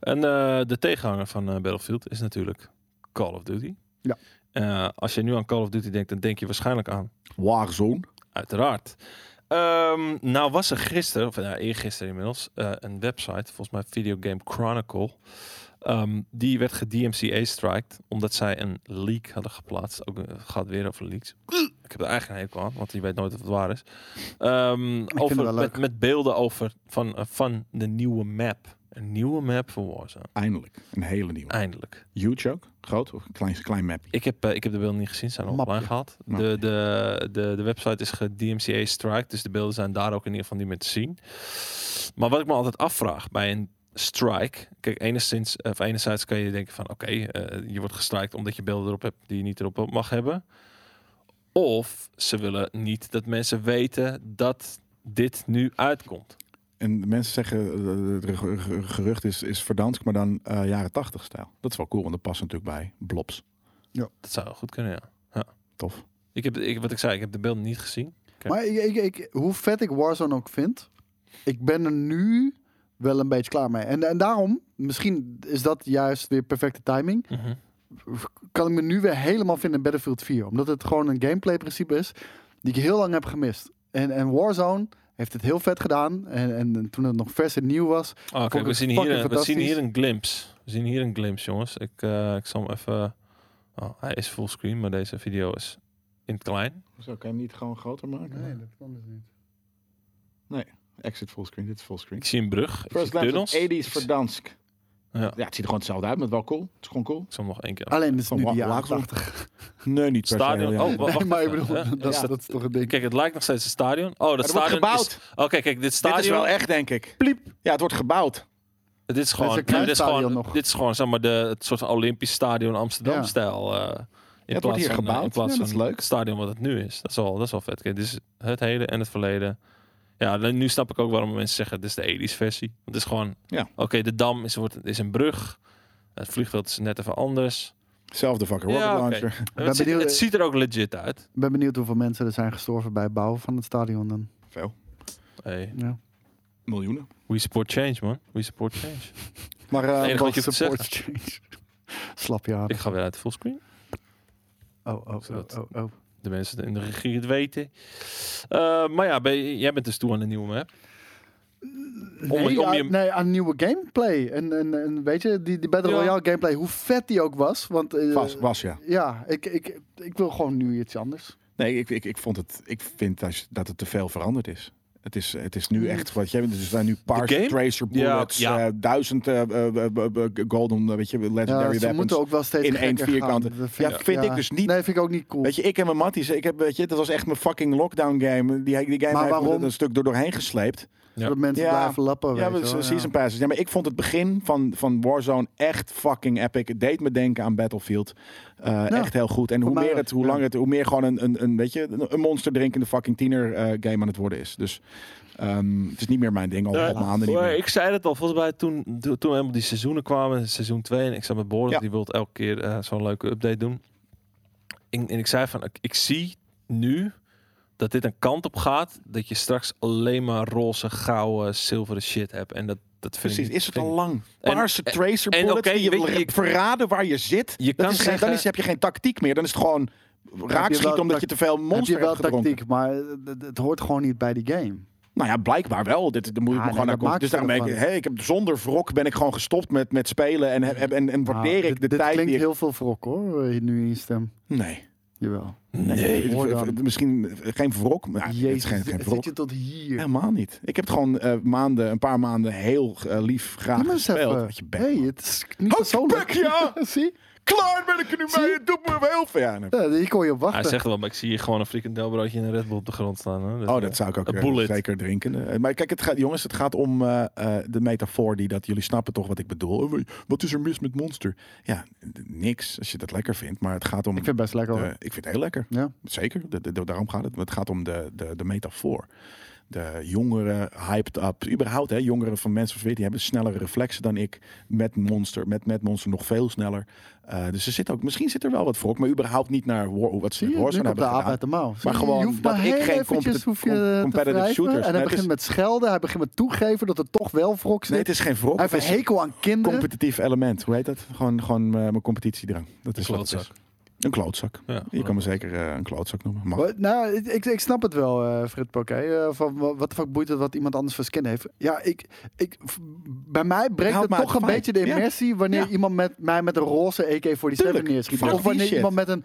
[SPEAKER 1] En eh, de tegenhanger van eh, Battlefield is natuurlijk Call of Duty.
[SPEAKER 2] Ja.
[SPEAKER 1] eh, als je nu aan Call of Duty denkt, dan denk je waarschijnlijk aan.
[SPEAKER 3] Warzone.
[SPEAKER 1] Uiteraard. Ehm, nou was er gisteren, of ja, eergisteren inmiddels, eh, een website, volgens mij Video Game Chronicle. ehm, die werd gedMCA-striked, omdat zij een leak hadden geplaatst. Ook eh, het gaat weer over leaks. Ik heb er eigenlijk een hekel aan, want je weet nooit of het waar is. Ehm,
[SPEAKER 2] het
[SPEAKER 1] over,
[SPEAKER 2] wel
[SPEAKER 1] met,
[SPEAKER 2] leuk.
[SPEAKER 1] met beelden over van, eh, van de nieuwe map. Een nieuwe map voor Warzone.
[SPEAKER 3] Eindelijk. Een hele nieuwe.
[SPEAKER 1] Eindelijk.
[SPEAKER 3] Huge ook. Groot of een klein, klein map?
[SPEAKER 1] Ik heb, eh, ik heb de beelden niet gezien, ze zijn al
[SPEAKER 2] Mapje.
[SPEAKER 1] online gehad. De,
[SPEAKER 3] Mapje.
[SPEAKER 1] de, de, de website is gedMCA strike, dus de beelden zijn daar ook in ieder geval niet meer te zien. Maar wat ik me altijd afvraag bij een strike, kijk, enigszins, eh, of enerzijds kan je denken van oké, eh, je wordt gestrikt omdat je beelden erop hebt die je niet erop mag hebben. Of ze willen niet dat mensen weten dat dit nu uitkomt.
[SPEAKER 3] En de mensen zeggen, eh, het ge- ge- gerucht is, is verdansk, maar dan eh, jaren tachtig stijl. Dat is wel cool, want dat past natuurlijk bij blobs.
[SPEAKER 1] Dat zou wel goed kunnen, ja.
[SPEAKER 3] Tof.
[SPEAKER 1] Ik heb, ik, wat ik zei, ik heb de beelden niet gezien.
[SPEAKER 2] Maar ik, ik, ik- hoe vet ik Warzone ook vind, ik ben er nu wel een beetje klaar mee. En, en daarom, misschien is dat juist weer perfecte timing,
[SPEAKER 1] Mhm.
[SPEAKER 2] kan ik me nu weer helemaal vinden in Battlefield 4. Omdat het gewoon een gameplay principe is die ik heel lang heb gemist. En, en Warzone heeft het heel vet gedaan. En, en toen het nog vers en nieuw was,
[SPEAKER 1] Ah,
[SPEAKER 2] Vond
[SPEAKER 1] kijk,
[SPEAKER 2] ik
[SPEAKER 1] we
[SPEAKER 2] het
[SPEAKER 1] zien, hier,
[SPEAKER 2] fucking
[SPEAKER 1] een- we zien
[SPEAKER 2] fantastisch.
[SPEAKER 1] hier een glimpse. We zien hier een glimpse, jongens. Ik, eh, ik zal hem even... Oh, hij is fullscreen, maar deze video is in het klein.
[SPEAKER 3] Zo, kan je hem niet gewoon groter maken?
[SPEAKER 2] Nee, dat kan dus niet.
[SPEAKER 3] Exit fullscreen, dit is fullscreen.
[SPEAKER 1] Ik zie een brug. Ik zie
[SPEAKER 3] First glance
[SPEAKER 1] tunnels.
[SPEAKER 3] of 80s verdansk.
[SPEAKER 1] Ja.
[SPEAKER 3] Ja. het ziet er gewoon hetzelfde uit, maar wel cool. Het is gewoon cool.
[SPEAKER 1] Ik zal hem nog één keer...
[SPEAKER 2] Alleen het is
[SPEAKER 3] Van
[SPEAKER 2] nu
[SPEAKER 3] wa-
[SPEAKER 2] de jaren
[SPEAKER 3] Warzone.
[SPEAKER 2] 80.
[SPEAKER 3] Nee, niet per se,
[SPEAKER 1] Stadion.
[SPEAKER 3] heel
[SPEAKER 1] Oh,
[SPEAKER 3] jammer.
[SPEAKER 1] wa- wacht
[SPEAKER 2] Nee, (laughs) maar ik
[SPEAKER 1] even,
[SPEAKER 2] bedoel,
[SPEAKER 1] hè?
[SPEAKER 2] dat,
[SPEAKER 3] Ja.
[SPEAKER 2] dat is toch een ding.
[SPEAKER 1] Kijk, het lijkt nog steeds een stadion. Oh, dat
[SPEAKER 3] Er wordt
[SPEAKER 1] stadion
[SPEAKER 3] gebouwd.
[SPEAKER 1] is... Oké, kijk, dit
[SPEAKER 3] Dit
[SPEAKER 1] stadion...
[SPEAKER 3] is wel echt, denk ik. Ja, het wordt gebouwd.
[SPEAKER 1] Dit is gewoon...
[SPEAKER 2] een
[SPEAKER 1] nee,
[SPEAKER 2] klein
[SPEAKER 1] dit, is
[SPEAKER 2] stadion
[SPEAKER 1] gewoon
[SPEAKER 2] nog.
[SPEAKER 1] dit is gewoon, zeg maar, de, het soort van Olympisch stadion Amsterdam-stijl. eh, in
[SPEAKER 3] het wordt
[SPEAKER 1] van,
[SPEAKER 3] hier
[SPEAKER 1] eh,
[SPEAKER 3] gebouwd.
[SPEAKER 1] In plaats
[SPEAKER 3] Ja, dat is
[SPEAKER 1] van
[SPEAKER 3] leuk.
[SPEAKER 1] het stadion wat het nu is. Dat is wel, dat is wel vet. Kijk, dit is het heden en het verleden. Ja, dan- nu snap ik ook waarom mensen zeggen, dit is de 80s versie. Want het is gewoon,
[SPEAKER 3] Ja.
[SPEAKER 1] oké, de Dam is, wordt, is een brug. Het vliegveld is net even anders.
[SPEAKER 3] Zelfde fucker, rocket
[SPEAKER 1] Ja, oké.
[SPEAKER 3] launcher.
[SPEAKER 1] En Het, ziet,
[SPEAKER 2] benieuwd-
[SPEAKER 1] het ziet er ook legit uit.
[SPEAKER 2] Ik ben benieuwd hoeveel mensen er zijn gestorven bij het bouwen van het stadion dan.
[SPEAKER 3] Veel.
[SPEAKER 1] Hey,
[SPEAKER 2] Ja.
[SPEAKER 3] Miljoenen.
[SPEAKER 1] we support change, man. We support change.
[SPEAKER 3] Maar
[SPEAKER 1] Het
[SPEAKER 3] eh
[SPEAKER 1] enige wat je hoeft te
[SPEAKER 2] Support change. (laughs)
[SPEAKER 1] (laughs)
[SPEAKER 2] Slap je aan.
[SPEAKER 1] Ik ga weer uit fullscreen.
[SPEAKER 2] Oh, oh, oh,
[SPEAKER 1] Zodat-
[SPEAKER 2] oh, oh.
[SPEAKER 1] de mensen in de regie het weten. Eh, maar ja, ben je- jij bent dus toe aan een nieuwe map. Om-
[SPEAKER 2] nee,
[SPEAKER 1] om
[SPEAKER 2] aan-
[SPEAKER 1] je-
[SPEAKER 2] nee, aan nieuwe gameplay. En, en, en weet je, die, die Battle
[SPEAKER 1] Ja.
[SPEAKER 2] Royale gameplay, hoe vet die ook was. Want eh,
[SPEAKER 3] was, was, ja.
[SPEAKER 2] ja, ik, ik, ik wil gewoon nu iets anders.
[SPEAKER 3] Nee, ik, ik, ik, vond het, ik vind dat, je- dat het te veel veranderd is. Het is, het is nu echt wat jij Dus er zijn nu
[SPEAKER 1] Hmm. game?
[SPEAKER 3] parse tracer
[SPEAKER 1] Ja,
[SPEAKER 3] bullets,
[SPEAKER 1] ja.
[SPEAKER 3] eh, duizend eh, eh, eh, eh, golden, eh, weet je,
[SPEAKER 2] Ja,
[SPEAKER 3] legendary
[SPEAKER 2] ze
[SPEAKER 3] weapons.
[SPEAKER 2] moeten ook wel steeds
[SPEAKER 3] in één
[SPEAKER 2] gekker
[SPEAKER 3] vierkante.
[SPEAKER 2] gaan. Dat
[SPEAKER 3] Ja, vind ik dus niet.
[SPEAKER 2] Nee, vind ik ook niet cool.
[SPEAKER 3] Weet je, ik en mijn matties, ik heb, weet je, dat was echt mijn fucking lockdown game. Die, die game
[SPEAKER 2] Maar
[SPEAKER 3] heeft me
[SPEAKER 2] waarom?
[SPEAKER 3] een stuk door doorheen gesleept.
[SPEAKER 1] Ja.
[SPEAKER 2] Dat mensen
[SPEAKER 3] Ja.
[SPEAKER 2] blijven lappen.
[SPEAKER 3] Ja,
[SPEAKER 2] weet
[SPEAKER 3] maar
[SPEAKER 2] je wel,
[SPEAKER 3] season passes. Ja, maar ik vond het begin van, van Warzone echt fucking epic. Het deed me denken aan Battlefield. Eh, Echt heel goed. En hoe
[SPEAKER 2] mij
[SPEAKER 3] meer
[SPEAKER 2] ook,
[SPEAKER 3] het, hoe
[SPEAKER 2] ja.
[SPEAKER 3] langer het, hoe meer gewoon een, een, een, weet je, een- een monster drinkende fucking tiener eh, game aan het worden is. Dus ehm, het is niet meer mijn ding. Al, al maanden niet
[SPEAKER 1] Eh,
[SPEAKER 3] meer.
[SPEAKER 1] ik zei het al, volgens mij toen, toen, toen helemaal die seizoenen kwamen, seizoen 2, en ik zat met Boris,
[SPEAKER 3] Ja.
[SPEAKER 1] die wil elke keer eh, zo'n leuke update doen. En, en ik zei van, ik, ik zie nu dat dit een kant op gaat, dat je straks alleen maar roze, gouden, zilveren shit hebt. En dat, dat vind
[SPEAKER 3] Precies,
[SPEAKER 1] ik...
[SPEAKER 3] is het
[SPEAKER 1] vind
[SPEAKER 3] al
[SPEAKER 1] ik-
[SPEAKER 3] lang?
[SPEAKER 1] En-
[SPEAKER 3] Paarse
[SPEAKER 1] en-
[SPEAKER 3] tracer
[SPEAKER 1] en
[SPEAKER 3] bullets
[SPEAKER 1] oké,
[SPEAKER 3] die je,
[SPEAKER 1] weet je,
[SPEAKER 3] wil
[SPEAKER 1] je-
[SPEAKER 3] verraden waar je zit.
[SPEAKER 1] Je
[SPEAKER 3] Dat
[SPEAKER 1] kan
[SPEAKER 3] is geen-
[SPEAKER 1] zeggen-
[SPEAKER 3] dan is, heb je geen tactiek meer. Dan is het gewoon
[SPEAKER 2] wel
[SPEAKER 3] raakschieten omdat je
[SPEAKER 2] tact-
[SPEAKER 3] te veel
[SPEAKER 2] ja. Heb je
[SPEAKER 3] monster
[SPEAKER 2] wel
[SPEAKER 3] hebt gedronken.
[SPEAKER 2] tactiek, maar het, het hoort gewoon niet bij die game.
[SPEAKER 3] Nou ja, blijkbaar wel. Dit, daar moet ik
[SPEAKER 2] Ah,
[SPEAKER 3] me
[SPEAKER 2] nee,
[SPEAKER 3] gewoon
[SPEAKER 2] dat
[SPEAKER 3] naar komen.
[SPEAKER 2] maakt
[SPEAKER 3] Dus daarom ben ik,
[SPEAKER 2] het
[SPEAKER 3] hey, ik heb, zonder wrok ben ik gewoon gestopt met, met spelen. En, heb- heb- en, en waardeer
[SPEAKER 2] Ah,
[SPEAKER 3] ik
[SPEAKER 2] dit,
[SPEAKER 3] de
[SPEAKER 2] dit
[SPEAKER 3] tijd
[SPEAKER 2] klinkt
[SPEAKER 3] die ik-
[SPEAKER 2] heel veel wrok hoor, eh, nu in je stem.
[SPEAKER 3] Nee.
[SPEAKER 2] Jawel.
[SPEAKER 3] nee.
[SPEAKER 2] hoor
[SPEAKER 3] V- v-
[SPEAKER 2] dan.
[SPEAKER 3] Misschien geen wrok. Maar het is geen, geen
[SPEAKER 2] het zit
[SPEAKER 3] wrok.
[SPEAKER 2] je tot hier.
[SPEAKER 3] Helemaal niet. Ik heb het gewoon eh, maanden, een paar maanden heel eh, lief graag
[SPEAKER 2] Doe maar eens
[SPEAKER 3] gespeeld.
[SPEAKER 2] even.
[SPEAKER 3] Wat je bek,
[SPEAKER 2] hey,
[SPEAKER 3] man.
[SPEAKER 2] het is niet
[SPEAKER 3] Houd je
[SPEAKER 2] persoonlijk.
[SPEAKER 3] bek, ja!
[SPEAKER 2] (laughs) Zie?
[SPEAKER 3] Klaar ben ik er nu mee. Het doet me wel veel. Ja, nee.
[SPEAKER 2] Ja, hier kon je op
[SPEAKER 1] Hij
[SPEAKER 2] wachten.
[SPEAKER 1] zegt wel, maar ik zie hier gewoon een frikandelbroodje en een Red Bull op de grond staan. Hè? Dus,
[SPEAKER 3] Oh,
[SPEAKER 1] eh,
[SPEAKER 3] dat zou ik ook
[SPEAKER 1] een
[SPEAKER 3] eh,
[SPEAKER 1] bullet.
[SPEAKER 3] zeker drinken. Eh, Maar kijk, het gaat, jongens, het gaat om eh, eh, de metafoor die dat jullie snappen toch wat ik bedoel. Oh, Wat is er mis met Monster? Ja, d- niks als je dat lekker vindt. Maar het gaat om.
[SPEAKER 2] Ik vind het best lekker hoor.
[SPEAKER 3] de- ik vind het heel lekker.
[SPEAKER 2] Ja.
[SPEAKER 3] Zeker. De- de- de- daarom gaat het. Het gaat om de, de, de metafoor. De jongeren hyped up. Überhaupt, hè, jongeren van mensen van 14 die hebben snellere reflexen dan ik. Met Monster, met, met Monster nog veel sneller. Eh, dus er zit ook, misschien zit er wel wat wrok, maar überhaupt niet naar war, wat ze
[SPEAKER 2] Zie
[SPEAKER 3] met
[SPEAKER 2] je, nu
[SPEAKER 3] Warzone
[SPEAKER 2] komt de
[SPEAKER 3] hebben
[SPEAKER 2] aap
[SPEAKER 3] gedaan.
[SPEAKER 2] uit de mouw. Zie
[SPEAKER 3] Maar
[SPEAKER 2] je,
[SPEAKER 3] gewoon
[SPEAKER 2] je hoeft
[SPEAKER 3] dat
[SPEAKER 2] maar
[SPEAKER 3] ik
[SPEAKER 2] heel
[SPEAKER 3] geen
[SPEAKER 2] eventjes
[SPEAKER 3] competi-
[SPEAKER 2] hoef je
[SPEAKER 3] com-
[SPEAKER 2] te
[SPEAKER 3] competitive
[SPEAKER 2] wrijven.
[SPEAKER 3] shooters.
[SPEAKER 2] En
[SPEAKER 3] Nee,
[SPEAKER 2] hij
[SPEAKER 3] het
[SPEAKER 2] begint met
[SPEAKER 3] is-
[SPEAKER 2] schelden, hij begint met toegeven dat er toch wel wrok zit.
[SPEAKER 3] Nee, het is geen
[SPEAKER 2] hij
[SPEAKER 3] wrok.
[SPEAKER 2] heeft
[SPEAKER 3] het is-
[SPEAKER 2] een hekel aan kinderen.
[SPEAKER 3] competitief element. Hoe heet dat? Gewoon, gewoon eh, mijn competitiedrang. Dat is wat het
[SPEAKER 1] Klootzak.
[SPEAKER 3] is. Een klootzak.
[SPEAKER 1] Ja,
[SPEAKER 3] Je kan me zeker eh, een klootzak noemen. Mag.
[SPEAKER 2] Wat? Nou, ik, ik, ik snap het wel, eh, Frit Poké. Eh, van wa- wat de fuck boeit het wat iemand anders voor skin heeft? Ja, ik, ik, f- bij mij breekt
[SPEAKER 3] Haalt
[SPEAKER 2] het
[SPEAKER 3] maar
[SPEAKER 2] toch
[SPEAKER 3] het
[SPEAKER 2] een
[SPEAKER 3] feit.
[SPEAKER 2] beetje de
[SPEAKER 3] Ja.
[SPEAKER 2] immersie wanneer
[SPEAKER 3] Ja.
[SPEAKER 2] iemand met mij met een roze E AK-47
[SPEAKER 3] Tuurlijk.
[SPEAKER 2] neerschiet.
[SPEAKER 3] Fuck
[SPEAKER 2] Of
[SPEAKER 3] die
[SPEAKER 2] wanneer
[SPEAKER 3] shit.
[SPEAKER 2] iemand met een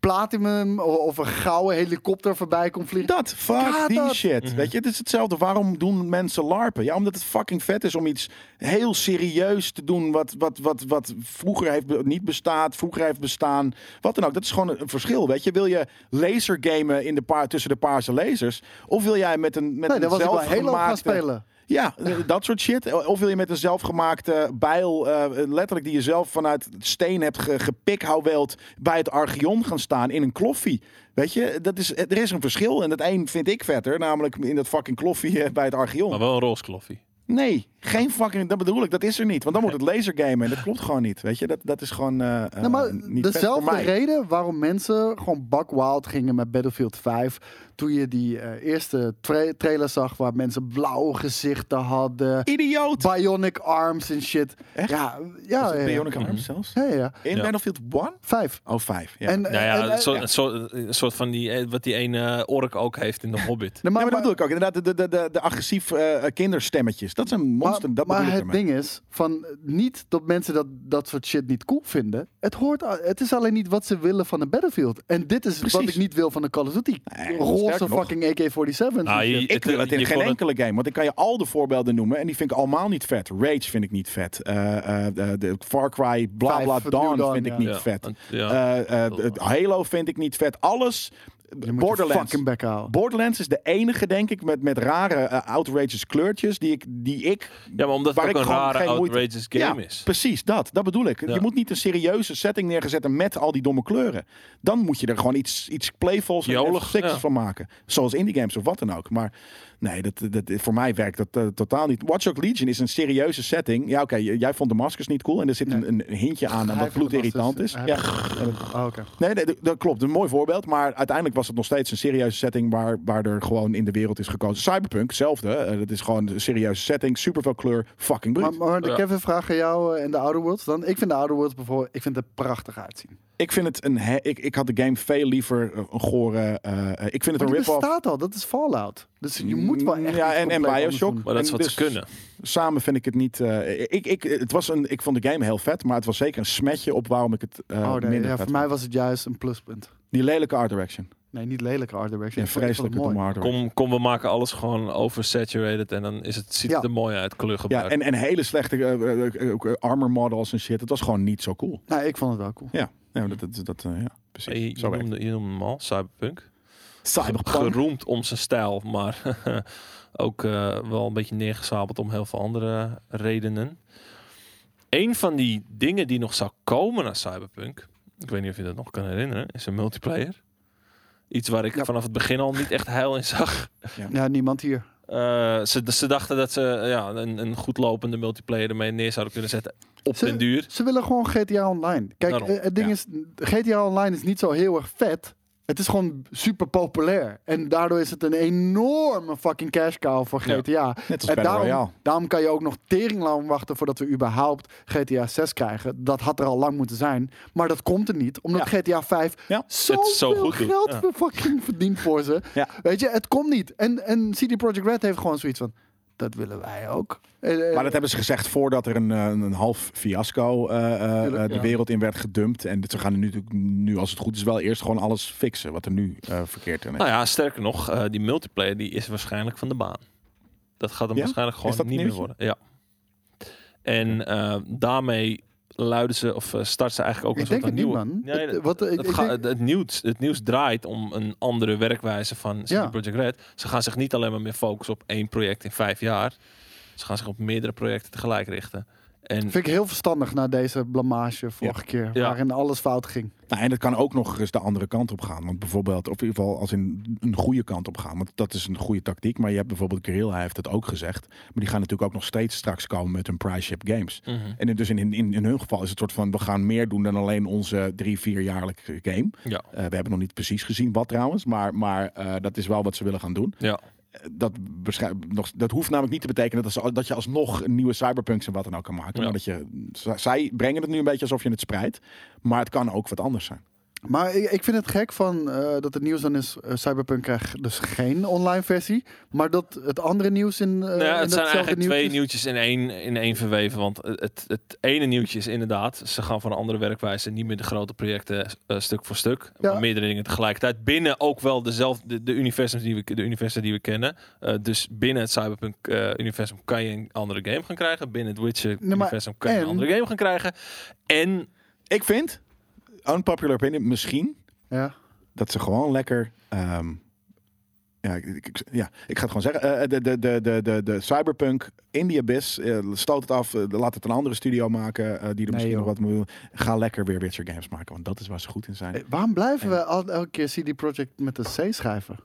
[SPEAKER 2] platinum o- of een gouden helikopter voorbij komt vliegen.
[SPEAKER 3] Dat, fuck
[SPEAKER 2] Gaat
[SPEAKER 3] die
[SPEAKER 2] dat?
[SPEAKER 3] shit. Weet je, het is hetzelfde. Waarom doen mensen larpen? Ja, omdat het fucking vet is om iets heel serieus te doen wat, wat, wat, wat vroeger heeft be- niet bestaat, vroeger heeft bestaan. Wat dan ook. Dat is gewoon een een verschil, weet je. Wil je laser gamen in de paar, tussen de paarse lasers? Of wil jij met een met
[SPEAKER 2] nee,
[SPEAKER 3] een
[SPEAKER 2] daar was ik wel heel lang gaan
[SPEAKER 3] zelfgemaakte-
[SPEAKER 2] spelen.
[SPEAKER 3] Ja, eh, dat soort shit. Of wil je met een zelfgemaakte bijl, eh, letterlijk die je zelf vanuit steen hebt ge gepikhouweld, bij het Archeon gaan staan in een kloffie? Weet je, dat is, er is een verschil. En het een vind ik vetter, namelijk in dat fucking kloffie eh, bij het
[SPEAKER 1] Maar
[SPEAKER 3] Archeon.
[SPEAKER 1] wel een roze kloffie.
[SPEAKER 3] Nee, geen fucking, dat bedoel ik, dat is er niet. Want dan wordt het lasergamen en dat klopt gewoon niet. Weet je, dat, dat is gewoon eh
[SPEAKER 2] Nou, maar
[SPEAKER 3] eh, niet vet voor
[SPEAKER 2] dezelfde
[SPEAKER 3] mij.
[SPEAKER 2] reden waarom mensen gewoon buck wild gingen met Battlefield 5. Toen je die eh, eerste tra- trailer zag waar mensen blauwe gezichten hadden.
[SPEAKER 3] Idioot!
[SPEAKER 2] Bionic arms en shit.
[SPEAKER 3] Echt?
[SPEAKER 2] Ja,
[SPEAKER 3] Was
[SPEAKER 2] ja,
[SPEAKER 3] het
[SPEAKER 2] ja, ja.
[SPEAKER 3] Bionic Arms zelfs?
[SPEAKER 2] Ja, ja, ja.
[SPEAKER 3] In
[SPEAKER 1] Ja.
[SPEAKER 3] Battlefield 1?
[SPEAKER 2] Vijf.
[SPEAKER 3] Oh, 5. Ja.
[SPEAKER 2] En,
[SPEAKER 1] Nou ja,
[SPEAKER 2] Eh, en-
[SPEAKER 1] een
[SPEAKER 2] en-
[SPEAKER 1] soort, een soort, een soort van die, eh, wat die ene ork ook heeft
[SPEAKER 2] (laughs)
[SPEAKER 1] in de Hobbit.
[SPEAKER 2] Nee, maar,
[SPEAKER 3] ja, maar, dat bedoel ik ook. Inderdaad, de, de, de, de agressief eh, kinderstemmetjes. Dat
[SPEAKER 2] maar-
[SPEAKER 3] zijn monster. dat
[SPEAKER 2] maar
[SPEAKER 3] bedoel ik
[SPEAKER 2] het
[SPEAKER 3] ermee.
[SPEAKER 2] ding is, van eh, niet dat mensen dat, dat soort shit niet cool vinden. Het, hoort, a- het is alleen niet wat ze willen van een Battlefield. En dit is wat
[SPEAKER 3] Precies.
[SPEAKER 2] ik niet wil van een Call of Duty.
[SPEAKER 3] Nee,
[SPEAKER 2] Roze
[SPEAKER 3] sterker nog. Nou,
[SPEAKER 2] fucking AK-47.
[SPEAKER 1] Ah,
[SPEAKER 2] en
[SPEAKER 1] je-
[SPEAKER 2] shit.
[SPEAKER 1] het-
[SPEAKER 3] Ik wil het in
[SPEAKER 1] je
[SPEAKER 3] geen
[SPEAKER 1] kon het-
[SPEAKER 3] enkele game. Want ik kan je al de voorbeelden noemen. En die vind ik allemaal niet vet. Rage vind ik niet vet. eh, eh, de- de Far Cry, bla
[SPEAKER 2] Vijf,
[SPEAKER 3] bla,
[SPEAKER 2] New
[SPEAKER 3] Dawn
[SPEAKER 2] Dawn,
[SPEAKER 3] vind
[SPEAKER 2] ja.
[SPEAKER 3] ik niet
[SPEAKER 1] Ja,
[SPEAKER 3] vet.
[SPEAKER 1] want- ja.
[SPEAKER 3] Eh, eh, de- Halo vind ik niet vet. Alles.
[SPEAKER 2] Je moet je
[SPEAKER 3] Borderlands.
[SPEAKER 2] fucking bek houden.
[SPEAKER 3] Borderlands is de enige, denk ik, met, met rare eh, outrageous kleurtjes die ik, die ik
[SPEAKER 1] Ja, maar omdat
[SPEAKER 3] Waar
[SPEAKER 1] het
[SPEAKER 3] ik
[SPEAKER 1] ook een
[SPEAKER 3] gewoon
[SPEAKER 1] rare,
[SPEAKER 3] geen moeite-
[SPEAKER 1] outrageous game
[SPEAKER 3] ja,
[SPEAKER 1] is.
[SPEAKER 3] Precies, dat. Dat bedoel ik.
[SPEAKER 1] Ja.
[SPEAKER 3] Je moet niet een serieuze setting neerzetten met al die domme kleuren. Dan moet je er gewoon iets, iets playfuls en
[SPEAKER 1] Jolig,
[SPEAKER 3] sticks
[SPEAKER 1] ja.
[SPEAKER 3] van maken. Zoals indie games of wat dan ook. Maar nee, dat, dat, voor mij werkt dat eh, totaal niet. Watch Dogs Legion is een serieuze setting. Ja, oké, j- jij vond de maskers niet cool. En er zit
[SPEAKER 2] Nee.
[SPEAKER 3] een, een hintje aan
[SPEAKER 2] Hij
[SPEAKER 3] dat
[SPEAKER 2] vond de
[SPEAKER 3] bloedirritant is.
[SPEAKER 2] masters-
[SPEAKER 3] Ja.
[SPEAKER 2] Ah, oké.
[SPEAKER 3] Nee, nee, dat- dat klopt. Een mooi voorbeeld. Maar uiteindelijk was het nog steeds een serieuze setting waar, waar er gewoon in de wereld is gekozen. Cyberpunk, hetzelfde. Eh, dat is gewoon een serieuze setting. Super veel kleur. Fucking bruut.
[SPEAKER 2] Maar, maar de
[SPEAKER 1] Ja.
[SPEAKER 2] Kevin vraag aan jou eh, en de Outer Worlds dan. Ik vind de Outer Worlds bijvoorbeeld, ik vind het er prachtig uitzien.
[SPEAKER 3] Ik vind het een. he- ik, ik had de game veel liever eh, een gore. eh, eh, ik vind het
[SPEAKER 2] Maar
[SPEAKER 3] een
[SPEAKER 2] die
[SPEAKER 3] rip-off. Mm,
[SPEAKER 2] bestaat al, dat is Fallout. Dus je moet wel echt
[SPEAKER 3] Ja,
[SPEAKER 2] iets
[SPEAKER 3] en, en
[SPEAKER 2] compleet anders
[SPEAKER 3] Bioshock.
[SPEAKER 2] doen.
[SPEAKER 1] Maar dat is
[SPEAKER 3] En
[SPEAKER 1] wat
[SPEAKER 3] dus
[SPEAKER 1] ze kunnen.
[SPEAKER 3] Samen vind ik het niet. eh, ik, ik, het was een, ik vond de game heel vet, maar het was zeker een smetje op waarom ik het eh
[SPEAKER 2] Oh, nee,
[SPEAKER 3] minder
[SPEAKER 2] ja,
[SPEAKER 3] vet
[SPEAKER 2] voor
[SPEAKER 3] vond.
[SPEAKER 2] mij was het juist een pluspunt.
[SPEAKER 3] Die lelijke art direction.
[SPEAKER 2] Nee, niet lelijke art direction.
[SPEAKER 3] Ja,
[SPEAKER 2] Ik vond- ik vond
[SPEAKER 3] vreselijke
[SPEAKER 2] het mooi.
[SPEAKER 3] domme art direction.
[SPEAKER 1] Kom, kom, we maken alles gewoon oversaturated en dan is het, ziet het
[SPEAKER 2] Ja.
[SPEAKER 1] er mooi uit, kleurgebruik.
[SPEAKER 3] Ja, en, en hele slechte eh, eh, eh, eh, armor models en shit. Het was gewoon niet zo cool.
[SPEAKER 2] Nou, ik vond het wel cool.
[SPEAKER 3] Ja, ja dat, dat, dat, eh, ja precies.
[SPEAKER 1] Hey, je,
[SPEAKER 3] zo werkt.
[SPEAKER 1] noemde, je noemde hem al, Cyberpunk.
[SPEAKER 3] Cyberpunk.
[SPEAKER 1] Geroemd om zijn stijl, maar (laughs) ook eh, wel een beetje neergezabeld om heel veel andere redenen. Een van die dingen die nog zou komen naar Cyberpunk, ik weet niet of je dat nog kan herinneren, is een multiplayer. Iets waar ik
[SPEAKER 2] Ja.
[SPEAKER 1] vanaf het begin al niet echt heil in zag.
[SPEAKER 2] Ja, niemand hier.
[SPEAKER 1] Eh, ze, ze dachten dat ze ja, een, een goed lopende multiplayer ermee neer zouden kunnen zetten. Op
[SPEAKER 2] Ze-
[SPEAKER 1] den duur.
[SPEAKER 2] Ze willen gewoon GTA Online. Kijk,
[SPEAKER 1] Daarom,
[SPEAKER 2] eh, het ding
[SPEAKER 3] ja.
[SPEAKER 2] is, GTA Online is niet zo heel erg vet. Het is gewoon super populair. En daardoor is het een enorme fucking cash cow voor
[SPEAKER 1] Ja.
[SPEAKER 2] GTA.
[SPEAKER 3] Net als
[SPEAKER 2] En
[SPEAKER 3] Battle
[SPEAKER 2] daarom,
[SPEAKER 3] Royale.
[SPEAKER 2] daarom kan je ook nog tering lang wachten voordat we überhaupt GTA 6 krijgen. Dat had er al lang moeten zijn. Maar dat komt er niet, omdat GTA 5
[SPEAKER 3] Ja,
[SPEAKER 2] zo,
[SPEAKER 1] het zo
[SPEAKER 2] veel
[SPEAKER 1] goed doet.
[SPEAKER 2] geld
[SPEAKER 1] Ja.
[SPEAKER 2] voor fucking verdient voor ze.
[SPEAKER 3] Ja.
[SPEAKER 2] Weet je, het komt niet. En, en CD Projekt Red heeft gewoon zoiets van, dat willen wij ook. Eh, eh,
[SPEAKER 3] Maar dat hebben ze gezegd voordat er een, eh, een half fiasco eh, eh,
[SPEAKER 2] Tuurlijk,
[SPEAKER 3] de
[SPEAKER 2] ja.
[SPEAKER 3] wereld in werd gedumpt. En ze gaan nu, natuurlijk nu, als het goed is, wel eerst gewoon alles fixen wat er nu eh, verkeerd in is.
[SPEAKER 1] Nou ja, sterker nog, eh, die multiplayer die is waarschijnlijk van de baan. Dat gaat hem
[SPEAKER 3] Ja?
[SPEAKER 1] waarschijnlijk gewoon
[SPEAKER 3] Is dat
[SPEAKER 1] niet meer
[SPEAKER 3] nieuwtje?
[SPEAKER 1] worden. Ja. En eh, daarmee luiden ze of eh, starten ze eigenlijk ook
[SPEAKER 2] ik
[SPEAKER 1] een
[SPEAKER 2] denk
[SPEAKER 1] soort
[SPEAKER 2] het
[SPEAKER 1] van
[SPEAKER 2] niet,
[SPEAKER 1] nieuwe.
[SPEAKER 2] man.
[SPEAKER 1] Nee,
[SPEAKER 2] Het- eh,
[SPEAKER 1] dat-
[SPEAKER 2] wat, ik,
[SPEAKER 1] Het,
[SPEAKER 2] ik
[SPEAKER 1] ga-
[SPEAKER 2] denk-
[SPEAKER 1] het, nieuws, het nieuws draait om een andere werkwijze van CD
[SPEAKER 2] Ja.
[SPEAKER 1] Projekt Red. Ze gaan zich niet alleen maar meer focussen op één project in vijf jaar. Ze gaan zich op meerdere projecten tegelijk richten. En
[SPEAKER 2] vind ik heel verstandig na deze blamage vorige keer,
[SPEAKER 1] Ja.
[SPEAKER 2] waarin alles fout ging.
[SPEAKER 3] Nou, en dat kan ook nog eens de andere kant op gaan. Want bijvoorbeeld, of in ieder geval als in een goede kant op gaan. Want dat is een goede tactiek. Maar je hebt bijvoorbeeld Guerrilla, hij heeft het ook gezegd. Maar die gaan natuurlijk ook nog steeds straks komen met hun prize ship games.
[SPEAKER 1] Mhm.
[SPEAKER 3] En in- dus in, in, in hun geval is het soort van, we gaan meer doen dan alleen onze drie, vierjaarlijke game.
[SPEAKER 1] Ja.
[SPEAKER 3] Eh, we hebben nog niet precies gezien wat trouwens. Maar, maar eh, dat is wel wat ze willen gaan doen. Eh,
[SPEAKER 1] ja.
[SPEAKER 3] dat, waarschijn- nog, dat hoeft namelijk niet te betekenen dat, ze- dat je alsnog een nieuwe cyberpunks en wat dan ook kan maken.
[SPEAKER 1] Ja.
[SPEAKER 3] Maar dat je, z- zij brengen het nu een beetje alsof je het spreidt. Maar het kan ook wat anders zijn.
[SPEAKER 2] Maar ik, ik vind het gek van, eh, dat het nieuws dan is... eh, Cyberpunk krijgt dus geen online versie. Maar dat het andere nieuws in,
[SPEAKER 1] Nou
[SPEAKER 2] eh,
[SPEAKER 1] ja,
[SPEAKER 2] in
[SPEAKER 1] het zijn
[SPEAKER 2] datzelfde
[SPEAKER 1] eigenlijk
[SPEAKER 2] nieuws
[SPEAKER 1] twee
[SPEAKER 2] is.
[SPEAKER 1] nieuwtjes in één, in één verweven. Want het, het ene nieuwtje is inderdaad, ze gaan van een andere werkwijze, niet meer de grote projecten eh, stuk voor stuk.
[SPEAKER 2] Ja.
[SPEAKER 1] Maar meerdere dingen tegelijkertijd. Binnen ook wel dezelfde, de, de universums die we, de universa die we kennen. Eh, dus binnen het Cyberpunk-universum kan je een andere game gaan krijgen. Binnen het
[SPEAKER 2] maar
[SPEAKER 1] Witcher-universum kan je
[SPEAKER 2] en-
[SPEAKER 1] een andere game gaan krijgen. En
[SPEAKER 3] Ik vind, unpopular opinion, misschien
[SPEAKER 2] Ja.
[SPEAKER 3] dat ze gewoon lekker. ehm, ja, ik, ik- ik- ja, ik ga het gewoon zeggen. Eh, de, de, de, de, de, de Cyberpunk in the Abyss. eh, stoot het af. eh, laat het een andere studio maken. eh, die er misschien
[SPEAKER 2] joh.
[SPEAKER 3] nog wat moet. Ga lekker weer Witcher games maken. Want dat is waar ze goed in zijn.
[SPEAKER 2] Eh, Waarom blijven
[SPEAKER 3] En-
[SPEAKER 2] we al, elke keer CD Project met een C schrijven?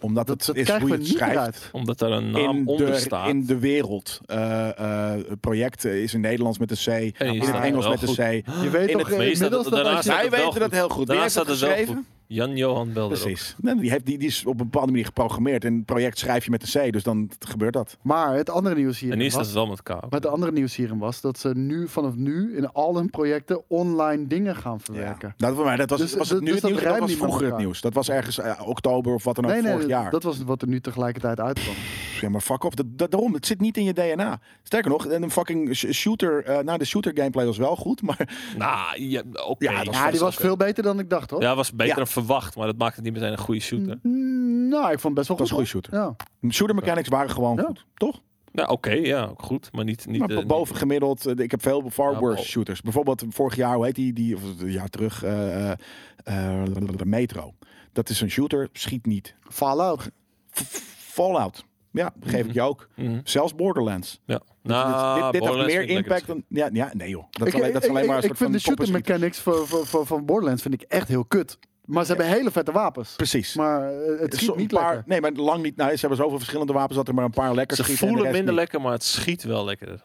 [SPEAKER 3] Omdat
[SPEAKER 2] Dat, dat
[SPEAKER 3] het is
[SPEAKER 2] krijgen
[SPEAKER 3] hoe
[SPEAKER 2] we
[SPEAKER 3] je het
[SPEAKER 2] niet
[SPEAKER 3] schrijft.
[SPEAKER 2] uit.
[SPEAKER 1] omdat daar een naam
[SPEAKER 3] In
[SPEAKER 1] onder
[SPEAKER 3] de,
[SPEAKER 1] Nou, staat.
[SPEAKER 3] in de wereld. Eh, eh, het project is in Nederlands met een C.
[SPEAKER 1] En je
[SPEAKER 3] in
[SPEAKER 1] staat
[SPEAKER 3] het Engels
[SPEAKER 1] wel
[SPEAKER 3] met
[SPEAKER 1] goed.
[SPEAKER 3] een C.
[SPEAKER 2] Je weet
[SPEAKER 3] In
[SPEAKER 2] toch eh,
[SPEAKER 1] het meeste
[SPEAKER 2] inmiddels
[SPEAKER 1] dat-
[SPEAKER 2] dat als
[SPEAKER 1] daarnaast-
[SPEAKER 2] je...
[SPEAKER 1] staat
[SPEAKER 3] Wij
[SPEAKER 1] het
[SPEAKER 3] weten
[SPEAKER 1] wel
[SPEAKER 3] dat heel goed. Wie
[SPEAKER 1] Daarna
[SPEAKER 3] heeft
[SPEAKER 1] staat
[SPEAKER 3] het
[SPEAKER 1] het wel
[SPEAKER 3] geschreven?
[SPEAKER 1] goed. Jan-Johan Belder.
[SPEAKER 3] Precies. Nee, die, heeft, die, die is op een bepaalde manier geprogrammeerd. En het project schrijf je met een C, dus dan gebeurt dat.
[SPEAKER 2] Maar het andere nieuws
[SPEAKER 1] En
[SPEAKER 2] hierin
[SPEAKER 1] hier staat
[SPEAKER 2] was...
[SPEAKER 1] het wel met elkaar.
[SPEAKER 2] Maar het andere nieuws hierin was dat ze nu vanaf nu in al hun projecten online dingen gaan verwerken.
[SPEAKER 3] Dat, maar Nou, dat was,
[SPEAKER 2] Dus-
[SPEAKER 3] was het nu
[SPEAKER 2] dus
[SPEAKER 3] het
[SPEAKER 2] dat
[SPEAKER 3] nieuws, dat
[SPEAKER 2] rijmt
[SPEAKER 3] was
[SPEAKER 2] niet met
[SPEAKER 3] vroeger het
[SPEAKER 2] elkaar.
[SPEAKER 3] nieuws. Dat was ergens eh, oktober of wat dan ook
[SPEAKER 2] nee, nee,
[SPEAKER 3] vorig jaar.
[SPEAKER 2] dat was wat er nu tegelijkertijd uitkwam.
[SPEAKER 3] Ja, maar fuck off. Dat, dat- daarom, het zit niet in je DNA. Sterker nog, een fucking sh- shooter... eh nou, de shooter gameplay was wel goed, maar... (laughs)
[SPEAKER 1] Nou, ja, oké.
[SPEAKER 3] Ja, dat
[SPEAKER 1] dat
[SPEAKER 3] is
[SPEAKER 2] Ja, die was
[SPEAKER 1] oké.
[SPEAKER 2] veel beter dan ik dacht, hoor.
[SPEAKER 1] Ja, was beter
[SPEAKER 3] Ja. Hmm.
[SPEAKER 1] dan verwacht, maar dat maakt het niet meteen een goede shooter.
[SPEAKER 2] Mm, Nou, ik vond het best wel
[SPEAKER 3] was een goede
[SPEAKER 2] goed.
[SPEAKER 3] shooter.
[SPEAKER 2] hoor. Ja.
[SPEAKER 3] Shooter mechanics waren gewoon
[SPEAKER 2] Ja.
[SPEAKER 3] goed, toch?
[SPEAKER 1] Nou, oké, ja, ook goed, maar niet... niet
[SPEAKER 3] Maar
[SPEAKER 1] eh,
[SPEAKER 3] bo- boven gemiddeld. eh, Ik heb veel far
[SPEAKER 1] Ja,
[SPEAKER 3] worse
[SPEAKER 1] bo-
[SPEAKER 3] shooters. Bijvoorbeeld vorig jaar, hoe heet die? die of een jaar terug, eh, eh, eh, Metro. Dat is een shooter, schiet niet.
[SPEAKER 2] Fallout.
[SPEAKER 3] F- Fallout. Ja, geef ik je ook.
[SPEAKER 1] niet- Mhm.
[SPEAKER 3] Zelfs Borderlands.
[SPEAKER 1] Ja.
[SPEAKER 3] Dit-
[SPEAKER 1] Nou,
[SPEAKER 3] dit, dit had
[SPEAKER 1] Borderlands
[SPEAKER 3] meer
[SPEAKER 1] vind ik lekker
[SPEAKER 3] impact dan... Ja, ja, nee joh. Dat is
[SPEAKER 2] Ik,
[SPEAKER 3] alleen, dat is
[SPEAKER 2] ik-
[SPEAKER 3] alleen maar een
[SPEAKER 2] ik- ik
[SPEAKER 3] soort
[SPEAKER 2] vind
[SPEAKER 3] van
[SPEAKER 2] de shooter
[SPEAKER 3] popperschiet.
[SPEAKER 2] mechanics van, van, van, van Borderlands vind ik echt heel kut. Maar ze hebben hele vette wapens.
[SPEAKER 3] Precies.
[SPEAKER 2] Maar eh, het
[SPEAKER 3] Zo-
[SPEAKER 2] schiet
[SPEAKER 3] een
[SPEAKER 2] niet
[SPEAKER 3] paar,
[SPEAKER 2] lekker.
[SPEAKER 3] Nee, maar lang niet. Nou, ze hebben zoveel verschillende wapens dat er maar een paar lekker
[SPEAKER 1] Ze
[SPEAKER 3] schieten en de
[SPEAKER 1] voelen
[SPEAKER 3] rest
[SPEAKER 1] minder
[SPEAKER 3] niet.
[SPEAKER 1] lekker, maar het schiet wel lekkerder.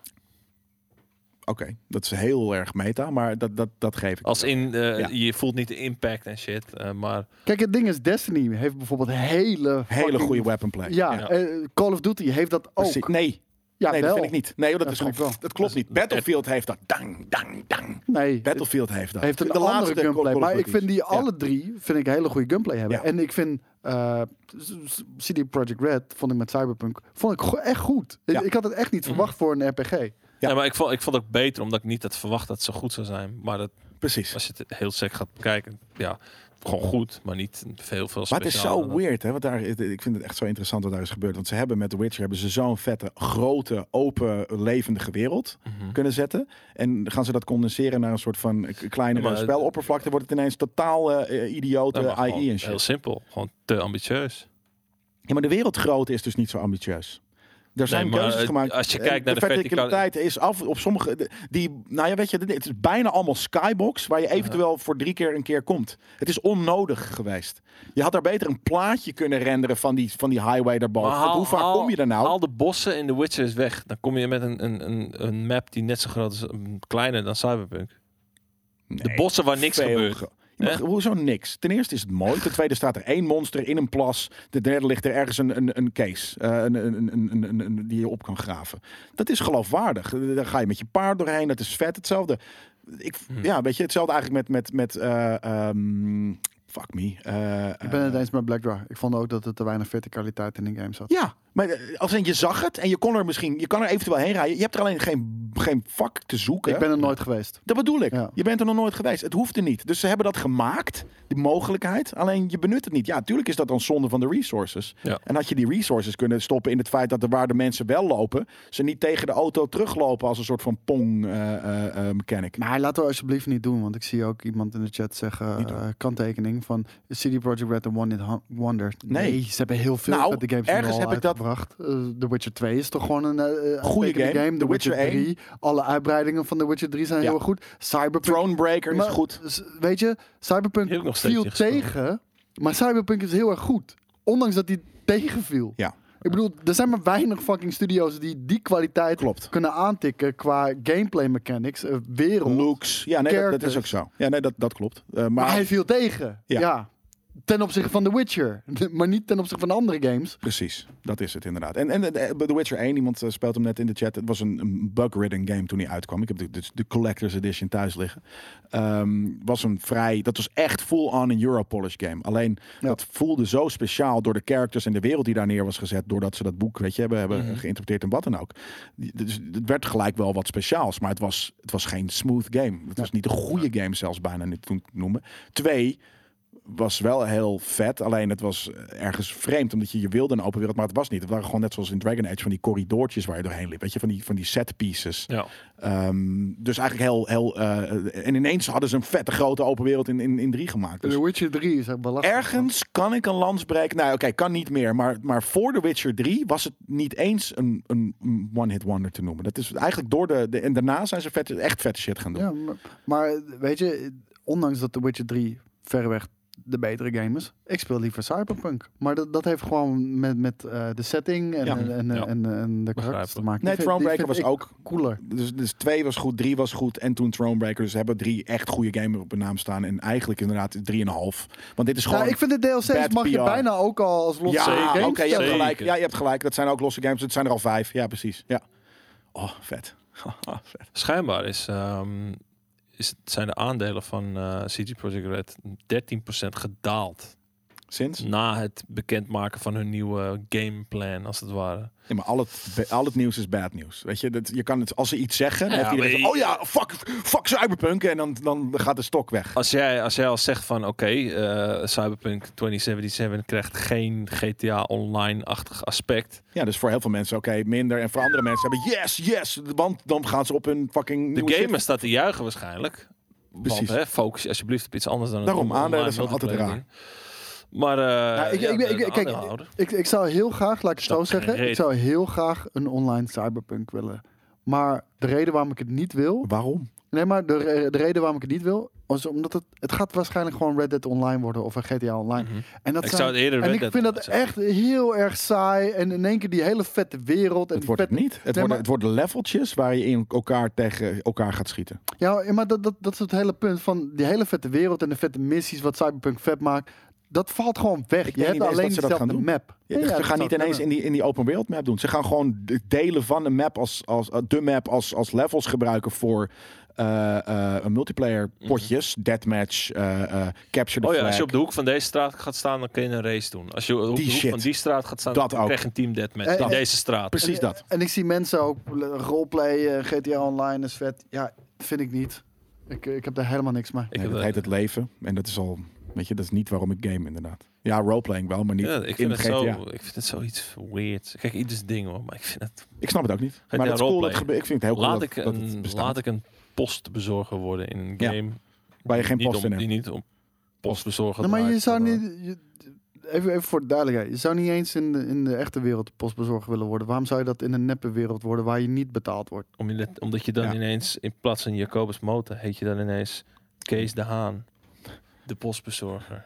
[SPEAKER 3] Oké, dat is heel erg meta, maar dat, dat, dat geef ik.
[SPEAKER 1] Als in, eh,
[SPEAKER 3] Ja.
[SPEAKER 1] je voelt niet de impact en shit, eh, maar...
[SPEAKER 2] Kijk, het ding is, Destiny heeft bijvoorbeeld hele...
[SPEAKER 3] Hele
[SPEAKER 2] fucking-
[SPEAKER 3] goede weapon play.
[SPEAKER 2] Ja,
[SPEAKER 1] Ja.
[SPEAKER 2] eh, Call of Duty heeft dat ook.
[SPEAKER 3] Precies. Nee,
[SPEAKER 2] Ja,
[SPEAKER 3] nee
[SPEAKER 2] wel.
[SPEAKER 3] dat vind ik niet. Nee, joh, dat,
[SPEAKER 2] Ja,
[SPEAKER 3] is
[SPEAKER 2] vind
[SPEAKER 3] gewoon,
[SPEAKER 2] ik wel.
[SPEAKER 3] dat klopt niet. Battlefield heeft dat. Dang, dang, dang.
[SPEAKER 2] Nee, het
[SPEAKER 3] Battlefield heeft dat.
[SPEAKER 2] heeft een
[SPEAKER 3] de
[SPEAKER 2] andere
[SPEAKER 3] laatste
[SPEAKER 2] gunplay.
[SPEAKER 3] Call of
[SPEAKER 2] Maar ik
[SPEAKER 3] Duty.
[SPEAKER 2] vind die
[SPEAKER 3] Ja.
[SPEAKER 2] alle drie vind ik hele goede gunplay hebben.
[SPEAKER 3] Ja.
[SPEAKER 2] En ik vind eh, s- CD Projekt Red, vond ik met Cyberpunk, vond ik go- echt goed. Ik-
[SPEAKER 3] Ja. Mhm.
[SPEAKER 2] Ik had het echt niet verwacht voor een RPG.
[SPEAKER 3] Ja.
[SPEAKER 1] Ja. maar ik vond, ik vond het ook beter, omdat ik niet had verwacht dat het zo goed zou zijn. Maar dat,
[SPEAKER 3] Precies.
[SPEAKER 1] als je het heel sec gaat bekijken, ja, gewoon goed, maar niet veel, veel
[SPEAKER 3] Maar het is
[SPEAKER 1] specialer
[SPEAKER 3] zo
[SPEAKER 1] dan.
[SPEAKER 3] weird, hè? Want daar, ik vind het echt zo interessant wat daar is gebeurd. Want ze hebben met The Witcher hebben ze zo'n vette, grote, open, levendige wereld
[SPEAKER 1] Mhm.
[SPEAKER 3] kunnen zetten. En gaan ze dat condenseren naar een soort van k- kleinere
[SPEAKER 1] Ja, maar-
[SPEAKER 3] speloppervlakte, wordt het ineens totaal eh, eh, idiote
[SPEAKER 1] Ja, maar gewoon
[SPEAKER 3] AI en
[SPEAKER 1] Heel
[SPEAKER 3] shit.
[SPEAKER 1] simpel, gewoon te ambitieus.
[SPEAKER 3] Ja, maar de wereldgrootte is dus niet zo ambitieus. Er zijn
[SPEAKER 1] maar,
[SPEAKER 3] keuzes
[SPEAKER 1] eh,
[SPEAKER 3] gemaakt.
[SPEAKER 1] als je
[SPEAKER 3] En
[SPEAKER 1] kijkt naar de
[SPEAKER 3] verticaliteit is af op sommige. de- Die, nou ja, weet je, dit- het is bijna allemaal skybox waar je eventueel voor drie keer een keer komt. Het is onnodig geweest. Je had daar beter een plaatje kunnen renderen van die, van die highway daarboven.
[SPEAKER 1] Maar
[SPEAKER 3] Want
[SPEAKER 1] haal-
[SPEAKER 3] Hoe vaak
[SPEAKER 1] haal-
[SPEAKER 3] kom je daar nou?
[SPEAKER 1] Haal de bossen in The Witcher is weg. Dan kom je met een, een, een, een map die net zo groot is, mm, kleiner dan Cyberpunk. De
[SPEAKER 3] Nee,
[SPEAKER 1] bossen waar Oh, niks
[SPEAKER 3] veel
[SPEAKER 1] gebeurt.
[SPEAKER 3] gro- Ja, maar
[SPEAKER 1] Hè?
[SPEAKER 3] hoezo niks? Ten eerste is het mooi. Ten tweede staat er één monster in een plas. De derde ligt er ergens een, een, een case eh, een, een, een, een, een- een- die je op kan graven. Dat is geloofwaardig. Eh, Daar ga je met je paard doorheen. Dat is vet. Hetzelfde. Ik,
[SPEAKER 1] Hm.
[SPEAKER 3] Ja, weet je, hetzelfde eigenlijk met... met, met eh, ehm, fuck me. Eh,
[SPEAKER 2] Ik ben het eens met Black Draw. Ik vond ook dat er te weinig verticaliteit in de game zat.
[SPEAKER 3] ja, maar eh, als in je zag het en je kon er misschien, je kan er eventueel heen rijden. Je hebt er alleen geen, geen vak te zoeken.
[SPEAKER 2] Ik ben er nooit geweest.
[SPEAKER 3] Dat bedoel ik.
[SPEAKER 2] Ja.
[SPEAKER 3] Je bent er nog nooit geweest. Het hoeft er niet. Dus ze hebben dat gemaakt, die mogelijkheid. Alleen je benut het niet. Ja, natuurlijk is dat dan zonde van de resources.
[SPEAKER 1] Ja.
[SPEAKER 3] En had je die resources kunnen stoppen in het feit dat er waar de mensen wel lopen, ze niet tegen de auto teruglopen als een soort van pong eh, eh, eh, mechanic.
[SPEAKER 2] Maar laten we alsjeblieft niet doen, want ik zie ook iemand in de chat zeggen,
[SPEAKER 3] Niet doen.
[SPEAKER 2] eh, kanttekening van CD Project Red and One Hit Hon- Wonder.
[SPEAKER 3] Nee.
[SPEAKER 2] ze hebben heel veel
[SPEAKER 3] Nou,
[SPEAKER 2] vette games
[SPEAKER 3] ergens
[SPEAKER 2] nu al
[SPEAKER 3] heb ik dat-
[SPEAKER 2] uitgebracht. Eh, The Witcher 2 is toch gewoon een eh, eh,
[SPEAKER 3] Goeie
[SPEAKER 2] uitstekende
[SPEAKER 3] game.
[SPEAKER 2] The
[SPEAKER 3] The
[SPEAKER 2] Witcher
[SPEAKER 3] Witcher
[SPEAKER 2] 3, alle uitbreidingen van The Witcher 3 zijn
[SPEAKER 3] Ja.
[SPEAKER 2] heel goed. Cyberpunk
[SPEAKER 3] Thronebreaker is
[SPEAKER 2] Maar-
[SPEAKER 3] goed.
[SPEAKER 2] s- Weet je,
[SPEAKER 1] Die
[SPEAKER 2] Cyberpunk
[SPEAKER 1] heb ik nog steeds
[SPEAKER 2] viel
[SPEAKER 1] niet gespeeld.
[SPEAKER 2] tegen, maar Cyberpunk is heel erg goed. Ondanks dat die tegenviel.
[SPEAKER 3] Ja.
[SPEAKER 2] Ik bedoel, er zijn maar weinig fucking studio's die die kwaliteit
[SPEAKER 3] Klopt.
[SPEAKER 2] kunnen aantikken qua gameplay mechanics, eh, wereld.
[SPEAKER 3] Looks. Ja, nee, dat, dat is ook
[SPEAKER 2] Characters.
[SPEAKER 3] zo. Ja, nee, dat, dat klopt. Eh,
[SPEAKER 2] Maar
[SPEAKER 3] maar
[SPEAKER 2] hij viel tegen. Ja.
[SPEAKER 3] Ja.
[SPEAKER 2] ten opzichte van The Witcher. (laughs) maar niet ten opzichte van de andere games.
[SPEAKER 3] Precies, dat is het inderdaad. En, en eh, bij The Witcher 1, iemand eh, speelt hem net in de chat. Het was een, een bug-ridden game toen hij uitkwam. Ik heb de, de, de Collector's Edition thuis liggen. Ehm, was een vrij, dat was echt full-on een Europolish game. Alleen
[SPEAKER 2] Ja.
[SPEAKER 3] dat voelde zo speciaal door de characters en de wereld die daar neer was gezet. Doordat ze dat boek, weet je, hebben, hebben geïnterpreteerd en wat dan ook. Die- Dus het werd gelijk wel wat speciaals. Maar het was, het was geen smooth game. Het was niet een goede game zelfs bijna niet toen noemen. Twee, was wel heel vet. Alleen het was eh, ergens vreemd, omdat je je wilde een open wereld, maar het was niet. Het waren gewoon net zoals in Dragon Age van die corridoortjes waar je doorheen liep. Weet je, van die, van die set pieces.
[SPEAKER 1] Ja.
[SPEAKER 3] Ehm, dus eigenlijk heel, heel... eh, en ineens hadden ze een vette grote open wereld in, in, in drie gemaakt. Dus
[SPEAKER 2] The Witcher 3 is echt belachelijk.
[SPEAKER 3] ergens kan ik een lans breken. Nou oké, kan niet meer. Maar, maar voor The Witcher 3 was het niet eens een, een een one-hit wonder te noemen. Dat is eigenlijk door de... de en daarna zijn ze vet, echt vette shit gaan doen.
[SPEAKER 2] Ja, maar, maar weet je, ondanks dat The Witcher 3 verreweg de betere game is, ik speel liever Cyberpunk. Maar dat, dat heeft gewoon met, met eh, de setting en,
[SPEAKER 3] Ja.
[SPEAKER 2] en, en,
[SPEAKER 1] Ja.
[SPEAKER 2] en, en de karakters te maken.
[SPEAKER 3] Nee,
[SPEAKER 2] Die vind- die
[SPEAKER 3] Thronebreaker was
[SPEAKER 2] vind ik
[SPEAKER 3] ook
[SPEAKER 2] cooler.
[SPEAKER 3] Dus, dus twee was goed, drie was goed en toen Thronebreaker. Dus ze hebben drie echt goede games op hun naam staan. En eigenlijk inderdaad drieënhalf. Want dit is gewoon...
[SPEAKER 2] Nou, ik vind de DLC's
[SPEAKER 3] bad
[SPEAKER 2] mag je
[SPEAKER 3] PR.
[SPEAKER 2] bijna ook al als losse game
[SPEAKER 3] ja, oké, je hebt
[SPEAKER 2] stellen.
[SPEAKER 1] Zeker.
[SPEAKER 3] gelijk. Ja, je hebt gelijk. Dat zijn ook losse games. Het zijn er al vijf. Ja, precies. Ja. Oh, vet. (laughs) vet.
[SPEAKER 1] Schijnbaar is, ehm, is, het- zijn de aandelen van eh CG Projekt Red 13% gedaald.
[SPEAKER 3] Sinds?
[SPEAKER 1] Na het bekendmaken van hun nieuwe gameplan, als het ware.
[SPEAKER 3] Ja, maar al het, al het nieuws is bad nieuws. Weet je, dat, je kan het, als ze iets zeggen, dan
[SPEAKER 1] Ja,
[SPEAKER 3] heeft iedereen
[SPEAKER 1] maar
[SPEAKER 3] van, oh ja, fuck, fuck Cyberpunk. En dan, dan gaat de stok weg.
[SPEAKER 1] Als jij, als jij al zegt van oké, eh, Cyberpunk 2077 krijgt geen GTA Online-achtig aspect.
[SPEAKER 3] Ja, dus voor heel veel mensen, oké, minder. En voor andere mensen hebben, yes, yes. Want dan gaan ze op hun fucking
[SPEAKER 1] De
[SPEAKER 3] nieuwe shit
[SPEAKER 1] gamer staat te juichen waarschijnlijk.
[SPEAKER 3] Precies.
[SPEAKER 1] Want hè, focus je alsjeblieft op iets anders dan het
[SPEAKER 3] Daarom,
[SPEAKER 1] online
[SPEAKER 3] aandelen zijn altijd
[SPEAKER 1] multiplayer ding. Maar eh,
[SPEAKER 2] Nou, ik-
[SPEAKER 1] ja,
[SPEAKER 2] ik ben- ik-
[SPEAKER 1] de
[SPEAKER 2] kijk,
[SPEAKER 1] aandeelhouder.
[SPEAKER 2] Ik, ik zou heel graag, laat ik het
[SPEAKER 1] Snap
[SPEAKER 2] zo
[SPEAKER 1] geen
[SPEAKER 2] zeggen,
[SPEAKER 1] reet.
[SPEAKER 2] ik zou heel graag een online cyberpunk willen. Maar de reden waarom ik het niet wil,
[SPEAKER 3] Waarom?
[SPEAKER 2] nee, maar de, re- de reden waarom ik het niet wil, is omdat het, het gaat waarschijnlijk gewoon Red Dead Online worden of een GTA Online.
[SPEAKER 1] Mhm.
[SPEAKER 2] En dat
[SPEAKER 1] Ik
[SPEAKER 2] zijn-
[SPEAKER 1] zou het eerder
[SPEAKER 2] en
[SPEAKER 1] Red
[SPEAKER 2] ik
[SPEAKER 1] Dead
[SPEAKER 2] vind dat
[SPEAKER 1] Online zeggen.
[SPEAKER 2] echt heel erg saai. En in één keer die hele vette wereld. En
[SPEAKER 3] Het
[SPEAKER 2] die
[SPEAKER 3] wordt het
[SPEAKER 2] vette-
[SPEAKER 3] niet. Het, worden,
[SPEAKER 2] maar-
[SPEAKER 3] het worden leveltjes waar je in elkaar tegen elkaar gaat schieten.
[SPEAKER 2] Ja, maar dat, dat, dat is het hele punt van die hele vette wereld en de vette missies wat Cyberpunk vet maakt. Dat valt gewoon weg. Je
[SPEAKER 3] Ik denk
[SPEAKER 2] hebt
[SPEAKER 3] niet eens
[SPEAKER 2] alleen
[SPEAKER 3] dat ze dat
[SPEAKER 2] dezelfde
[SPEAKER 3] gaan doen.
[SPEAKER 2] map.
[SPEAKER 3] Ja, ze gaan niet ineens in die, in die open wereld map doen. Ze gaan gewoon de delen van de map als, als eh, de map als, als levels gebruiken voor eh, eh, multiplayer potjes, deathmatch, eh, eh, capture the
[SPEAKER 1] Mhm. Oh ja,
[SPEAKER 3] flag.
[SPEAKER 1] als je op de hoek van deze straat gaat staan, dan kun je een race doen. Als je op de
[SPEAKER 3] Die
[SPEAKER 1] hoek
[SPEAKER 3] shit.
[SPEAKER 1] van die straat gaat staan,
[SPEAKER 3] Dat
[SPEAKER 1] dan
[SPEAKER 3] ook.
[SPEAKER 1] krijg je een team deathmatch.
[SPEAKER 2] Eh,
[SPEAKER 1] in
[SPEAKER 2] eh,
[SPEAKER 1] deze straat.
[SPEAKER 3] Precies dat.
[SPEAKER 2] En ik zie mensen ook roleplayen, GTA Online is vet. Ja, vind ik niet. Ik, ik heb daar helemaal niks mee.
[SPEAKER 1] Ik
[SPEAKER 3] Nee,
[SPEAKER 1] heb
[SPEAKER 3] dat heet het leven. En dat is al, weet je, dat is niet waarom ik game inderdaad. Ja, roleplaying wel, maar niet
[SPEAKER 1] ja, ik,
[SPEAKER 3] in
[SPEAKER 1] vind het
[SPEAKER 3] GTA.
[SPEAKER 1] zo, ik vind het zoiets weird. Kijk, ieders ding hoor, maar ik vind het...
[SPEAKER 3] Ik snap het ook niet. Maar dat is cool, dat
[SPEAKER 1] roleplaying.
[SPEAKER 3] gebe- ik vind het heel cool
[SPEAKER 1] Laat,
[SPEAKER 3] dat,
[SPEAKER 1] ik
[SPEAKER 3] dat het
[SPEAKER 1] een,
[SPEAKER 3] bestaat.
[SPEAKER 1] laat ik een postbezorger worden in een
[SPEAKER 3] Ja.
[SPEAKER 1] game.
[SPEAKER 3] Waar je geen
[SPEAKER 1] niet
[SPEAKER 3] post in
[SPEAKER 1] om,
[SPEAKER 3] hebt.
[SPEAKER 1] Die niet om postbezorger
[SPEAKER 2] Nou, maar je
[SPEAKER 1] draait,
[SPEAKER 2] zou
[SPEAKER 1] maar-
[SPEAKER 2] niet... je- even, even voor de duidelijkheid. Je zou niet eens in de, in de echte wereld postbezorger willen worden. Waarom zou je dat in een neppe wereld worden waar je niet betaald wordt?
[SPEAKER 1] Om je net- omdat je dan
[SPEAKER 3] Ja.
[SPEAKER 1] ineens, in plaats van Jacobus Motor, heet je dan ineens Kees de Haan. De postbezorger.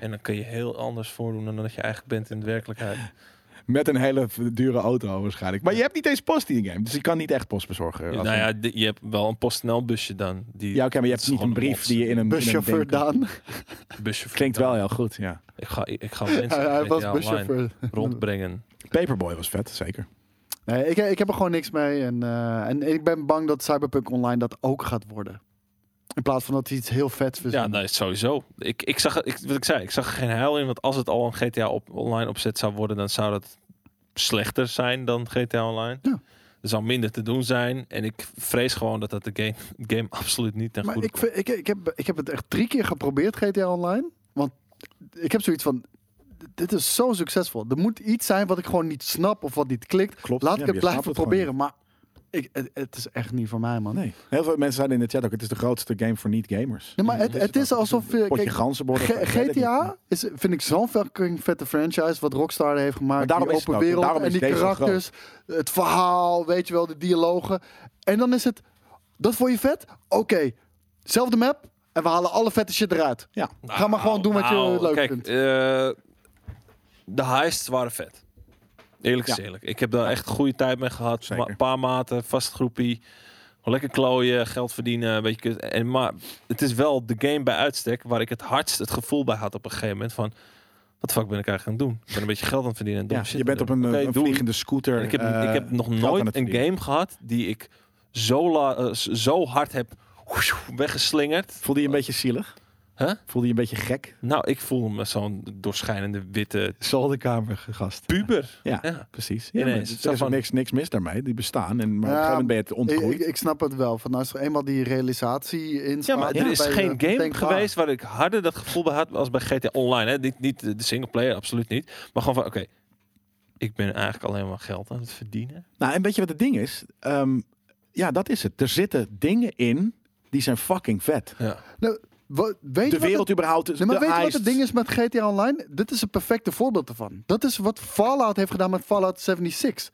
[SPEAKER 1] En dan kun je heel anders voordoen dan dat je eigenlijk bent in de werkelijkheid.
[SPEAKER 3] Met een hele v- dure auto waarschijnlijk. Maar je hebt niet eens post in die game. Dus je kan niet echt post bezorgen.
[SPEAKER 1] Ja, nou ja, di- je hebt wel een PostNL busje dan. Die
[SPEAKER 3] ja oké, maar je
[SPEAKER 1] dat
[SPEAKER 3] hebt
[SPEAKER 1] is
[SPEAKER 3] niet
[SPEAKER 1] gewoon
[SPEAKER 3] een brief die je in een... in
[SPEAKER 2] Buschauffeur
[SPEAKER 3] een ding-
[SPEAKER 2] Daan.
[SPEAKER 1] busje
[SPEAKER 3] Klinkt wel heel goed, ja.
[SPEAKER 1] Ik ga, ik ga mensen
[SPEAKER 2] Hij, (laughs) hij
[SPEAKER 1] met
[SPEAKER 2] was
[SPEAKER 1] jou online
[SPEAKER 2] buschauffeur.
[SPEAKER 1] rondbrengen.
[SPEAKER 3] Paperboy was vet, zeker.
[SPEAKER 2] Nee, ik, ik heb er gewoon niks mee. En, eh, en ik ben bang dat Cyberpunk Online dat ook gaat worden. In plaats van dat hij iets heel vets
[SPEAKER 1] Ja,
[SPEAKER 2] verzint.
[SPEAKER 1] dat is sowieso. Ik, ik zag, het- ik, wat ik zei, ik zag er geen heil in. Want als het al een GTA op, online opzet zou worden, dan zou dat slechter zijn dan GTA Online.
[SPEAKER 2] Ja.
[SPEAKER 1] Er zou minder te doen zijn. En ik vrees gewoon dat dat de game, (laughs) game absoluut niet ten
[SPEAKER 2] maar
[SPEAKER 1] goede
[SPEAKER 2] ik,
[SPEAKER 1] komt.
[SPEAKER 2] vind- ik, ik, heb, ik heb het echt drie keer geprobeerd, GTA Online. Want ik heb zoiets van... d- Dit is zo succesvol. Er moet iets zijn wat ik gewoon niet snap of wat niet klikt.
[SPEAKER 3] Klopt,
[SPEAKER 2] Laat
[SPEAKER 3] ja,
[SPEAKER 2] ik het
[SPEAKER 3] je
[SPEAKER 2] blijven
[SPEAKER 3] snapt het
[SPEAKER 2] proberen. Maar ik, het, het is echt niet voor mij, man.
[SPEAKER 3] Nee. Heel veel mensen zeiden in de chat ook, het is de grootste game voor niet-gamers.
[SPEAKER 2] Nee, maar het,
[SPEAKER 3] Is
[SPEAKER 2] het
[SPEAKER 3] dat?
[SPEAKER 2] is alsof... je-
[SPEAKER 3] Potje
[SPEAKER 2] Kijk,
[SPEAKER 3] ganzenborden.
[SPEAKER 2] G-
[SPEAKER 3] ik weet het niet.
[SPEAKER 2] GTA is, vind ik zo'n fucking vette franchise wat Rockstar heeft
[SPEAKER 3] Maar
[SPEAKER 2] gemaakt.
[SPEAKER 3] daarom
[SPEAKER 2] die
[SPEAKER 3] is het
[SPEAKER 2] open
[SPEAKER 3] ook.
[SPEAKER 2] wereld
[SPEAKER 3] Daarom
[SPEAKER 2] en
[SPEAKER 3] is
[SPEAKER 2] die
[SPEAKER 3] deze zo
[SPEAKER 2] karakters, het verhaal, weet je wel, de dialogen. En dan is het, dat vond je vet? Oké, zelfde map en we halen alle vette shit eruit.
[SPEAKER 3] Ja.
[SPEAKER 2] Ga maar gewoon doen wat je
[SPEAKER 1] Nou,
[SPEAKER 2] leuk
[SPEAKER 1] kijk,
[SPEAKER 2] vindt.
[SPEAKER 1] eh, de heists waren vet. Eerlijk is
[SPEAKER 3] Ja.
[SPEAKER 1] eerlijk. Ik heb daar echt goede tijd mee gehad.
[SPEAKER 3] Zeker.
[SPEAKER 1] Ma- een paar maten, vast groepie. Gewoon lekker klooien, geld verdienen, een beetje kut. En, maar het is wel de game bij uitstek waar ik het hardst het gevoel bij had op een gegeven moment van... Wat de fuck ben ik eigenlijk aan het doen? Ik ben een beetje geld aan het verdienen en domme
[SPEAKER 3] Ja,
[SPEAKER 1] shit
[SPEAKER 3] je bent
[SPEAKER 1] aan
[SPEAKER 3] op
[SPEAKER 1] het
[SPEAKER 3] een,
[SPEAKER 1] doen.
[SPEAKER 3] eh,
[SPEAKER 1] Oké,
[SPEAKER 3] een
[SPEAKER 1] doei.
[SPEAKER 3] vliegende scooter. eh,
[SPEAKER 1] En ik, heb, ik heb nog
[SPEAKER 3] geld aan het
[SPEAKER 1] nooit een
[SPEAKER 3] verdienen.
[SPEAKER 1] game gehad die ik zo, la, eh, z- zo hard heb weggeslingerd.
[SPEAKER 3] Voelde je een beetje zielig?
[SPEAKER 1] Huh?
[SPEAKER 3] Voelde je een beetje gek?
[SPEAKER 1] Nou, ik voel me zo'n doorschijnende witte
[SPEAKER 3] Zolderkamer gast.
[SPEAKER 1] puber.
[SPEAKER 3] Ja,
[SPEAKER 1] Ja.
[SPEAKER 3] precies. Ja, maar
[SPEAKER 1] Ineens,
[SPEAKER 3] er
[SPEAKER 1] zo
[SPEAKER 3] is
[SPEAKER 1] van-
[SPEAKER 3] niks, niks mis daarmee. Die bestaan. En, maar op een
[SPEAKER 2] Ja, eh,
[SPEAKER 3] gegeven moment ben je het
[SPEAKER 2] Ik,
[SPEAKER 3] ontgroeid.
[SPEAKER 2] ik, ik snap het wel. Van als er eenmaal die realisatie in
[SPEAKER 1] Ja, maar
[SPEAKER 2] staat, eh,
[SPEAKER 1] er is
[SPEAKER 2] ben je
[SPEAKER 1] geen game
[SPEAKER 2] meteen klaar.
[SPEAKER 1] geweest waar ik harder dat gevoel bij had als bij GTA Online. Hè? Niet, niet de singleplayer, absoluut niet. Maar gewoon van, oké, ik ben eigenlijk alleen maar geld aan het verdienen.
[SPEAKER 3] Nou, en weet je wat het ding is? Ehm, ja, dat is het. Er zitten dingen in die zijn fucking vet.
[SPEAKER 1] Ja.
[SPEAKER 2] Nou, wa- weet
[SPEAKER 3] De
[SPEAKER 2] je wat het-
[SPEAKER 3] wereld überhaupt.
[SPEAKER 2] Nee, maar
[SPEAKER 3] de
[SPEAKER 2] weet je wat
[SPEAKER 3] heist.
[SPEAKER 2] het ding is met GTA Online? Dit is het perfecte voorbeeld ervan. Dat is wat Fallout heeft gedaan met Fallout 76.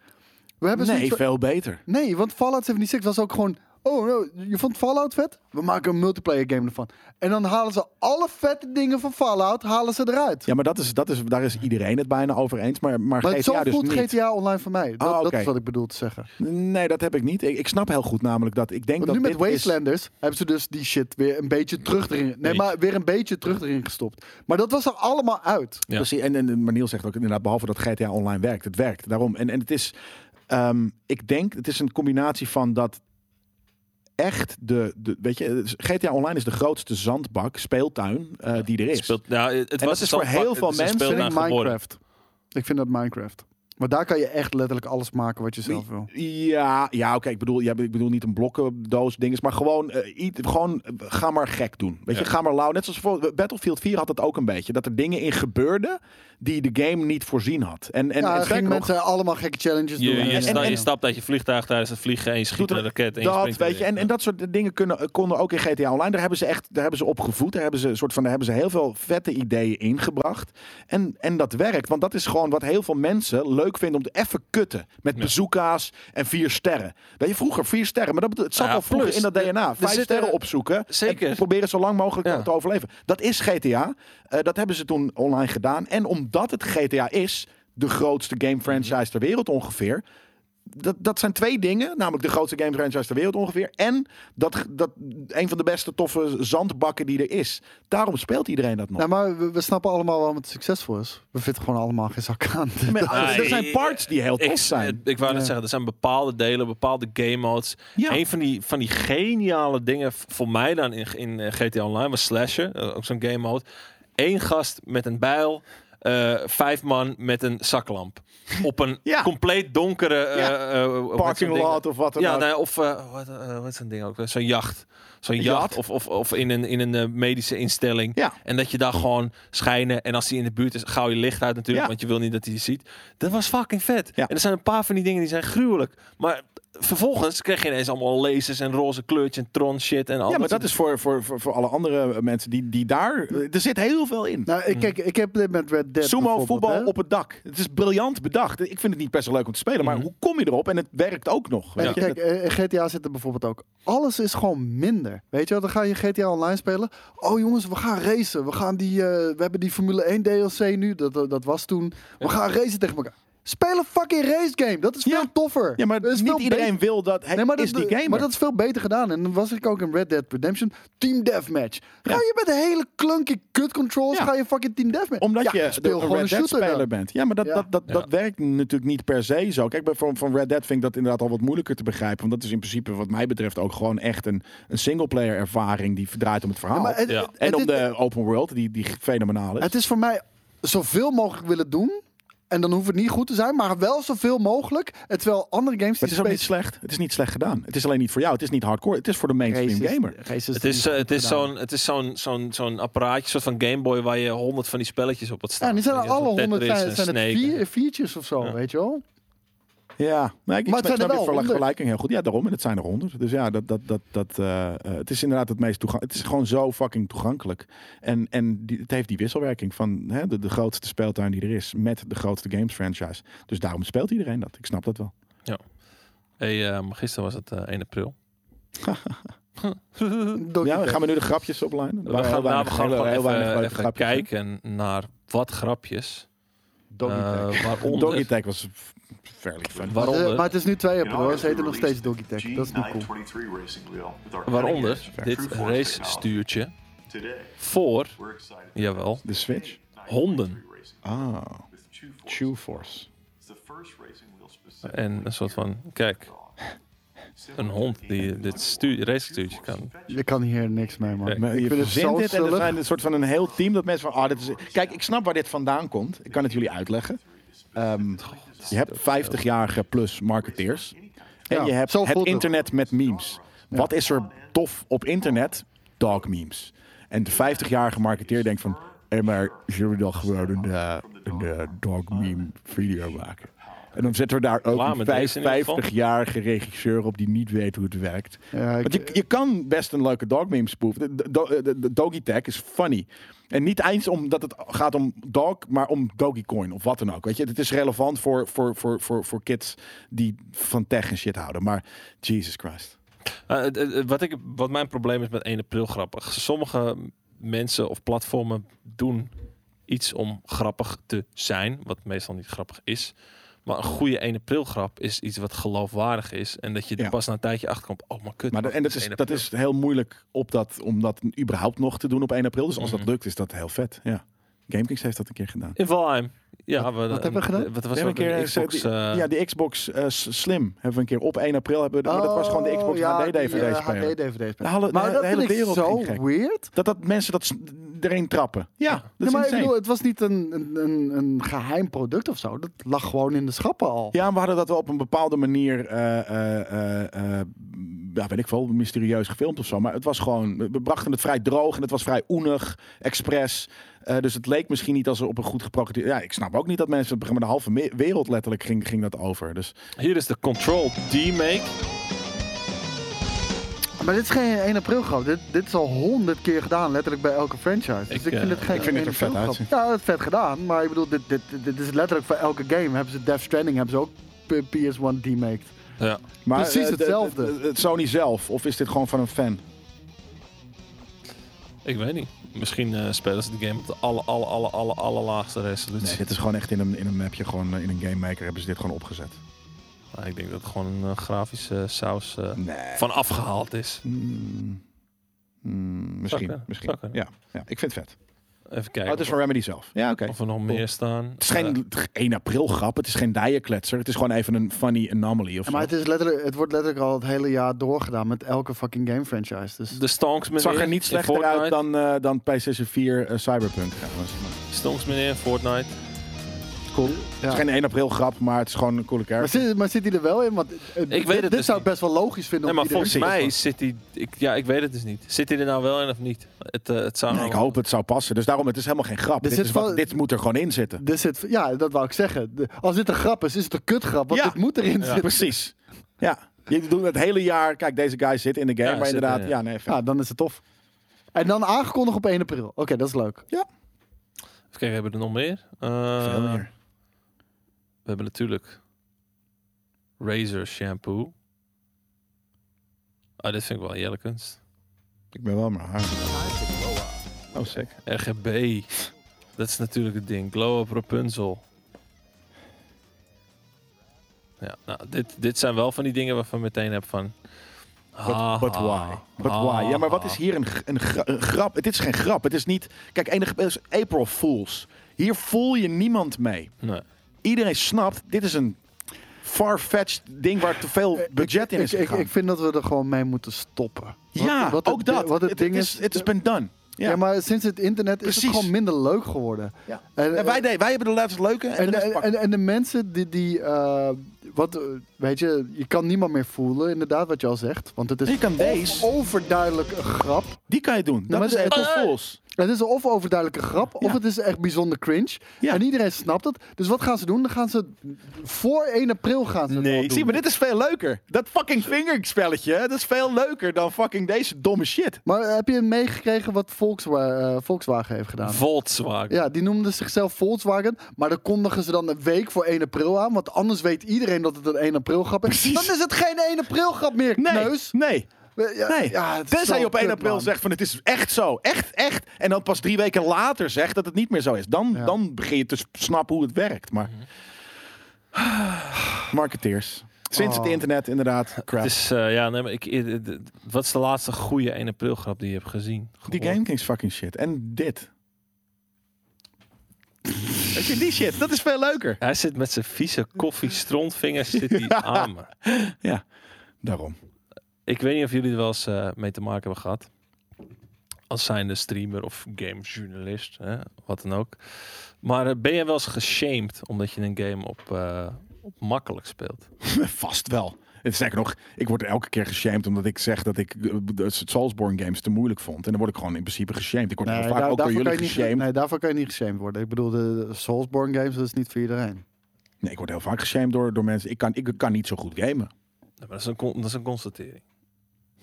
[SPEAKER 2] We hebben zoiets
[SPEAKER 3] Nee,
[SPEAKER 2] van-
[SPEAKER 3] veel beter.
[SPEAKER 2] nee, want Fallout 76 was ook gewoon... Oh, no, je vond Fallout vet? We maken een multiplayer game ervan. En dan halen ze alle vette dingen van Fallout halen ze eruit.
[SPEAKER 3] Ja, maar dat is, dat is, daar is iedereen het bijna over eens. Maar, maar,
[SPEAKER 2] maar
[SPEAKER 3] GTA
[SPEAKER 2] zo
[SPEAKER 3] dus
[SPEAKER 2] voelt
[SPEAKER 3] niet.
[SPEAKER 2] GTA Online voor mij. Dat,
[SPEAKER 3] Ah,
[SPEAKER 2] dat
[SPEAKER 3] oké.
[SPEAKER 2] is wat ik bedoel te zeggen.
[SPEAKER 3] Nee, dat heb ik niet. Ik, ik snap heel goed namelijk dat. Ik denk
[SPEAKER 2] Want
[SPEAKER 3] dat
[SPEAKER 2] nu met
[SPEAKER 3] dit is-
[SPEAKER 2] Wastelanders hebben ze dus die shit weer een beetje terug erin... Nee,
[SPEAKER 1] Beetje.
[SPEAKER 2] maar weer een beetje terug erin gestopt. Maar dat was er allemaal uit.
[SPEAKER 1] Ja.
[SPEAKER 3] Precies, en, en, en- maar Niels zegt ook inderdaad, behalve dat GTA Online werkt, het werkt daarom. En, en het is, ehm, ik denk, het is een combinatie van dat echt de, de weet je, het is- GTA Online is de grootste zandbak, speeltuin eh, die er is.
[SPEAKER 1] Speelt, nou, het
[SPEAKER 3] dat
[SPEAKER 1] was
[SPEAKER 3] is voor heel veel mensen
[SPEAKER 2] Ik
[SPEAKER 1] in
[SPEAKER 2] vind Minecraft. Ik vind dat Minecraft. Maar daar kan je echt letterlijk alles maken wat je zelf wil.
[SPEAKER 3] Ja, ja oké, ik, bedoel, ja, ik bedoel niet een blokkendoos dinges, maar gewoon, eh, iets- gewoon eh, ga maar gek doen. Weet je,
[SPEAKER 1] Ja.
[SPEAKER 3] ga maar lauw. Net zoals voor Battlefield 4 had dat ook een beetje, dat er dingen in gebeurden die de game niet voorzien had. En, en,
[SPEAKER 2] En,
[SPEAKER 3] en
[SPEAKER 2] ja,
[SPEAKER 3] sterker
[SPEAKER 2] gingen
[SPEAKER 3] nog,
[SPEAKER 2] mensen allemaal gekke challenges
[SPEAKER 1] Je,
[SPEAKER 2] doen.
[SPEAKER 1] je,
[SPEAKER 2] En-
[SPEAKER 1] sta-
[SPEAKER 2] en-
[SPEAKER 1] je stapt uit je vliegtuig tijdens het vliegen en je schiet
[SPEAKER 3] Doet er-
[SPEAKER 1] een raket en je
[SPEAKER 3] Dat,
[SPEAKER 1] springt er
[SPEAKER 3] weet je,
[SPEAKER 1] weer
[SPEAKER 3] en,
[SPEAKER 1] in.
[SPEAKER 3] en dat soort dingen kunnen, konden ook in GTA Online. Daar hebben ze echt, daar hebben ze op gevoed. Daar hebben ze, een soort van, daar hebben ze heel veel vette ideeën ingebracht. En, en dat werkt, want dat is gewoon wat heel veel mensen leuk vinden om te even kutten. Met bazooka's en vier sterren. Weet je, vroeger vier sterren, maar dat, bedo- het zat
[SPEAKER 1] Nou ja,
[SPEAKER 3] al vroeger
[SPEAKER 1] plus,
[SPEAKER 3] in dat
[SPEAKER 1] er-
[SPEAKER 3] DNA.
[SPEAKER 1] er
[SPEAKER 3] Vijf
[SPEAKER 1] zitten-
[SPEAKER 3] sterren opzoeken en
[SPEAKER 1] Zeker.
[SPEAKER 3] proberen zo lang mogelijk
[SPEAKER 1] Ja.
[SPEAKER 3] te overleven. Dat is GTA. Eh, dat hebben ze toen online gedaan. En omdat het GTA is, de grootste game franchise ter wereld ongeveer dat, dat zijn twee dingen. Namelijk de grootste game franchise ter wereld ongeveer. En dat, dat een van de beste toffe zandbakken die er is. Daarom speelt iedereen dat nog.
[SPEAKER 2] Nou, maar we, we snappen allemaal waarom het succesvol is. We vinden gewoon allemaal geen zak aan.
[SPEAKER 3] Met
[SPEAKER 1] Nou,
[SPEAKER 3] alles- (laughs) er zijn
[SPEAKER 1] ik-
[SPEAKER 3] parts die heel tof
[SPEAKER 1] Ik,
[SPEAKER 3] zijn.
[SPEAKER 1] ik wou net zeggen, er zijn bepaalde delen, bepaalde game modes.
[SPEAKER 3] Ja.
[SPEAKER 1] Een van die, van die geniale dingen v- voor mij dan in, in eh, GTA Online was Slasher, eh, ook zo'n game mode. Eén gast met een bijl, eh, vijf man met een zaklamp. Op een
[SPEAKER 3] (laughs) Ja.
[SPEAKER 1] compleet donkere eh,
[SPEAKER 3] Ja.
[SPEAKER 1] eh, hoe heet zo'n
[SPEAKER 3] Parking
[SPEAKER 1] ding?
[SPEAKER 3] lot of wat dan
[SPEAKER 1] Ja,
[SPEAKER 3] ook.
[SPEAKER 1] nou ja, of eh, wat, eh, wat is zo'n ding ook? eh, Zo'n jacht. Zo'n
[SPEAKER 3] Een
[SPEAKER 1] jacht,
[SPEAKER 3] jacht?
[SPEAKER 1] of, of, of in een, in een eh, medische instelling.
[SPEAKER 3] Ja.
[SPEAKER 1] En dat je daar gewoon schijnen. En als die in de buurt is, gauw je licht uit natuurlijk.
[SPEAKER 3] Ja.
[SPEAKER 1] Want je wil niet dat hij je ziet. Dat was fucking vet.
[SPEAKER 3] Ja.
[SPEAKER 1] En er zijn een paar van die dingen die zijn gruwelijk. Maar vervolgens kreeg je ineens allemaal lasers en roze kleurtjes en tron shit. En al
[SPEAKER 3] ja, maar dat
[SPEAKER 1] soort-
[SPEAKER 3] is voor, voor, voor, voor alle andere mensen die, die daar... Er zit heel veel in.
[SPEAKER 2] Nou, ik, kijk, ik heb dit met Red Dead
[SPEAKER 3] Sumo
[SPEAKER 2] bijvoorbeeld,
[SPEAKER 3] voetbal
[SPEAKER 2] hè.
[SPEAKER 3] op het dak. Het is briljant bedacht. Ik vind het niet best wel leuk om te spelen, maar hoe kom je erop? En het werkt ook nog.
[SPEAKER 2] En
[SPEAKER 3] Weet je?
[SPEAKER 2] Mhm. kijk, eh, GTA zit er bijvoorbeeld ook. Alles is gewoon minder. Weet je wel, dan ga je GTA Online spelen. Oh jongens, we gaan racen. We, gaan die, eh, we hebben die Formule 1 DLC nu. Dat, dat, dat was toen. We gaan racen tegen elkaar. Speel een fucking race game. Dat is
[SPEAKER 3] Ja.
[SPEAKER 2] veel toffer.
[SPEAKER 3] Ja, maar
[SPEAKER 2] Dat is
[SPEAKER 3] niet
[SPEAKER 2] veel
[SPEAKER 3] iedereen wil dat. Hij
[SPEAKER 2] Nee, maar,
[SPEAKER 3] is
[SPEAKER 2] dat,
[SPEAKER 3] die gamer.
[SPEAKER 2] maar dat is veel beter gedaan. En dan was ik ook in Red Dead Redemption. Team Deathmatch. Ga
[SPEAKER 3] Ja.
[SPEAKER 2] je met de hele klunky kut controls,
[SPEAKER 3] Ja.
[SPEAKER 2] ga je fucking Team Deathmatch.
[SPEAKER 3] Omdat
[SPEAKER 2] Ja,
[SPEAKER 3] je de Red Dead speler
[SPEAKER 2] dan.
[SPEAKER 3] bent. Ja, maar dat,
[SPEAKER 2] Ja.
[SPEAKER 3] Dat, dat,
[SPEAKER 1] Ja.
[SPEAKER 3] dat werkt natuurlijk niet per se zo. Kijk, bij, van, van Red Dead vind ik dat inderdaad al wat moeilijker te begrijpen. Want dat is in principe wat mij betreft ook gewoon echt een, een singleplayer ervaring die draait om het verhaal.
[SPEAKER 2] Ja, maar het,
[SPEAKER 1] Ja.
[SPEAKER 2] het-
[SPEAKER 3] en
[SPEAKER 2] het
[SPEAKER 3] om
[SPEAKER 2] is-
[SPEAKER 3] de open world, die, die fenomenaal is.
[SPEAKER 2] Het is voor mij zoveel mogelijk willen doen. En dan hoeft het niet goed te zijn, maar wel zoveel mogelijk. En terwijl andere games
[SPEAKER 3] Maar
[SPEAKER 2] die
[SPEAKER 3] het is ook niet
[SPEAKER 2] spelen.
[SPEAKER 3] slecht. Het is niet slecht gedaan. Het is alleen niet voor jou. Het is niet hardcore. Het is voor de mainstream gamer.
[SPEAKER 1] Het is, eh, het is zo'n, het is zo'n, zo'n, zo'n apparaatje, soort van Game Boy, waar je honderd van die spelletjes op had staan.
[SPEAKER 2] Ja, en die zijn
[SPEAKER 1] Weet
[SPEAKER 2] er
[SPEAKER 1] je, zo'n
[SPEAKER 2] alle honderd
[SPEAKER 1] Tetris
[SPEAKER 2] zijn,
[SPEAKER 1] en
[SPEAKER 2] zijn het
[SPEAKER 1] Snake.
[SPEAKER 2] vier, viertjes of zo,
[SPEAKER 1] Ja.
[SPEAKER 2] weet je wel?
[SPEAKER 3] Ja, nee,
[SPEAKER 2] Maar
[SPEAKER 3] ik, maar
[SPEAKER 2] het
[SPEAKER 3] snap,
[SPEAKER 2] zijn er
[SPEAKER 3] snap je
[SPEAKER 2] wel
[SPEAKER 3] verla-
[SPEAKER 2] 100.
[SPEAKER 3] vergelijking heel goed. Ja, daarom. En het zijn er honderd. Dus ja, dat, dat, dat, dat, eh, eh, het is inderdaad het meest toegankelijk. Het is gewoon zo fucking toegankelijk. En, en die, het heeft die wisselwerking van hè, de, de grootste speeltuin die er is met de grootste games franchise. Dus daarom speelt iedereen dat. Ik snap dat wel.
[SPEAKER 1] Hey, eh, maar gisteren was het eh, 1 april.
[SPEAKER 2] Door
[SPEAKER 3] Ja,
[SPEAKER 2] die-
[SPEAKER 3] gaan we nu de grapjes opline?
[SPEAKER 1] We gaan, nou, we gaan gewoon even, even kijken naar wat grapjes
[SPEAKER 3] Doggy
[SPEAKER 1] Eh,
[SPEAKER 3] Tag.
[SPEAKER 1] waaronder,
[SPEAKER 3] Doggy Tag was v- fairly fun.
[SPEAKER 1] Wa- Waaronder?
[SPEAKER 2] Maar, het- Eh, maar het is nu twee app
[SPEAKER 5] Yamaha
[SPEAKER 2] hoor.
[SPEAKER 5] has
[SPEAKER 2] Ze heten nog
[SPEAKER 5] released
[SPEAKER 2] steeds Doggy Tech.
[SPEAKER 5] the
[SPEAKER 2] Dat is niet cool.
[SPEAKER 5] G923 racing wheel with our
[SPEAKER 1] waaronder dus?
[SPEAKER 5] cutting-edge
[SPEAKER 1] dit
[SPEAKER 5] True Force
[SPEAKER 1] race
[SPEAKER 5] technology.
[SPEAKER 1] stuurtje
[SPEAKER 5] Today,
[SPEAKER 1] voor,
[SPEAKER 5] we're excited to
[SPEAKER 1] jawel,
[SPEAKER 3] De Switch?
[SPEAKER 5] announce
[SPEAKER 1] honden.
[SPEAKER 5] 923 racing
[SPEAKER 3] Ah,
[SPEAKER 5] with True Force.
[SPEAKER 3] Shoe Force.
[SPEAKER 5] It's the first racing wheel specific
[SPEAKER 1] En een soort van, kijk, een hond die dit stuur, racestuurtje kan.
[SPEAKER 2] Je kan hier niks mee, man.
[SPEAKER 1] Nee.
[SPEAKER 3] Maar
[SPEAKER 2] Ik
[SPEAKER 3] je
[SPEAKER 2] vind het zo
[SPEAKER 3] verzint dit en er
[SPEAKER 2] zullig.
[SPEAKER 3] zijn een soort van een heel team dat mensen van... ah dit is, kijk, ik snap waar dit vandaan komt. Ik kan het jullie uitleggen. Ehm, je hebt 50-jarige plus marketeers. En
[SPEAKER 2] Ja,
[SPEAKER 3] je hebt
[SPEAKER 2] zo
[SPEAKER 3] het
[SPEAKER 2] voelt het.
[SPEAKER 3] internet met memes. Wat is er tof op internet? Dog memes. En de 50-jarige marketeer denkt van... Hé, maar zullen we dan gewoon een, eh, een eh, dog meme video maken? En dan zetten we daar ook
[SPEAKER 1] Klaar
[SPEAKER 3] een
[SPEAKER 1] met deze in ieder geval.
[SPEAKER 3] 50-jarige regisseur op die niet weet hoe het werkt.
[SPEAKER 2] Ja, ik-
[SPEAKER 3] Want je, je kan best een leuke dog meme spoof. De, de, de, de- de doggy tag is funny. En niet eens omdat het gaat om dog, maar om dogecoin of wat dan ook. Weet je, het is relevant voor, voor, voor, voor, voor kids die van tech en shit houden. Maar Jesus Christ.
[SPEAKER 1] Eh, het- het- het- wat, ik, wat mijn probleem is met 1 april grappig. Sommige mensen of platformen doen iets om grappig te zijn, wat meestal niet grappig is. Maar een goede 1 april grap is iets wat geloofwaardig is. En dat je er
[SPEAKER 3] Ja.
[SPEAKER 1] pas na een tijdje achterkomt. Oh, maar kut.
[SPEAKER 3] Maar de- en dat is,
[SPEAKER 1] 1
[SPEAKER 3] dat
[SPEAKER 1] april.
[SPEAKER 3] is heel moeilijk op dat, om dat überhaupt nog te doen op 1 april. Dus als dat
[SPEAKER 1] Mhm.
[SPEAKER 3] lukt, is dat heel vet. Ja. GameKings heeft dat een keer gedaan.
[SPEAKER 1] In Valheim. Ja, wat,
[SPEAKER 2] wat hebben we gedaan?
[SPEAKER 1] Wat
[SPEAKER 3] We
[SPEAKER 1] was
[SPEAKER 3] hebben
[SPEAKER 1] ook
[SPEAKER 3] een keer
[SPEAKER 1] een
[SPEAKER 3] eh,
[SPEAKER 1] Xbox...
[SPEAKER 3] die,
[SPEAKER 1] eh,
[SPEAKER 3] ja, die Xbox eh, s- Slim hebben we een keer op 1 april. Hebben, we- maar dat was gewoon
[SPEAKER 2] Oh,
[SPEAKER 3] de Xbox
[SPEAKER 2] eh,
[SPEAKER 3] HD-DVD spelen.
[SPEAKER 2] HD-DVD
[SPEAKER 3] De hele-
[SPEAKER 2] Maar
[SPEAKER 3] Nou, de
[SPEAKER 2] dat
[SPEAKER 3] hele
[SPEAKER 2] vind ik
[SPEAKER 3] wereld
[SPEAKER 2] zo
[SPEAKER 3] ging gek.
[SPEAKER 2] weird.
[SPEAKER 3] Dat dat mensen dat s- erin trappen. Ja, dat
[SPEAKER 2] Nee,
[SPEAKER 3] is
[SPEAKER 2] maar ik
[SPEAKER 3] insane.
[SPEAKER 2] bedoel, het was niet een, een, een, een geheim product of zo. Dat lag gewoon in de schappen al.
[SPEAKER 3] Ja, we hadden dat wel op een bepaalde manier, eh, eh, eh, eh, ja, weet ik veel, mysterieus gefilmd of zo. Maar het was gewoon, we- we brachten het vrij droog en het was vrij oenig, expres. Eh, dus het leek misschien niet als er op een goed geprogrammeerd... Ja, ik snap ook niet dat mensen, maar de halve me- wereld letterlijk ging, ging dat over. Dus
[SPEAKER 1] Hier is de Control D-Make.
[SPEAKER 2] Maar dit is geen 1 april grap. Dit, dit is al honderd keer gedaan, letterlijk bij elke franchise. Dus
[SPEAKER 1] Ik,
[SPEAKER 2] ik,
[SPEAKER 1] eh,
[SPEAKER 2] vind het geen
[SPEAKER 3] ik vind het
[SPEAKER 2] 1
[SPEAKER 3] er vet
[SPEAKER 2] april grap.
[SPEAKER 3] uitzien.
[SPEAKER 2] Ja, het is vet gedaan. Maar ik bedoel, dit, dit, dit is letterlijk voor elke game. Hebben ze Death Stranding, hebben ze ook p- PS1 demaked.
[SPEAKER 1] Ja.
[SPEAKER 3] maar,
[SPEAKER 2] Precies
[SPEAKER 3] eh, de- de-
[SPEAKER 2] hetzelfde.
[SPEAKER 3] de- de- Sony zelf, of is dit gewoon van een fan?
[SPEAKER 1] Ik weet niet. Misschien eh, spelen ze de game op de alle, alle, alle, alle, allerlaagste resolutie.
[SPEAKER 3] Nee, dit is gewoon echt in een, in een mapje, gewoon eh, in een game maker hebben ze dit gewoon opgezet.
[SPEAKER 1] Maar ik denk dat het gewoon een eh, grafische saus eh,
[SPEAKER 3] Nee.
[SPEAKER 1] van afgehaald is.
[SPEAKER 3] Mm. Mm, misschien,
[SPEAKER 1] kunnen,
[SPEAKER 3] misschien.
[SPEAKER 1] zou kunnen.
[SPEAKER 3] Ja, ja, ik vind het vet.
[SPEAKER 1] Even
[SPEAKER 3] Oh,
[SPEAKER 1] kijken
[SPEAKER 3] het is van Remedy zelf. Ja, oké.
[SPEAKER 1] of er nog meer staan.
[SPEAKER 3] Het is geen 1 april grap, het is geen dijenkletser. Het is gewoon even een funny anomaly of zo.
[SPEAKER 2] Maar het, is letterlijk, het wordt letterlijk al het hele jaar doorgedaan met elke fucking game franchise. Dus
[SPEAKER 1] Eh, de Stonks
[SPEAKER 3] Het
[SPEAKER 1] meneer.
[SPEAKER 3] zag er niet
[SPEAKER 1] in
[SPEAKER 3] slechter
[SPEAKER 1] Fortnite.
[SPEAKER 3] uit dan, eh dan PlayStation 4 eh, Cyberpunk. trouwens. Maar
[SPEAKER 1] Stonks meneer in Fortnite.
[SPEAKER 2] cool.
[SPEAKER 3] Het is geen 1 april grap, maar het is gewoon een coole
[SPEAKER 2] Maar
[SPEAKER 3] kerk.
[SPEAKER 2] zit, maar zit hij er wel in? Want eh, dit,
[SPEAKER 1] weet het
[SPEAKER 2] dit
[SPEAKER 1] dus
[SPEAKER 2] zou ik
[SPEAKER 1] niet.
[SPEAKER 2] best wel logisch vinden.
[SPEAKER 1] Nee,
[SPEAKER 2] om
[SPEAKER 1] maar
[SPEAKER 2] iedereen
[SPEAKER 1] volgens
[SPEAKER 2] te
[SPEAKER 1] mij zit
[SPEAKER 2] kopen.
[SPEAKER 1] hij. Ik, ja, ik weet het dus niet. Zit hij er nou wel in of niet? Het, eh, het zou.
[SPEAKER 3] Nee, ik
[SPEAKER 1] nou-
[SPEAKER 3] hoop het zou passen. Dus daarom, het is helemaal geen grap.
[SPEAKER 2] Er
[SPEAKER 3] Dit,
[SPEAKER 2] zit
[SPEAKER 3] is wat-
[SPEAKER 2] wel-
[SPEAKER 3] dit moet er gewoon in zitten.
[SPEAKER 2] Dit zit, ja, dat wou ik zeggen. De- Als dit een grap is, is het een kutgrap. Want
[SPEAKER 3] Ja.
[SPEAKER 2] dit moet erin zitten.
[SPEAKER 3] Precies. (laughs) Ja. Je doet het hele jaar. Kijk, deze guy zit in de game.
[SPEAKER 1] Ja,
[SPEAKER 3] maar
[SPEAKER 1] zit
[SPEAKER 3] inderdaad,
[SPEAKER 1] erin, ja.
[SPEAKER 3] ja, nee, vet.
[SPEAKER 2] Ja, dan is het tof. En dan aangekondigd op 1 april. Oké, dat is leuk.
[SPEAKER 1] Even kijken, hebben we er nog meer? Eh,
[SPEAKER 3] Veel meer.
[SPEAKER 1] We hebben natuurlijk. Razor shampoo. Ah, dit vind ik wel jelle kunst.
[SPEAKER 3] Ik ben wel maar haar. Oh, sick.
[SPEAKER 1] RGB. Dat is natuurlijk het ding. Glow up Rapunzel. Ja, nou, dit, dit zijn wel van die dingen waarvan ik meteen heb van...
[SPEAKER 3] But,
[SPEAKER 1] ha,
[SPEAKER 3] but
[SPEAKER 1] ha,
[SPEAKER 3] why? But
[SPEAKER 1] ha,
[SPEAKER 3] why? Ja, maar wat is
[SPEAKER 1] ha.
[SPEAKER 3] hier een, g- een, gra- een grap? Het is geen grap. Het is niet... Kijk, enige, het is April Fools. Hier voel je niemand mee.
[SPEAKER 1] Nee.
[SPEAKER 3] Iedereen snapt, dit is een far-fetched ding waar te veel budget in
[SPEAKER 2] ik,
[SPEAKER 3] is
[SPEAKER 2] ik,
[SPEAKER 3] gegaan.
[SPEAKER 2] ik vind dat we er gewoon mee moeten stoppen. Wat-
[SPEAKER 3] ja,
[SPEAKER 2] wat het
[SPEAKER 3] ook
[SPEAKER 2] di-
[SPEAKER 3] dat.
[SPEAKER 2] Wat het, ding
[SPEAKER 3] is,
[SPEAKER 2] is.
[SPEAKER 3] het is been done. Ja.
[SPEAKER 2] ja. maar sinds het internet is het
[SPEAKER 3] Precies.
[SPEAKER 2] gewoon minder leuk geworden.
[SPEAKER 3] Ja.
[SPEAKER 2] En,
[SPEAKER 3] En wij, de- wij hebben de laatste leuke en, de
[SPEAKER 2] eh, en,
[SPEAKER 3] rest
[SPEAKER 2] en,
[SPEAKER 3] pakken.
[SPEAKER 2] en, en de mensen die, die eh, wat, eh, weet je, je kan niemand meer voelen, inderdaad, wat je al zegt. Want het is
[SPEAKER 3] Je kan deze.
[SPEAKER 2] overduidelijk een grap.
[SPEAKER 3] Die kan je doen. Dat
[SPEAKER 2] Nou, maar
[SPEAKER 3] is
[SPEAKER 2] de-
[SPEAKER 3] April
[SPEAKER 1] Eh.
[SPEAKER 3] Fools.
[SPEAKER 2] Het is of overduidelijke grap, of
[SPEAKER 3] Ja.
[SPEAKER 2] het is echt bijzonder cringe.
[SPEAKER 3] Ja.
[SPEAKER 2] En iedereen snapt het. Dus wat gaan ze doen? Dan gaan ze voor 1 april gaan ze het al doen.
[SPEAKER 3] Zie, maar dit is veel leuker. Dat fucking vingerspelletje, hè, dat is veel leuker dan fucking deze domme shit.
[SPEAKER 2] Maar eh, heb je meegekregen wat Volkswa- eh, Volkswagen heeft gedaan?
[SPEAKER 1] Volkswagen.
[SPEAKER 2] Ja, die noemden zichzelf Volkswagen, maar dan kondigen ze dan een week voor 1 april aan, want anders weet iedereen dat het een 1 april grap is.
[SPEAKER 3] Precies.
[SPEAKER 2] Dan is het geen 1 april grap meer,
[SPEAKER 3] Nee,
[SPEAKER 2] kneus.
[SPEAKER 3] nee.
[SPEAKER 2] Ja,
[SPEAKER 3] Nee.
[SPEAKER 2] ja, het is
[SPEAKER 3] Tenzij
[SPEAKER 2] zo
[SPEAKER 3] je op 1
[SPEAKER 2] kut,
[SPEAKER 3] april
[SPEAKER 2] man.
[SPEAKER 3] zegt van het is echt zo. Echt, echt. En dan pas drie weken later zegt dat het niet meer zo is. Dan,
[SPEAKER 2] Ja. Mhm.
[SPEAKER 3] dan begin je te s- snappen hoe het werkt. Maar (sighs) marketeers. Sinds
[SPEAKER 2] Oh.
[SPEAKER 3] het internet inderdaad. Crap.
[SPEAKER 1] Het is, eh, ja, nee, maar ik, eh, d- d- wat is de laatste goede 1 april grap die je hebt gezien?
[SPEAKER 3] Die
[SPEAKER 1] Gehoord?
[SPEAKER 3] Game Kings fucking shit. En dit. (laughs) Weet je, die shit. Dat is veel leuker.
[SPEAKER 1] Hij zit met zijn vieze koffie-strontvingers zit die aan me.
[SPEAKER 3] Daarom.
[SPEAKER 1] Ik weet niet of jullie er wel eens eh, mee te maken hebben gehad. Als zijnde streamer of gamejournalist, hè, wat dan ook. Maar eh, ben je wel eens geshamed omdat je een game op, eh, op makkelijk speelt?
[SPEAKER 3] Vast wel. En Sterker nog, ik word elke keer geshamed omdat ik zeg dat ik eh, de Soulsborne games te moeilijk vond. En dan word ik gewoon in principe geshamed. Ik word heel
[SPEAKER 2] Nee,
[SPEAKER 3] vaak
[SPEAKER 2] Nou, daar-
[SPEAKER 3] ook door
[SPEAKER 2] daarvoor kan
[SPEAKER 3] jullie
[SPEAKER 2] je niet,
[SPEAKER 3] geshamed.
[SPEAKER 2] nee, daarvoor kan je niet geshamed worden. Ik bedoel, de Soulsborne games, dat is niet voor iedereen.
[SPEAKER 3] Nee, ik word heel vaak geshamed door, door mensen. Ik kan, ik kan niet zo goed gamen.
[SPEAKER 1] Nou, maar dat, is een, con- dat is een constatering. (laughs)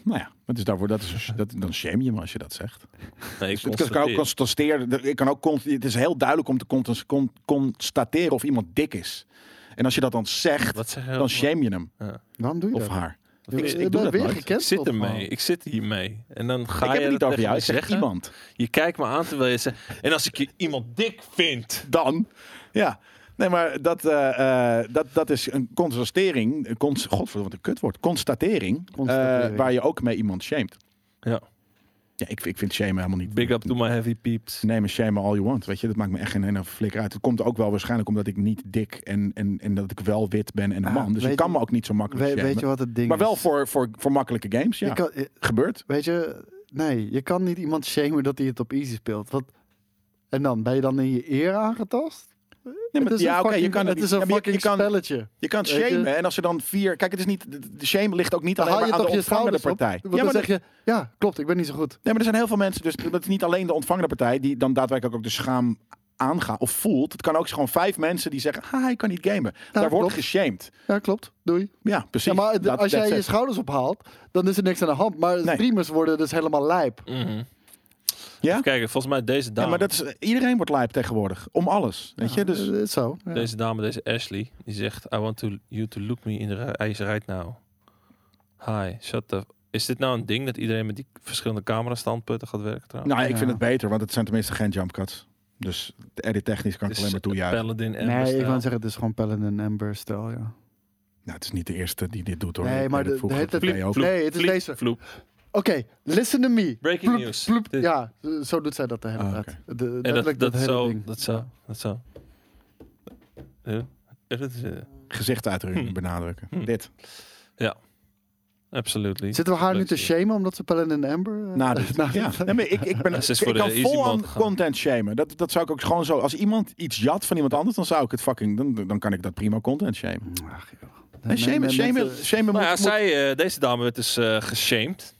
[SPEAKER 3] Nou ja, het is daarvoor, dat is, dat, dan shame je me als je dat zegt.
[SPEAKER 1] Nee, ik
[SPEAKER 3] Dus ik kan
[SPEAKER 1] constateer.
[SPEAKER 3] ook constateren. Ik kan ook, const- het is heel duidelijk om te const- con- constateren of iemand dik is. En als je dat dan zegt,
[SPEAKER 1] Wat zeg je?
[SPEAKER 3] dan shame je hem
[SPEAKER 2] Waarom doe je
[SPEAKER 3] of
[SPEAKER 2] dat?
[SPEAKER 3] haar.
[SPEAKER 1] Wat- ik,
[SPEAKER 2] Je
[SPEAKER 1] ik doe
[SPEAKER 2] bent
[SPEAKER 1] dat
[SPEAKER 2] weer
[SPEAKER 1] nooit. Ik
[SPEAKER 2] gecanceld,
[SPEAKER 1] zit ermee.
[SPEAKER 2] man.
[SPEAKER 1] Ik zit hiermee. En dan ga
[SPEAKER 3] ik
[SPEAKER 1] je
[SPEAKER 3] heb het niet
[SPEAKER 1] dat tegen
[SPEAKER 3] over jou,
[SPEAKER 1] me
[SPEAKER 3] ik zeg
[SPEAKER 1] zeggen.
[SPEAKER 3] iemand.
[SPEAKER 1] Je kijkt me aan terwijl je zegt... En als ik je iemand dik vind...
[SPEAKER 3] Dan, ja. Nee, maar dat, eh, eh, dat, dat is een constatering. een Cons, Godverdomme, wat een kutwoord. Constatering. eh,
[SPEAKER 2] Constatering.
[SPEAKER 3] waar je ook mee iemand shamed.
[SPEAKER 1] Ja.
[SPEAKER 3] Ja, ik, ik vind shame helemaal niet.
[SPEAKER 1] Big up to my heavy peeps.
[SPEAKER 3] Neem een shame all you want. Weet je, dat maakt me echt geen ene flikker uit. Het komt ook wel waarschijnlijk omdat ik niet dik en, en, en dat ik wel wit ben en een
[SPEAKER 2] Ah,
[SPEAKER 3] man. Dus ik
[SPEAKER 2] weet
[SPEAKER 3] kan
[SPEAKER 2] je-
[SPEAKER 3] me ook niet zo makkelijk
[SPEAKER 2] We-
[SPEAKER 3] shamen.
[SPEAKER 2] weet je wat het ding
[SPEAKER 3] maar
[SPEAKER 2] is?
[SPEAKER 3] wel voor, voor, voor makkelijke games, ja.
[SPEAKER 2] Je kan, je-
[SPEAKER 3] Gebeurt.
[SPEAKER 2] weet je, nee, je kan niet iemand shamen dat hij het op easy speelt. Wat, en dan, ben je dan in je eer aangetast?
[SPEAKER 3] Nee, maar,
[SPEAKER 2] het is
[SPEAKER 3] ja,
[SPEAKER 2] een
[SPEAKER 3] oké,
[SPEAKER 2] fucking,
[SPEAKER 3] je kan
[SPEAKER 2] het
[SPEAKER 3] niet-
[SPEAKER 2] is een
[SPEAKER 3] ja, maar je-
[SPEAKER 2] fucking
[SPEAKER 3] je, kan,
[SPEAKER 2] spelletje.
[SPEAKER 3] je kan
[SPEAKER 2] Weet je?
[SPEAKER 3] shamen en als er dan vier... Kijk, het is niet... de- De shame ligt ook niet
[SPEAKER 2] Dan
[SPEAKER 3] alleen
[SPEAKER 2] haal
[SPEAKER 3] maar
[SPEAKER 2] je
[SPEAKER 3] aan
[SPEAKER 2] toch
[SPEAKER 3] de
[SPEAKER 2] je
[SPEAKER 3] ontvangende
[SPEAKER 2] schouders op.
[SPEAKER 3] partij.
[SPEAKER 2] Want
[SPEAKER 3] Ja,
[SPEAKER 2] dan
[SPEAKER 3] maar
[SPEAKER 2] zeg je, ja, klopt, ik ben niet zo goed.
[SPEAKER 3] Nee, maar er zijn heel veel mensen, dus dat is niet alleen de ontvangende partij die dan daadwerkelijk ook de schaam aangaat of voelt. Het kan ook gewoon vijf mensen die zeggen, ah, ik kan niet gamen. Daar wordt
[SPEAKER 2] klopt.
[SPEAKER 3] geshamed.
[SPEAKER 2] Ja, klopt, doei.
[SPEAKER 3] Ja, precies.
[SPEAKER 2] Ja, maar
[SPEAKER 3] Dat-
[SPEAKER 2] als jij
[SPEAKER 3] that's
[SPEAKER 2] je
[SPEAKER 3] it.
[SPEAKER 2] schouders ophaalt, dan is er niks aan de hand. Maar
[SPEAKER 3] Nee.
[SPEAKER 2] streamers worden dus helemaal lijp.
[SPEAKER 1] Mhm.
[SPEAKER 3] Ja?
[SPEAKER 1] Even kijken, volgens mij deze
[SPEAKER 3] Ja,
[SPEAKER 1] dame,
[SPEAKER 3] maar dat is, iedereen wordt lijp tegenwoordig. Om alles. Weet je? Dus,
[SPEAKER 2] Eh, het is zo. ja.
[SPEAKER 1] deze dame, deze Ashley, die zegt... I want to, you to look me in the ri- eyes right now. Hi, shut the... Is dit nou een ding dat iedereen met die verschillende camerastandpunten gaat werken trouwens?
[SPEAKER 3] nou, ik
[SPEAKER 2] Ja.
[SPEAKER 3] vind het beter, want het zijn tenminste geen jump cuts. Dus de edit technisch kan ik alleen maar toejuichen.
[SPEAKER 1] Paladin Amber
[SPEAKER 2] Nee, ik
[SPEAKER 1] style.
[SPEAKER 2] wou zeggen, het is gewoon Paladin en Amber stel, ja.
[SPEAKER 3] Nou, het is niet de eerste die dit doet hoor.
[SPEAKER 2] Nee,
[SPEAKER 3] Ik
[SPEAKER 2] maar
[SPEAKER 3] deed
[SPEAKER 2] de-
[SPEAKER 3] vroeger
[SPEAKER 2] de-
[SPEAKER 3] op tv
[SPEAKER 2] de-
[SPEAKER 3] ook.
[SPEAKER 2] nee, het is
[SPEAKER 1] Vloep,
[SPEAKER 2] deze.
[SPEAKER 1] vloep.
[SPEAKER 2] Oké, listen to me.
[SPEAKER 1] Breaking news. Dit.
[SPEAKER 2] Ja, eh, zo doet zij dat de hele
[SPEAKER 3] Ah,
[SPEAKER 2] tijd.
[SPEAKER 3] oké.
[SPEAKER 2] De- letterlijk
[SPEAKER 1] En dat, dat,
[SPEAKER 2] hele
[SPEAKER 1] zo,
[SPEAKER 2] ding.
[SPEAKER 1] dat zo, dat zo. Eh, eh, eh,
[SPEAKER 3] Gezichtsuitdrukking benadrukken.
[SPEAKER 1] Hm.
[SPEAKER 3] Dit.
[SPEAKER 1] Absolutely.
[SPEAKER 2] Zitten we haar nu
[SPEAKER 1] Leuk
[SPEAKER 2] te
[SPEAKER 1] zie
[SPEAKER 2] shamen omdat ze Paladin en Amber... eh, (laughs)
[SPEAKER 3] (laughs) Nou, dit,
[SPEAKER 2] nou,
[SPEAKER 3] ja. Nee, maar ik, ik, ben,
[SPEAKER 1] Ze is dus
[SPEAKER 3] ik
[SPEAKER 1] voor de
[SPEAKER 3] kan
[SPEAKER 1] easy
[SPEAKER 3] vol
[SPEAKER 1] mode
[SPEAKER 3] aan
[SPEAKER 1] gegaan.
[SPEAKER 3] content shamen. Dat, dat zou ik ook gewoon zo... Als iemand iets jat van iemand anders, dan zou ik het fucking... Dan, dan kan ik dat prima content shamen.
[SPEAKER 2] Ach, joh.
[SPEAKER 3] Nee, shamen,
[SPEAKER 2] mensen-
[SPEAKER 3] shamen, shamen
[SPEAKER 1] Nou ja,
[SPEAKER 3] moet- moet-
[SPEAKER 1] zij, eh, deze dame werd dus eh geshamed.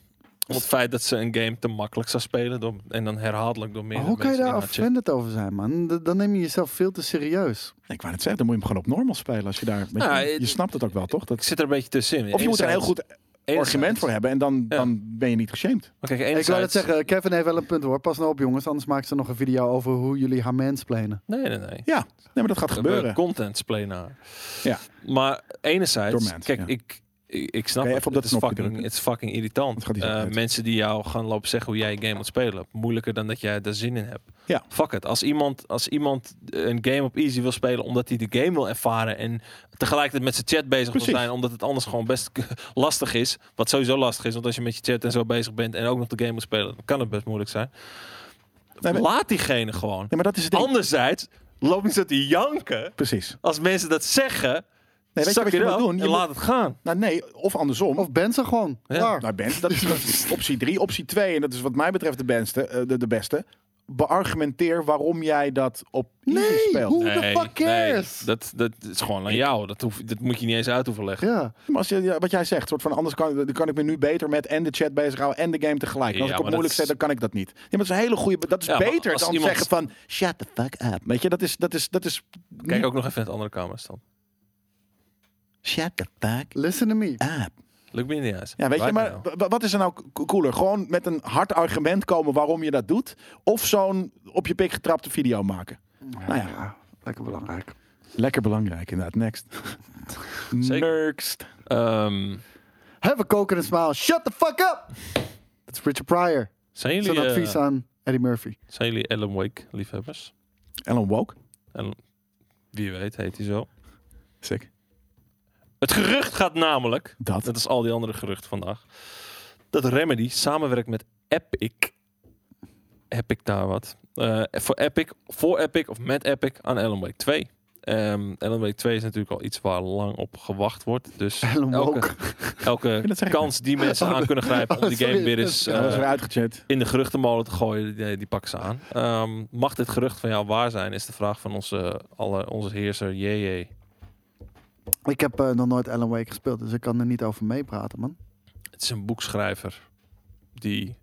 [SPEAKER 1] Om het feit dat ze een game te makkelijk zou spelen. Door, en dan herhaaldelijk door
[SPEAKER 2] Maar
[SPEAKER 1] meerdere
[SPEAKER 2] hoe kan je
[SPEAKER 1] mensen
[SPEAKER 2] daar
[SPEAKER 1] in haar chat.
[SPEAKER 2] offended over zijn, man? D- Dan neem je jezelf veel te serieus.
[SPEAKER 3] Ik wou net zeggen, dan moet je hem gewoon op normal spelen. Als je daar... weet
[SPEAKER 1] Nou,
[SPEAKER 3] je, je
[SPEAKER 1] het-
[SPEAKER 3] snapt het ook wel, toch?
[SPEAKER 1] Ik
[SPEAKER 3] Dat,
[SPEAKER 1] zit er een beetje tussenin.
[SPEAKER 3] of je moet er een heel goed
[SPEAKER 1] Enerzijds-
[SPEAKER 3] argument voor hebben en dan,
[SPEAKER 1] Ja.
[SPEAKER 3] dan ben je niet geshamed.
[SPEAKER 1] Maar kijk,
[SPEAKER 2] Ik wil het
[SPEAKER 1] enerzijds...
[SPEAKER 2] zeggen, Kevin heeft wel een punt hoor. Pas nou op jongens, anders maakt ze nog een video over hoe jullie haar mansplainen.
[SPEAKER 1] Nee, nee, nee.
[SPEAKER 3] Ja, nee, maar dat gaat gebeuren.
[SPEAKER 1] Content splenen.
[SPEAKER 3] Ja.
[SPEAKER 1] Maar
[SPEAKER 3] Door
[SPEAKER 1] enerzijds,
[SPEAKER 3] mensen,
[SPEAKER 1] kijk,
[SPEAKER 3] ja.
[SPEAKER 1] ik, ik, ik snap
[SPEAKER 3] Kan je
[SPEAKER 1] het.
[SPEAKER 3] even op
[SPEAKER 1] het,
[SPEAKER 3] dat
[SPEAKER 1] is
[SPEAKER 3] knopje
[SPEAKER 1] fucking,
[SPEAKER 3] drukken?
[SPEAKER 1] het is fucking irritant.
[SPEAKER 3] Dat gaat die zo
[SPEAKER 1] Eh,
[SPEAKER 3] uit.
[SPEAKER 1] mensen die jou gaan lopen zeggen hoe jij een game moet spelen. Moeilijker dan dat jij daar zin in hebt.
[SPEAKER 3] Ja.
[SPEAKER 1] Fuck het. Als iemand, als iemand een game op easy wil spelen omdat hij de game wil ervaren en tegelijkertijd met zijn chat bezig
[SPEAKER 3] Precies.
[SPEAKER 1] wil zijn, omdat het anders gewoon best (laughs) lastig is. Wat sowieso lastig is, want als je met je chat en zo bezig bent en ook nog de game moet spelen, dan kan het best moeilijk zijn.
[SPEAKER 3] Nee, maar, nee,
[SPEAKER 1] Laat diegene gewoon.
[SPEAKER 3] maar dat is het ding.
[SPEAKER 1] Anderzijds loopt niet zo te janken
[SPEAKER 3] Precies.
[SPEAKER 1] als mensen dat zeggen.
[SPEAKER 3] Nee, weet je
[SPEAKER 1] zak
[SPEAKER 3] wat je
[SPEAKER 1] it
[SPEAKER 3] moet
[SPEAKER 1] up
[SPEAKER 3] doen? Je
[SPEAKER 1] en
[SPEAKER 3] moet-
[SPEAKER 1] laat het gaan.
[SPEAKER 3] Nou, nee, of andersom.
[SPEAKER 2] Of ben ze gewoon.
[SPEAKER 1] Ja.
[SPEAKER 2] Klaar.
[SPEAKER 3] Nou, Ben, dat is dat
[SPEAKER 2] (laughs)
[SPEAKER 3] is optie 3. Optie 2, en dat is wat mij betreft de beste. eh, de, de beste. Beargumenteer waarom jij dat op easy
[SPEAKER 2] Nee,
[SPEAKER 3] speelt.
[SPEAKER 2] hoe- Who the fuck cares?
[SPEAKER 1] dat, dat is gewoon aan jou. Dat, hoef, dat moet je niet eens uit hoeven leggen.
[SPEAKER 2] Ja.
[SPEAKER 3] Maar als je, ja, wat jij zegt, soort van anders kan, dan kan ik me nu beter met en de chat bezighouden en de game tegelijk. En als
[SPEAKER 1] Ja,
[SPEAKER 3] ik op
[SPEAKER 1] maar
[SPEAKER 3] moeilijk
[SPEAKER 1] dat
[SPEAKER 3] zet,
[SPEAKER 1] is-
[SPEAKER 3] dan kan ik dat niet. Ja, maar dat is een hele goede. be- Dat is
[SPEAKER 1] Ja, maar
[SPEAKER 3] beter
[SPEAKER 1] als
[SPEAKER 3] dan
[SPEAKER 1] iemand-
[SPEAKER 3] zeggen van shut the fuck up. Weet je, dat is dat is dat is.
[SPEAKER 1] Kijk ook nog even in het andere kamer staan.
[SPEAKER 3] Shut the fuck
[SPEAKER 2] Listen to me.
[SPEAKER 3] up.
[SPEAKER 1] Lukt me niet eens.
[SPEAKER 3] Ja, weet je,
[SPEAKER 1] Right
[SPEAKER 3] maar
[SPEAKER 1] now.
[SPEAKER 3] wa- wat is er nou ko- cooler? Gewoon met een hard argument komen waarom je dat doet, of zo'n op je pik getrapte video maken. Nou ja.
[SPEAKER 2] lekker belangrijk.
[SPEAKER 3] Lekker belangrijk, inderdaad. Next.
[SPEAKER 1] Zeker.
[SPEAKER 3] Next.
[SPEAKER 1] Ehm,
[SPEAKER 2] Have a coconut smile. Shut the fuck up! Dat is Richard Pryor.
[SPEAKER 1] Zijn
[SPEAKER 2] Zijn
[SPEAKER 1] jullie, eh,
[SPEAKER 2] advies aan Eddie Murphy.
[SPEAKER 1] zijn jullie Alan Wake liefhebbers?
[SPEAKER 3] Ellen Woke.
[SPEAKER 1] En wie weet heet hij zo.
[SPEAKER 3] Sick.
[SPEAKER 1] Het gerucht gaat namelijk,
[SPEAKER 3] Dat.
[SPEAKER 1] dat is al die andere geruchten vandaag, dat Remedy samenwerkt met Epic. Epic daar wat. Eh, voor Epic, voor Epic of met Epic aan Alan Wake 2. Ehm Alan Wake 2 is natuurlijk al iets waar lang op gewacht wordt.
[SPEAKER 3] (laughs)
[SPEAKER 1] Dus
[SPEAKER 2] Alan
[SPEAKER 1] elke,
[SPEAKER 2] Woke.
[SPEAKER 1] elke
[SPEAKER 3] dat zeggen?
[SPEAKER 1] kans die mensen aan kunnen grijpen om
[SPEAKER 2] oh,
[SPEAKER 3] (laughs)
[SPEAKER 1] die game
[SPEAKER 2] sorry.
[SPEAKER 1] weer eens
[SPEAKER 3] Ja, dat is
[SPEAKER 1] eh,
[SPEAKER 3] weer uitgechat.
[SPEAKER 1] in de geruchtenmolen te gooien, die, die pakken ze aan. Ehm, mag dit gerucht van jou waar zijn, is de vraag van onze, alle, onze heerser JJ.
[SPEAKER 2] Ik heb eh, nog nooit Alan Wake gespeeld, dus ik kan er niet over meepraten, man.
[SPEAKER 1] Het is een boekschrijver die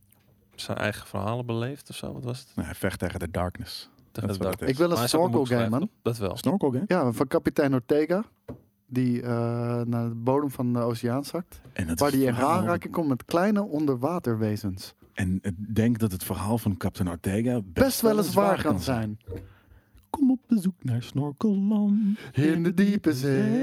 [SPEAKER 1] zijn eigen verhalen beleeft of zo. Wat was het?
[SPEAKER 3] Nee, Nou, vecht tegen de darkness.
[SPEAKER 1] Tegen
[SPEAKER 3] is
[SPEAKER 1] de
[SPEAKER 3] wat
[SPEAKER 1] dag.
[SPEAKER 3] het is.
[SPEAKER 2] Ik wil
[SPEAKER 1] Maar hij
[SPEAKER 2] een
[SPEAKER 1] is ook een
[SPEAKER 2] snorkel game,
[SPEAKER 1] boekschrijver, toch?
[SPEAKER 2] man.
[SPEAKER 1] Dat wel.
[SPEAKER 3] Snorkel, hè?
[SPEAKER 2] Ja, van kapitein Ortega. Die eh, naar de bodem van de oceaan zakt.
[SPEAKER 3] En het
[SPEAKER 2] Waar die in
[SPEAKER 3] verhaal-
[SPEAKER 2] aanraking komt met kleine onderwaterwezens.
[SPEAKER 3] En ik denk dat het verhaal van Captain Ortega best,
[SPEAKER 2] Best wel eens waar kan zijn.
[SPEAKER 3] Kom op bezoek naar Snorkelland.
[SPEAKER 2] In de diepe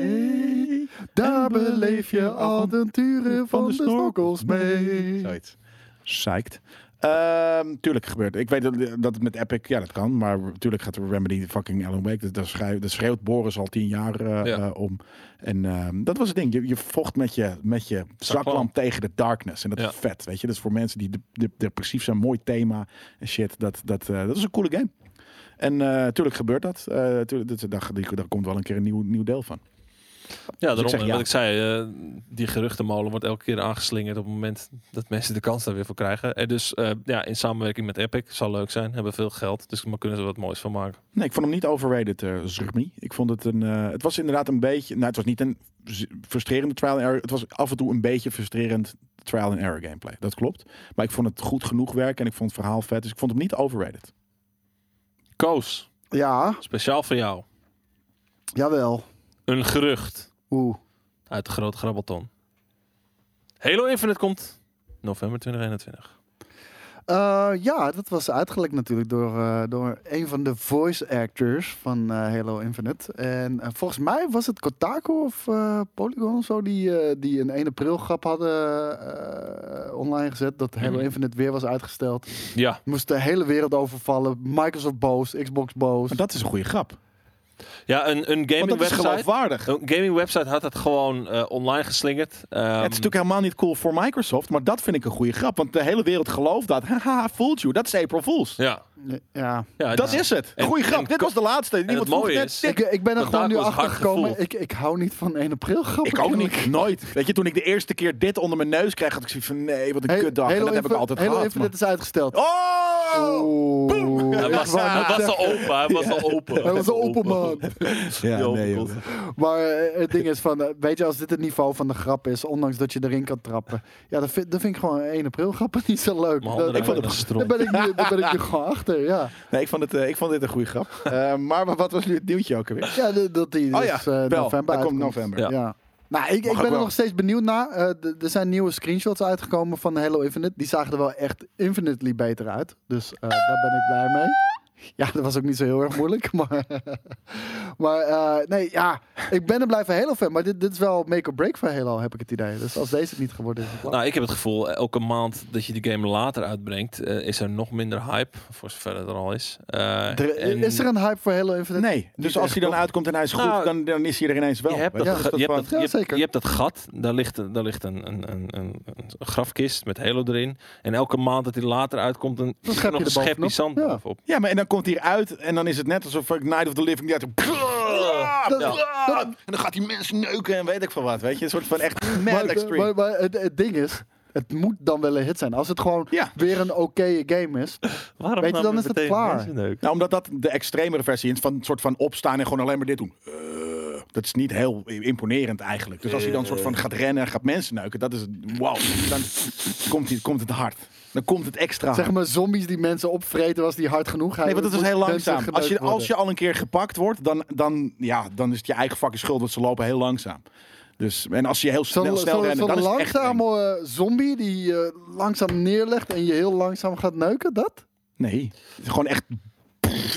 [SPEAKER 2] zee, daar beleef je avonturen van de snorkels mee.
[SPEAKER 3] Zoiets. Psyched. Ehm, tuurlijk gebeurt. het. Ik weet dat, dat het met Epic, ja, dat kan. Maar natuurlijk gaat Remedy fucking Alan Wake. Dat, dat, schreeuwt, dat schreeuwt Boris al tien jaar eh,
[SPEAKER 1] Ja.
[SPEAKER 3] eh, om. En ehm, dat was het ding. Je, je vocht met je, met je zaklamp tegen de darkness. En dat
[SPEAKER 1] Ja.
[SPEAKER 3] is vet. Weet je, dat is voor mensen die de, de, depressief zijn. Mooi thema en shit. Dat, dat, eh, dat is een coole game. En eh tuurlijk gebeurt dat. Eh tuurlijk, dat- daar, die- daar komt wel een keer een nieuw, nieuw deel van.
[SPEAKER 1] Ja,
[SPEAKER 3] ik
[SPEAKER 1] daarom.
[SPEAKER 3] zeg
[SPEAKER 1] eh,
[SPEAKER 3] ja.
[SPEAKER 1] Wat ik zei, eh, die geruchtenmolen wordt elke keer aangeslingerd op het moment dat mensen de kans daar weer voor krijgen. En dus eh, ja, in samenwerking met Epic zal leuk zijn. Hebben veel geld, dus daar kunnen ze wat moois van maken.
[SPEAKER 3] Nee, ik vond hem niet overrated, eh Zrmi. Ik vond het een. eh, het was inderdaad een beetje. Nou, het was niet een z- frustrerende trial and error. Het was af en toe een beetje frustrerend trial and error gameplay. Dat klopt. Maar ik vond het goed genoeg werken en ik vond het verhaal vet. Dus ik vond hem niet overrated.
[SPEAKER 1] Koos,
[SPEAKER 2] Ja,
[SPEAKER 1] speciaal voor jou.
[SPEAKER 2] jawel.
[SPEAKER 1] Een gerucht
[SPEAKER 2] Oeh.
[SPEAKER 1] uit de grote grabbelton. Halo Infinite komt november 2021.
[SPEAKER 2] Eh, ja, dat was uitgelekt natuurlijk door, eh, door een van de voice actors van eh, Halo Infinite. En eh, volgens mij was het Kotaku of eh, Polygon of zo die, eh, die een 1 april grap hadden eh, online gezet. Dat Halo
[SPEAKER 1] Mhm.
[SPEAKER 2] Infinite weer was uitgesteld.
[SPEAKER 1] Ja,
[SPEAKER 2] Moest de hele wereld overvallen. Microsoft boos, Xbox boos.
[SPEAKER 3] Maar dat is een goede grap.
[SPEAKER 1] ja een, een
[SPEAKER 3] Want
[SPEAKER 1] gaming
[SPEAKER 3] dat is
[SPEAKER 1] website. Um,
[SPEAKER 3] geloofwaardig.
[SPEAKER 1] Een gaming website had het gewoon eh, online geslingerd. Ehm,
[SPEAKER 3] het is natuurlijk helemaal niet cool voor Microsoft, maar dat vind ik een goede grap. Want de hele wereld gelooft dat. (laughs) Haha, fooled you. Dat is April Fools.
[SPEAKER 1] ja,
[SPEAKER 2] Ja.
[SPEAKER 1] ja,
[SPEAKER 3] Dat
[SPEAKER 1] ja.
[SPEAKER 3] is het.
[SPEAKER 1] En-
[SPEAKER 3] Goeie grap.
[SPEAKER 1] en
[SPEAKER 3] Dit
[SPEAKER 1] ko-
[SPEAKER 3] was de laatste. Niemand
[SPEAKER 1] het
[SPEAKER 3] vroeg
[SPEAKER 1] mooie
[SPEAKER 3] net.
[SPEAKER 1] is-
[SPEAKER 2] Ik, ik ben er gewoon
[SPEAKER 1] Kotaku
[SPEAKER 2] nu
[SPEAKER 1] is hard
[SPEAKER 2] achter gekomen.
[SPEAKER 1] gevoeld.
[SPEAKER 2] Ik, ik hou niet van 1 april grappen.
[SPEAKER 3] Ik ook niet. Nooit. Weet je, toen ik de eerste keer dit onder mijn neus kreeg, had ik zoiets van nee, wat een kutdag. En dat heb ik altijd
[SPEAKER 2] Halo
[SPEAKER 3] gehad.
[SPEAKER 2] Infinite is uitgesteld.
[SPEAKER 3] maar- Oh!
[SPEAKER 2] Oeh.
[SPEAKER 1] Hij was, hij was al open. Hij was al open.
[SPEAKER 2] Hij was open, man.
[SPEAKER 3] Ja,
[SPEAKER 1] Die
[SPEAKER 3] nee,
[SPEAKER 1] overkomt.
[SPEAKER 3] joh.
[SPEAKER 2] Maar eh, het ding is van, eh, weet je, als dit het niveau van de grap is, ondanks dat je erin kan trappen, ja, dan vind, dan vind ik gewoon 1 april grappen niet zo leuk.
[SPEAKER 1] Mijn
[SPEAKER 2] Dat-
[SPEAKER 1] handen
[SPEAKER 2] ik vond-
[SPEAKER 1] raken
[SPEAKER 2] daar
[SPEAKER 1] gestroomd.
[SPEAKER 2] ben ik nu, daar ben ik nu gewoon achter, ja.
[SPEAKER 3] nee ik, vond het, eh, ik vond dit een goede grap. Eh, maar wat was nu het nieuwtje ook alweer?
[SPEAKER 2] Ja, de- dat die dus
[SPEAKER 3] Oh ja,
[SPEAKER 2] eh,
[SPEAKER 3] wel,
[SPEAKER 2] november
[SPEAKER 3] dat komt
[SPEAKER 2] uitkomt.
[SPEAKER 3] november.
[SPEAKER 2] Ja. Nou, ik, ik
[SPEAKER 3] ook
[SPEAKER 2] ben er
[SPEAKER 3] wel.
[SPEAKER 2] nog steeds benieuwd naar. Eh, d- er zijn nieuwe screenshots uitgekomen van Halo Infinite. Die zagen er wel echt infinitely beter uit. Dus eh, daar ben ik blij mee. (laughs) Ja, dat was ook niet zo heel erg moeilijk. (laughs) Maar, maar eh, nee, ja, ik ben er blij van Halo fan. Maar dit, dit is wel make or break voor Halo, heb ik het idee. Dus als deze het niet geworden is, dan klaar.
[SPEAKER 1] Nou, ik heb het gevoel, elke maand dat je de game later uitbrengt, eh, is er nog minder hype, voor zover het er al is. Eh,
[SPEAKER 2] Er-
[SPEAKER 1] en
[SPEAKER 2] is er een hype voor Halo Infinite?
[SPEAKER 3] Nee,
[SPEAKER 2] Niet
[SPEAKER 3] dus als
[SPEAKER 2] echt,
[SPEAKER 3] hij dan
[SPEAKER 2] toch?
[SPEAKER 3] uitkomt en hij is goed,
[SPEAKER 1] Nou,
[SPEAKER 3] dan, dan is hij er ineens wel.
[SPEAKER 1] je hebt,
[SPEAKER 3] Weet
[SPEAKER 1] dat,
[SPEAKER 2] Ja,
[SPEAKER 1] ge-
[SPEAKER 3] dus dat
[SPEAKER 1] je, hebt
[SPEAKER 3] van-
[SPEAKER 1] dat, je, hebt-
[SPEAKER 2] zeker.
[SPEAKER 1] je hebt dat gat, daar ligt, daar ligt een, een, een, een, een grafkist met Halo erin. En elke maand dat die later uitkomt, dan, is er
[SPEAKER 2] schep je
[SPEAKER 1] nog een
[SPEAKER 2] er bovenop.
[SPEAKER 1] schepje zand
[SPEAKER 2] Ja.
[SPEAKER 1] bovenop.
[SPEAKER 3] ja, maar en dan komt hij eruit en dan is het net alsof eh, Night of the Living Dead.
[SPEAKER 2] Dat-
[SPEAKER 3] En dan gaat hij mensen neuken en weet ik veel wat, weet je. Een soort van echt
[SPEAKER 2] Maar,
[SPEAKER 3] mad
[SPEAKER 2] maar,
[SPEAKER 3] extreme.
[SPEAKER 2] maar, maar het, het ding is, het moet dan wel een hit zijn. Als het gewoon
[SPEAKER 3] Ja. Ah.
[SPEAKER 2] weer een oké game is,
[SPEAKER 1] Waarom
[SPEAKER 2] Weet je,
[SPEAKER 1] nou
[SPEAKER 2] dan is het
[SPEAKER 1] meteen
[SPEAKER 2] klaar.
[SPEAKER 1] mensenneuk?
[SPEAKER 3] Nou, omdat dat de extremere versie is van een soort van opstaan en gewoon alleen maar dit doen. Eh, dat is niet heel imponerend eigenlijk. Dus als hij dan een soort
[SPEAKER 2] Eh.
[SPEAKER 3] van gaat rennen en gaat mensen neuken, dat is het. Wauw, dan komt, hij, komt het hard. Dan komt het extra. hard.
[SPEAKER 2] Zeg maar zombies die mensen opvreten was die hard genoeg.
[SPEAKER 3] Nee, want dat is
[SPEAKER 2] Moet
[SPEAKER 3] heel
[SPEAKER 2] mensen
[SPEAKER 3] langzaam. Als je,
[SPEAKER 2] geneukt
[SPEAKER 3] als je
[SPEAKER 2] worden.
[SPEAKER 3] al een keer gepakt wordt, dan, dan, ja, dan is het je eigen fucking schuld, want ze lopen heel langzaam. Dus, en als je heel snel,
[SPEAKER 2] Zo'n
[SPEAKER 3] snel
[SPEAKER 2] zo,
[SPEAKER 3] rennen, dan is het echt eng.
[SPEAKER 2] langzame eh, zombie die je langzaam neerlegt en je heel langzaam gaat neuken, dat?
[SPEAKER 3] Nee, het is gewoon echt...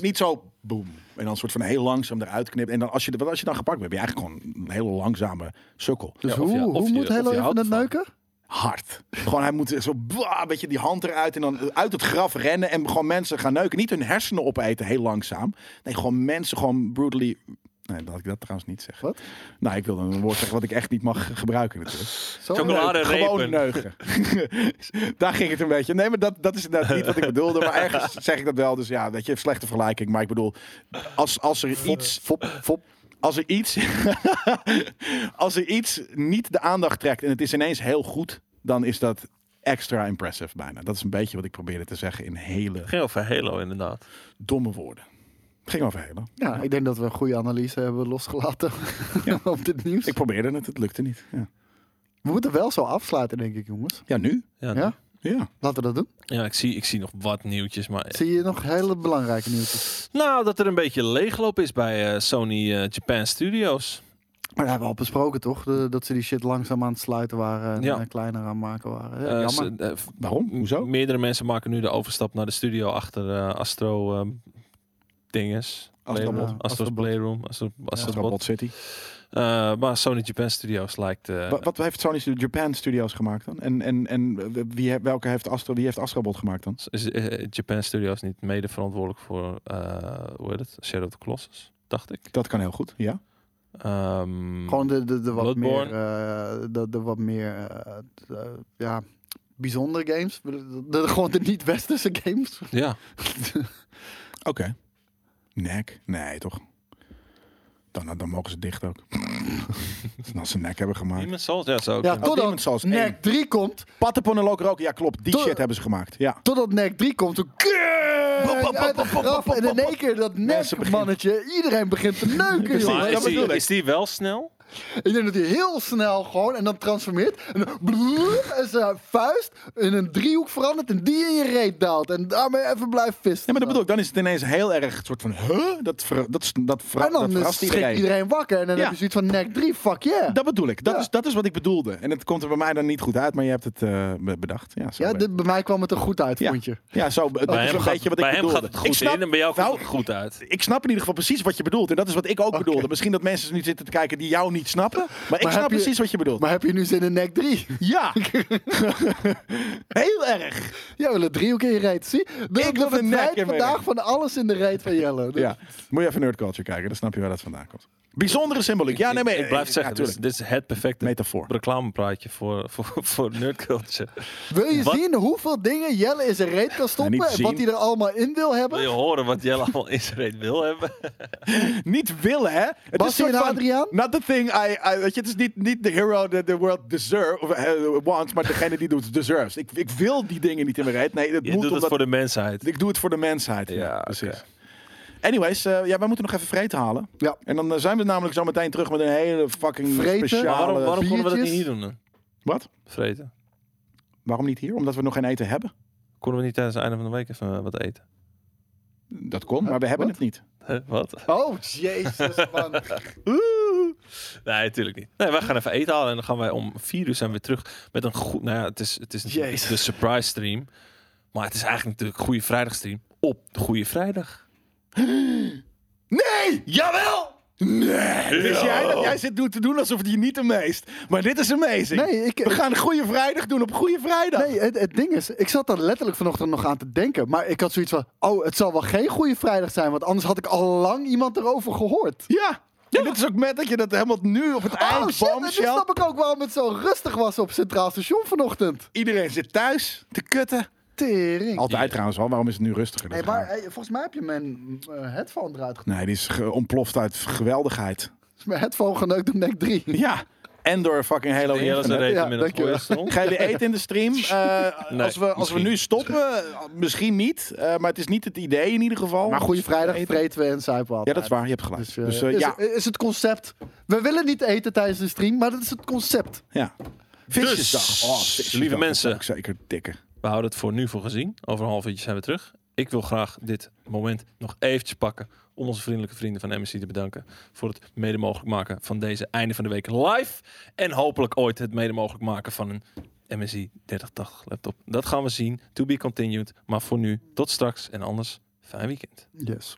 [SPEAKER 3] Niet zo boem. En dan soort van heel langzaam eruit knipt. En dan als je, want als je dan gepakt bent, ben je eigenlijk gewoon een hele langzame sukkel.
[SPEAKER 2] Dus
[SPEAKER 1] Ja, of
[SPEAKER 2] hoe,
[SPEAKER 1] je- of
[SPEAKER 2] hoe
[SPEAKER 1] je- of
[SPEAKER 2] moet
[SPEAKER 1] je
[SPEAKER 2] Halo
[SPEAKER 1] houdt
[SPEAKER 2] even het
[SPEAKER 1] ervan.
[SPEAKER 2] neuken?
[SPEAKER 3] Hard. Gewoon hij moet zo bla, een beetje die hand eruit en dan uit het graf rennen en gewoon mensen gaan neuken. Niet hun hersenen opeten, heel langzaam. Nee, gewoon mensen gewoon brutally... Nee, laat ik dat trouwens niet zeggen.
[SPEAKER 2] Wat?
[SPEAKER 3] Nou, ik wilde een woord zeggen wat ik echt niet mag gebruiken natuurlijk.
[SPEAKER 2] Zo?
[SPEAKER 1] Chocola- Chocolade
[SPEAKER 3] Neuken, Gewoon
[SPEAKER 1] repen.
[SPEAKER 3] neugen. (laughs) Daar ging het een beetje. Nee, maar dat, dat is inderdaad niet wat ik bedoelde. Maar ergens zeg ik dat wel. Dus ja, weet je, slechte vergelijking. Maar ik bedoel, als, als er iets...
[SPEAKER 2] Fop, fop.
[SPEAKER 3] Als er iets... (laughs) als er iets niet de aandacht trekt en het is ineens heel goed, dan is dat extra impressive bijna. Dat is een beetje wat ik probeerde te zeggen in hele
[SPEAKER 1] Ging over Halo inderdaad.
[SPEAKER 3] domme woorden. Het ging over hele.
[SPEAKER 2] Ja, ik denk dat we een goede analyse
[SPEAKER 1] (laughs)
[SPEAKER 2] hebben losgelaten (laughs) op dit nieuws.
[SPEAKER 3] Ik probeerde het, het lukte niet. Ja,
[SPEAKER 2] We moeten wel zo afsluiten, denk ik, jongens.
[SPEAKER 3] ja nu?
[SPEAKER 1] Ja,
[SPEAKER 2] Ja?
[SPEAKER 3] Ja.
[SPEAKER 2] Laten we dat doen.
[SPEAKER 1] ja ik, zie, ik zie nog wat nieuwtjes. Maar...
[SPEAKER 2] Zie je nog hele belangrijke nieuwtjes?
[SPEAKER 1] Nou, dat er een beetje leegloop is bij eh, Sony eh, Japan Studios.
[SPEAKER 2] Maar dat hebben we al besproken, toch? De- dat ze die shit langzaam aan het sluiten waren en
[SPEAKER 1] Ja.
[SPEAKER 2] eh, kleiner aan het maken waren. Ja,
[SPEAKER 1] Eh,
[SPEAKER 2] jammer.
[SPEAKER 1] ze- eh, v-
[SPEAKER 3] Waarom? Hoezo?
[SPEAKER 1] Meerdere mensen maken nu de overstap naar de studio achter eh, Astro eh, dinges.
[SPEAKER 3] Astrobot.
[SPEAKER 1] Playroom, Astro's
[SPEAKER 2] Astrobot.
[SPEAKER 1] Playroom. Astro, Astrobot.
[SPEAKER 3] Robot City.
[SPEAKER 1] Eh, maar Sony Japan Studios lijkt... eh,
[SPEAKER 3] Wa- wat heeft Sony Studio- Japan Studios gemaakt dan? En, en, en wie, he- welke heeft Astro, wie heeft Astrobot gemaakt dan?
[SPEAKER 1] is eh, Japan Studios niet mede verantwoordelijk voor, eh, hoe heet het, Shadow of the Colossus, dacht ik.
[SPEAKER 3] Dat kan heel goed, ja.
[SPEAKER 1] Ehm,
[SPEAKER 2] Gewoon de, de, de wat
[SPEAKER 1] Bloodborne.
[SPEAKER 2] meer, eh, de, de wat meer eh, eh, ja, bijzondere games. De, de- gewoon de niet-westerse games.
[SPEAKER 1] Ja,
[SPEAKER 3] Oké. Nek? Nee, toch? Dan, dan mogen ze dicht ook. Als ze nek hebben gemaakt.
[SPEAKER 1] Demon's Souls, ja, zou ook
[SPEAKER 2] Ja,
[SPEAKER 1] kunnen.
[SPEAKER 2] totdat
[SPEAKER 3] Demon's Souls Nou, één.
[SPEAKER 2] NEC 3 komt.
[SPEAKER 3] Patapon en Lokeroken, ja klopt. Die
[SPEAKER 2] Toch-
[SPEAKER 3] shit hebben ze gemaakt, ja.
[SPEAKER 2] Totdat NEC 3 komt. Toen kut, uit het graf. En in één keer dat
[SPEAKER 3] Mensen
[SPEAKER 2] NEC
[SPEAKER 3] beginnen-
[SPEAKER 2] mannetje. Iedereen begint te neuken,
[SPEAKER 1] Maar
[SPEAKER 2] jongen.
[SPEAKER 1] is,
[SPEAKER 2] Dat
[SPEAKER 1] die,
[SPEAKER 2] bedoel ik.
[SPEAKER 1] is die wel snel?
[SPEAKER 2] Ik denk dat hij heel snel gewoon en dan transformeert. En dan bloep, en zijn vuist in een driehoek verandert en die in je reet daalt. En daarmee even blijft vissen.
[SPEAKER 3] Ja, maar dat bedoel ik. Dan is het ineens heel erg soort van... Huh? Dat, ver, dat, dat, ver,
[SPEAKER 2] En dan
[SPEAKER 3] dat
[SPEAKER 2] schrikt
[SPEAKER 3] verrast
[SPEAKER 2] iedereen.
[SPEAKER 3] iedereen.
[SPEAKER 2] wakker. En dan
[SPEAKER 3] Ja.
[SPEAKER 2] heb je zoiets van nek 3, fuck yeah.
[SPEAKER 3] Dat bedoel ik. Dat,
[SPEAKER 2] Ja.
[SPEAKER 3] is, dat is wat ik bedoelde. En het komt er bij mij dan niet goed uit, maar je hebt het eh, be- bedacht. Ja, zo
[SPEAKER 2] ja,
[SPEAKER 3] ben-
[SPEAKER 2] dit, bij mij kwam het er goed uit, vond je.
[SPEAKER 3] Ja, zo, dat
[SPEAKER 1] Bij
[SPEAKER 3] is
[SPEAKER 1] hem,
[SPEAKER 3] een
[SPEAKER 1] gaat,
[SPEAKER 3] beetje wat ik
[SPEAKER 1] bij hem
[SPEAKER 3] bedoelde.
[SPEAKER 1] gaat het
[SPEAKER 3] ik
[SPEAKER 1] goed
[SPEAKER 3] snap,
[SPEAKER 1] in en bij jou komt
[SPEAKER 3] nou,
[SPEAKER 1] het goed uit.
[SPEAKER 3] Ik snap in ieder geval precies wat je bedoelt. En dat is wat ik ook bedoelde. Misschien dat mensen nu zitten te kijken die jou niet snappen. Maar, ik
[SPEAKER 2] heb
[SPEAKER 3] snap
[SPEAKER 2] je-
[SPEAKER 3] precies wat je bedoelt.
[SPEAKER 2] Maar heb je nu zin in nek (laughs) 3?
[SPEAKER 3] (laughs) ja. Heel erg.
[SPEAKER 2] Jij wil een driehoek in je reet, zie? De,
[SPEAKER 3] Ik
[SPEAKER 2] de
[SPEAKER 3] wil een nek
[SPEAKER 2] verdwijnt
[SPEAKER 3] in mijn
[SPEAKER 2] vandaag
[SPEAKER 3] reet.
[SPEAKER 2] van alles in de reet van Jelle. Dus-
[SPEAKER 3] (laughs) Ja. Moet je even Nerd Culture kijken. Dan snap je waar dat vandaan komt. Bijzondere symboliek. Ja, nee, maar...
[SPEAKER 1] ik blijf
[SPEAKER 3] ja,
[SPEAKER 1] zeggen, dus- dit, is,
[SPEAKER 3] tuurlijk.
[SPEAKER 1] dit is het perfecte
[SPEAKER 3] Metafoor.
[SPEAKER 1] reclamepraatje voor, voor, voor nerdculture.
[SPEAKER 2] Dus Wil je
[SPEAKER 1] Wat?
[SPEAKER 2] zien hoeveel dingen Jelle in zijn reet kan stoppen?
[SPEAKER 3] niet
[SPEAKER 2] en wat
[SPEAKER 3] zien.
[SPEAKER 2] hij er allemaal in wil hebben?
[SPEAKER 1] Wil je horen wat Jelle allemaal in zijn reet wil hebben?
[SPEAKER 3] Niet willen, hè? Het
[SPEAKER 2] Basti
[SPEAKER 3] is soort
[SPEAKER 2] en
[SPEAKER 3] van,
[SPEAKER 2] Adriaan?
[SPEAKER 3] Not the thing I... I weet je, het is niet, niet the hero that the world deserves, of, eh, wants, maar degene die doet deserves. Ik, ik wil die dingen niet in mijn reet. Nee, dat
[SPEAKER 1] Je
[SPEAKER 3] moet
[SPEAKER 1] doet het
[SPEAKER 3] omdat-
[SPEAKER 1] voor de mensheid.
[SPEAKER 3] Ik doe het voor de mensheid. Ja,
[SPEAKER 1] Ja,
[SPEAKER 3] precies.
[SPEAKER 1] oké.
[SPEAKER 3] Anyways, eh, ja, wij moeten nog even vreten halen.
[SPEAKER 2] Ja.
[SPEAKER 3] En dan eh, zijn we namelijk zo meteen terug met een hele fucking
[SPEAKER 2] Vreten?
[SPEAKER 3] speciale...
[SPEAKER 1] Maar waarom, waarom konden we dat niet
[SPEAKER 2] biertjes?
[SPEAKER 1] hier doen? dan?
[SPEAKER 3] Wat?
[SPEAKER 1] Vreten.
[SPEAKER 3] Waarom niet hier? Omdat we nog geen eten hebben.
[SPEAKER 1] Konden we niet tijdens het einde van de week even eh, wat eten?
[SPEAKER 3] Dat kon, maar we hebben
[SPEAKER 2] Wat?
[SPEAKER 3] het niet.
[SPEAKER 1] Huh, wat?
[SPEAKER 2] (laughs) Oh, jezus,
[SPEAKER 3] (laughs)
[SPEAKER 2] man.
[SPEAKER 1] Nee, natuurlijk niet. Nee, wij gaan even eten halen en dan gaan wij om vier uur zijn we terug met een goed... Nou ja, het is, het is natuurlijk
[SPEAKER 2] Jezus.
[SPEAKER 1] de surprise stream. Maar het is eigenlijk natuurlijk Goede Vrijdag stream op de Goede Vrijdag.
[SPEAKER 3] Nee! Jawel! Nee! Wist jij dat jij zit doen- te doen alsof je niet de meest. Maar dit is amazing.
[SPEAKER 2] Nee, ik-
[SPEAKER 3] we gaan Goede Vrijdag doen op Goede Vrijdag.
[SPEAKER 2] Nee, het, het ding is, ik zat daar letterlijk vanochtend nog aan te denken. Maar ik had zoiets van, oh, het zal wel geen goede vrijdag zijn. Want anders had ik al lang iemand erover gehoord.
[SPEAKER 3] Ja. En dit is ook met dat je dat helemaal nu op het
[SPEAKER 2] Oh
[SPEAKER 3] eind
[SPEAKER 2] shit, en nu
[SPEAKER 3] bombshell-
[SPEAKER 2] snap ik ook waarom het zo rustig was op Centraal Station vanochtend.
[SPEAKER 3] Iedereen zit thuis te kutten.
[SPEAKER 2] Tering.
[SPEAKER 3] Altijd trouwens al. Waarom is het nu rustiger? Dat
[SPEAKER 2] Hey,
[SPEAKER 3] is raar.
[SPEAKER 2] maar hey, volgens mij heb je mijn eh, headphone eruit gedaan.
[SPEAKER 3] Nee, die is ge- ontploft uit geweldigheid.
[SPEAKER 2] Is (laughs) mijn headphone geneukt door nek 3.
[SPEAKER 3] Ja. En door fucking Halo
[SPEAKER 1] Jelle is een
[SPEAKER 3] Infinite.
[SPEAKER 1] reet
[SPEAKER 2] Ja,
[SPEAKER 1] inmiddels
[SPEAKER 2] dankjewel.
[SPEAKER 1] voor je stond.
[SPEAKER 3] Ga je weer eten in de stream? Eh,
[SPEAKER 1] Nee,
[SPEAKER 3] als we, als we
[SPEAKER 1] misschien.
[SPEAKER 3] nu stoppen, eh, misschien niet. Eh, maar het is niet het idee in ieder geval.
[SPEAKER 2] Maar goede vrijdag
[SPEAKER 3] Eten.
[SPEAKER 2] vreten we en zuipen we
[SPEAKER 3] Ja,
[SPEAKER 2] altijd.
[SPEAKER 3] dat is waar. Je hebt gelijk. Dus,
[SPEAKER 2] Dus, eh,
[SPEAKER 3] eh,
[SPEAKER 2] is,
[SPEAKER 3] ja.
[SPEAKER 2] is het concept. We willen niet eten tijdens de stream, maar dat is het concept.
[SPEAKER 3] ja. Visjesdag. Oh,
[SPEAKER 1] Dus,
[SPEAKER 3] visjesdag.
[SPEAKER 1] lieve mensen.
[SPEAKER 3] Dat is ook zeker dikke.
[SPEAKER 1] We houden het voor nu voor gezien. Over een half uurtje zijn we terug. Ik wil graag dit moment nog eventjes pakken om onze vriendelijke vrienden van MSC te bedanken voor het mede mogelijk maken van deze einde van de week live. En hopelijk ooit het mede mogelijk maken van een MSI 3080 laptop. Dat gaan we zien. To be continued. Maar voor nu, tot straks. En anders, fijn weekend.
[SPEAKER 2] Yes.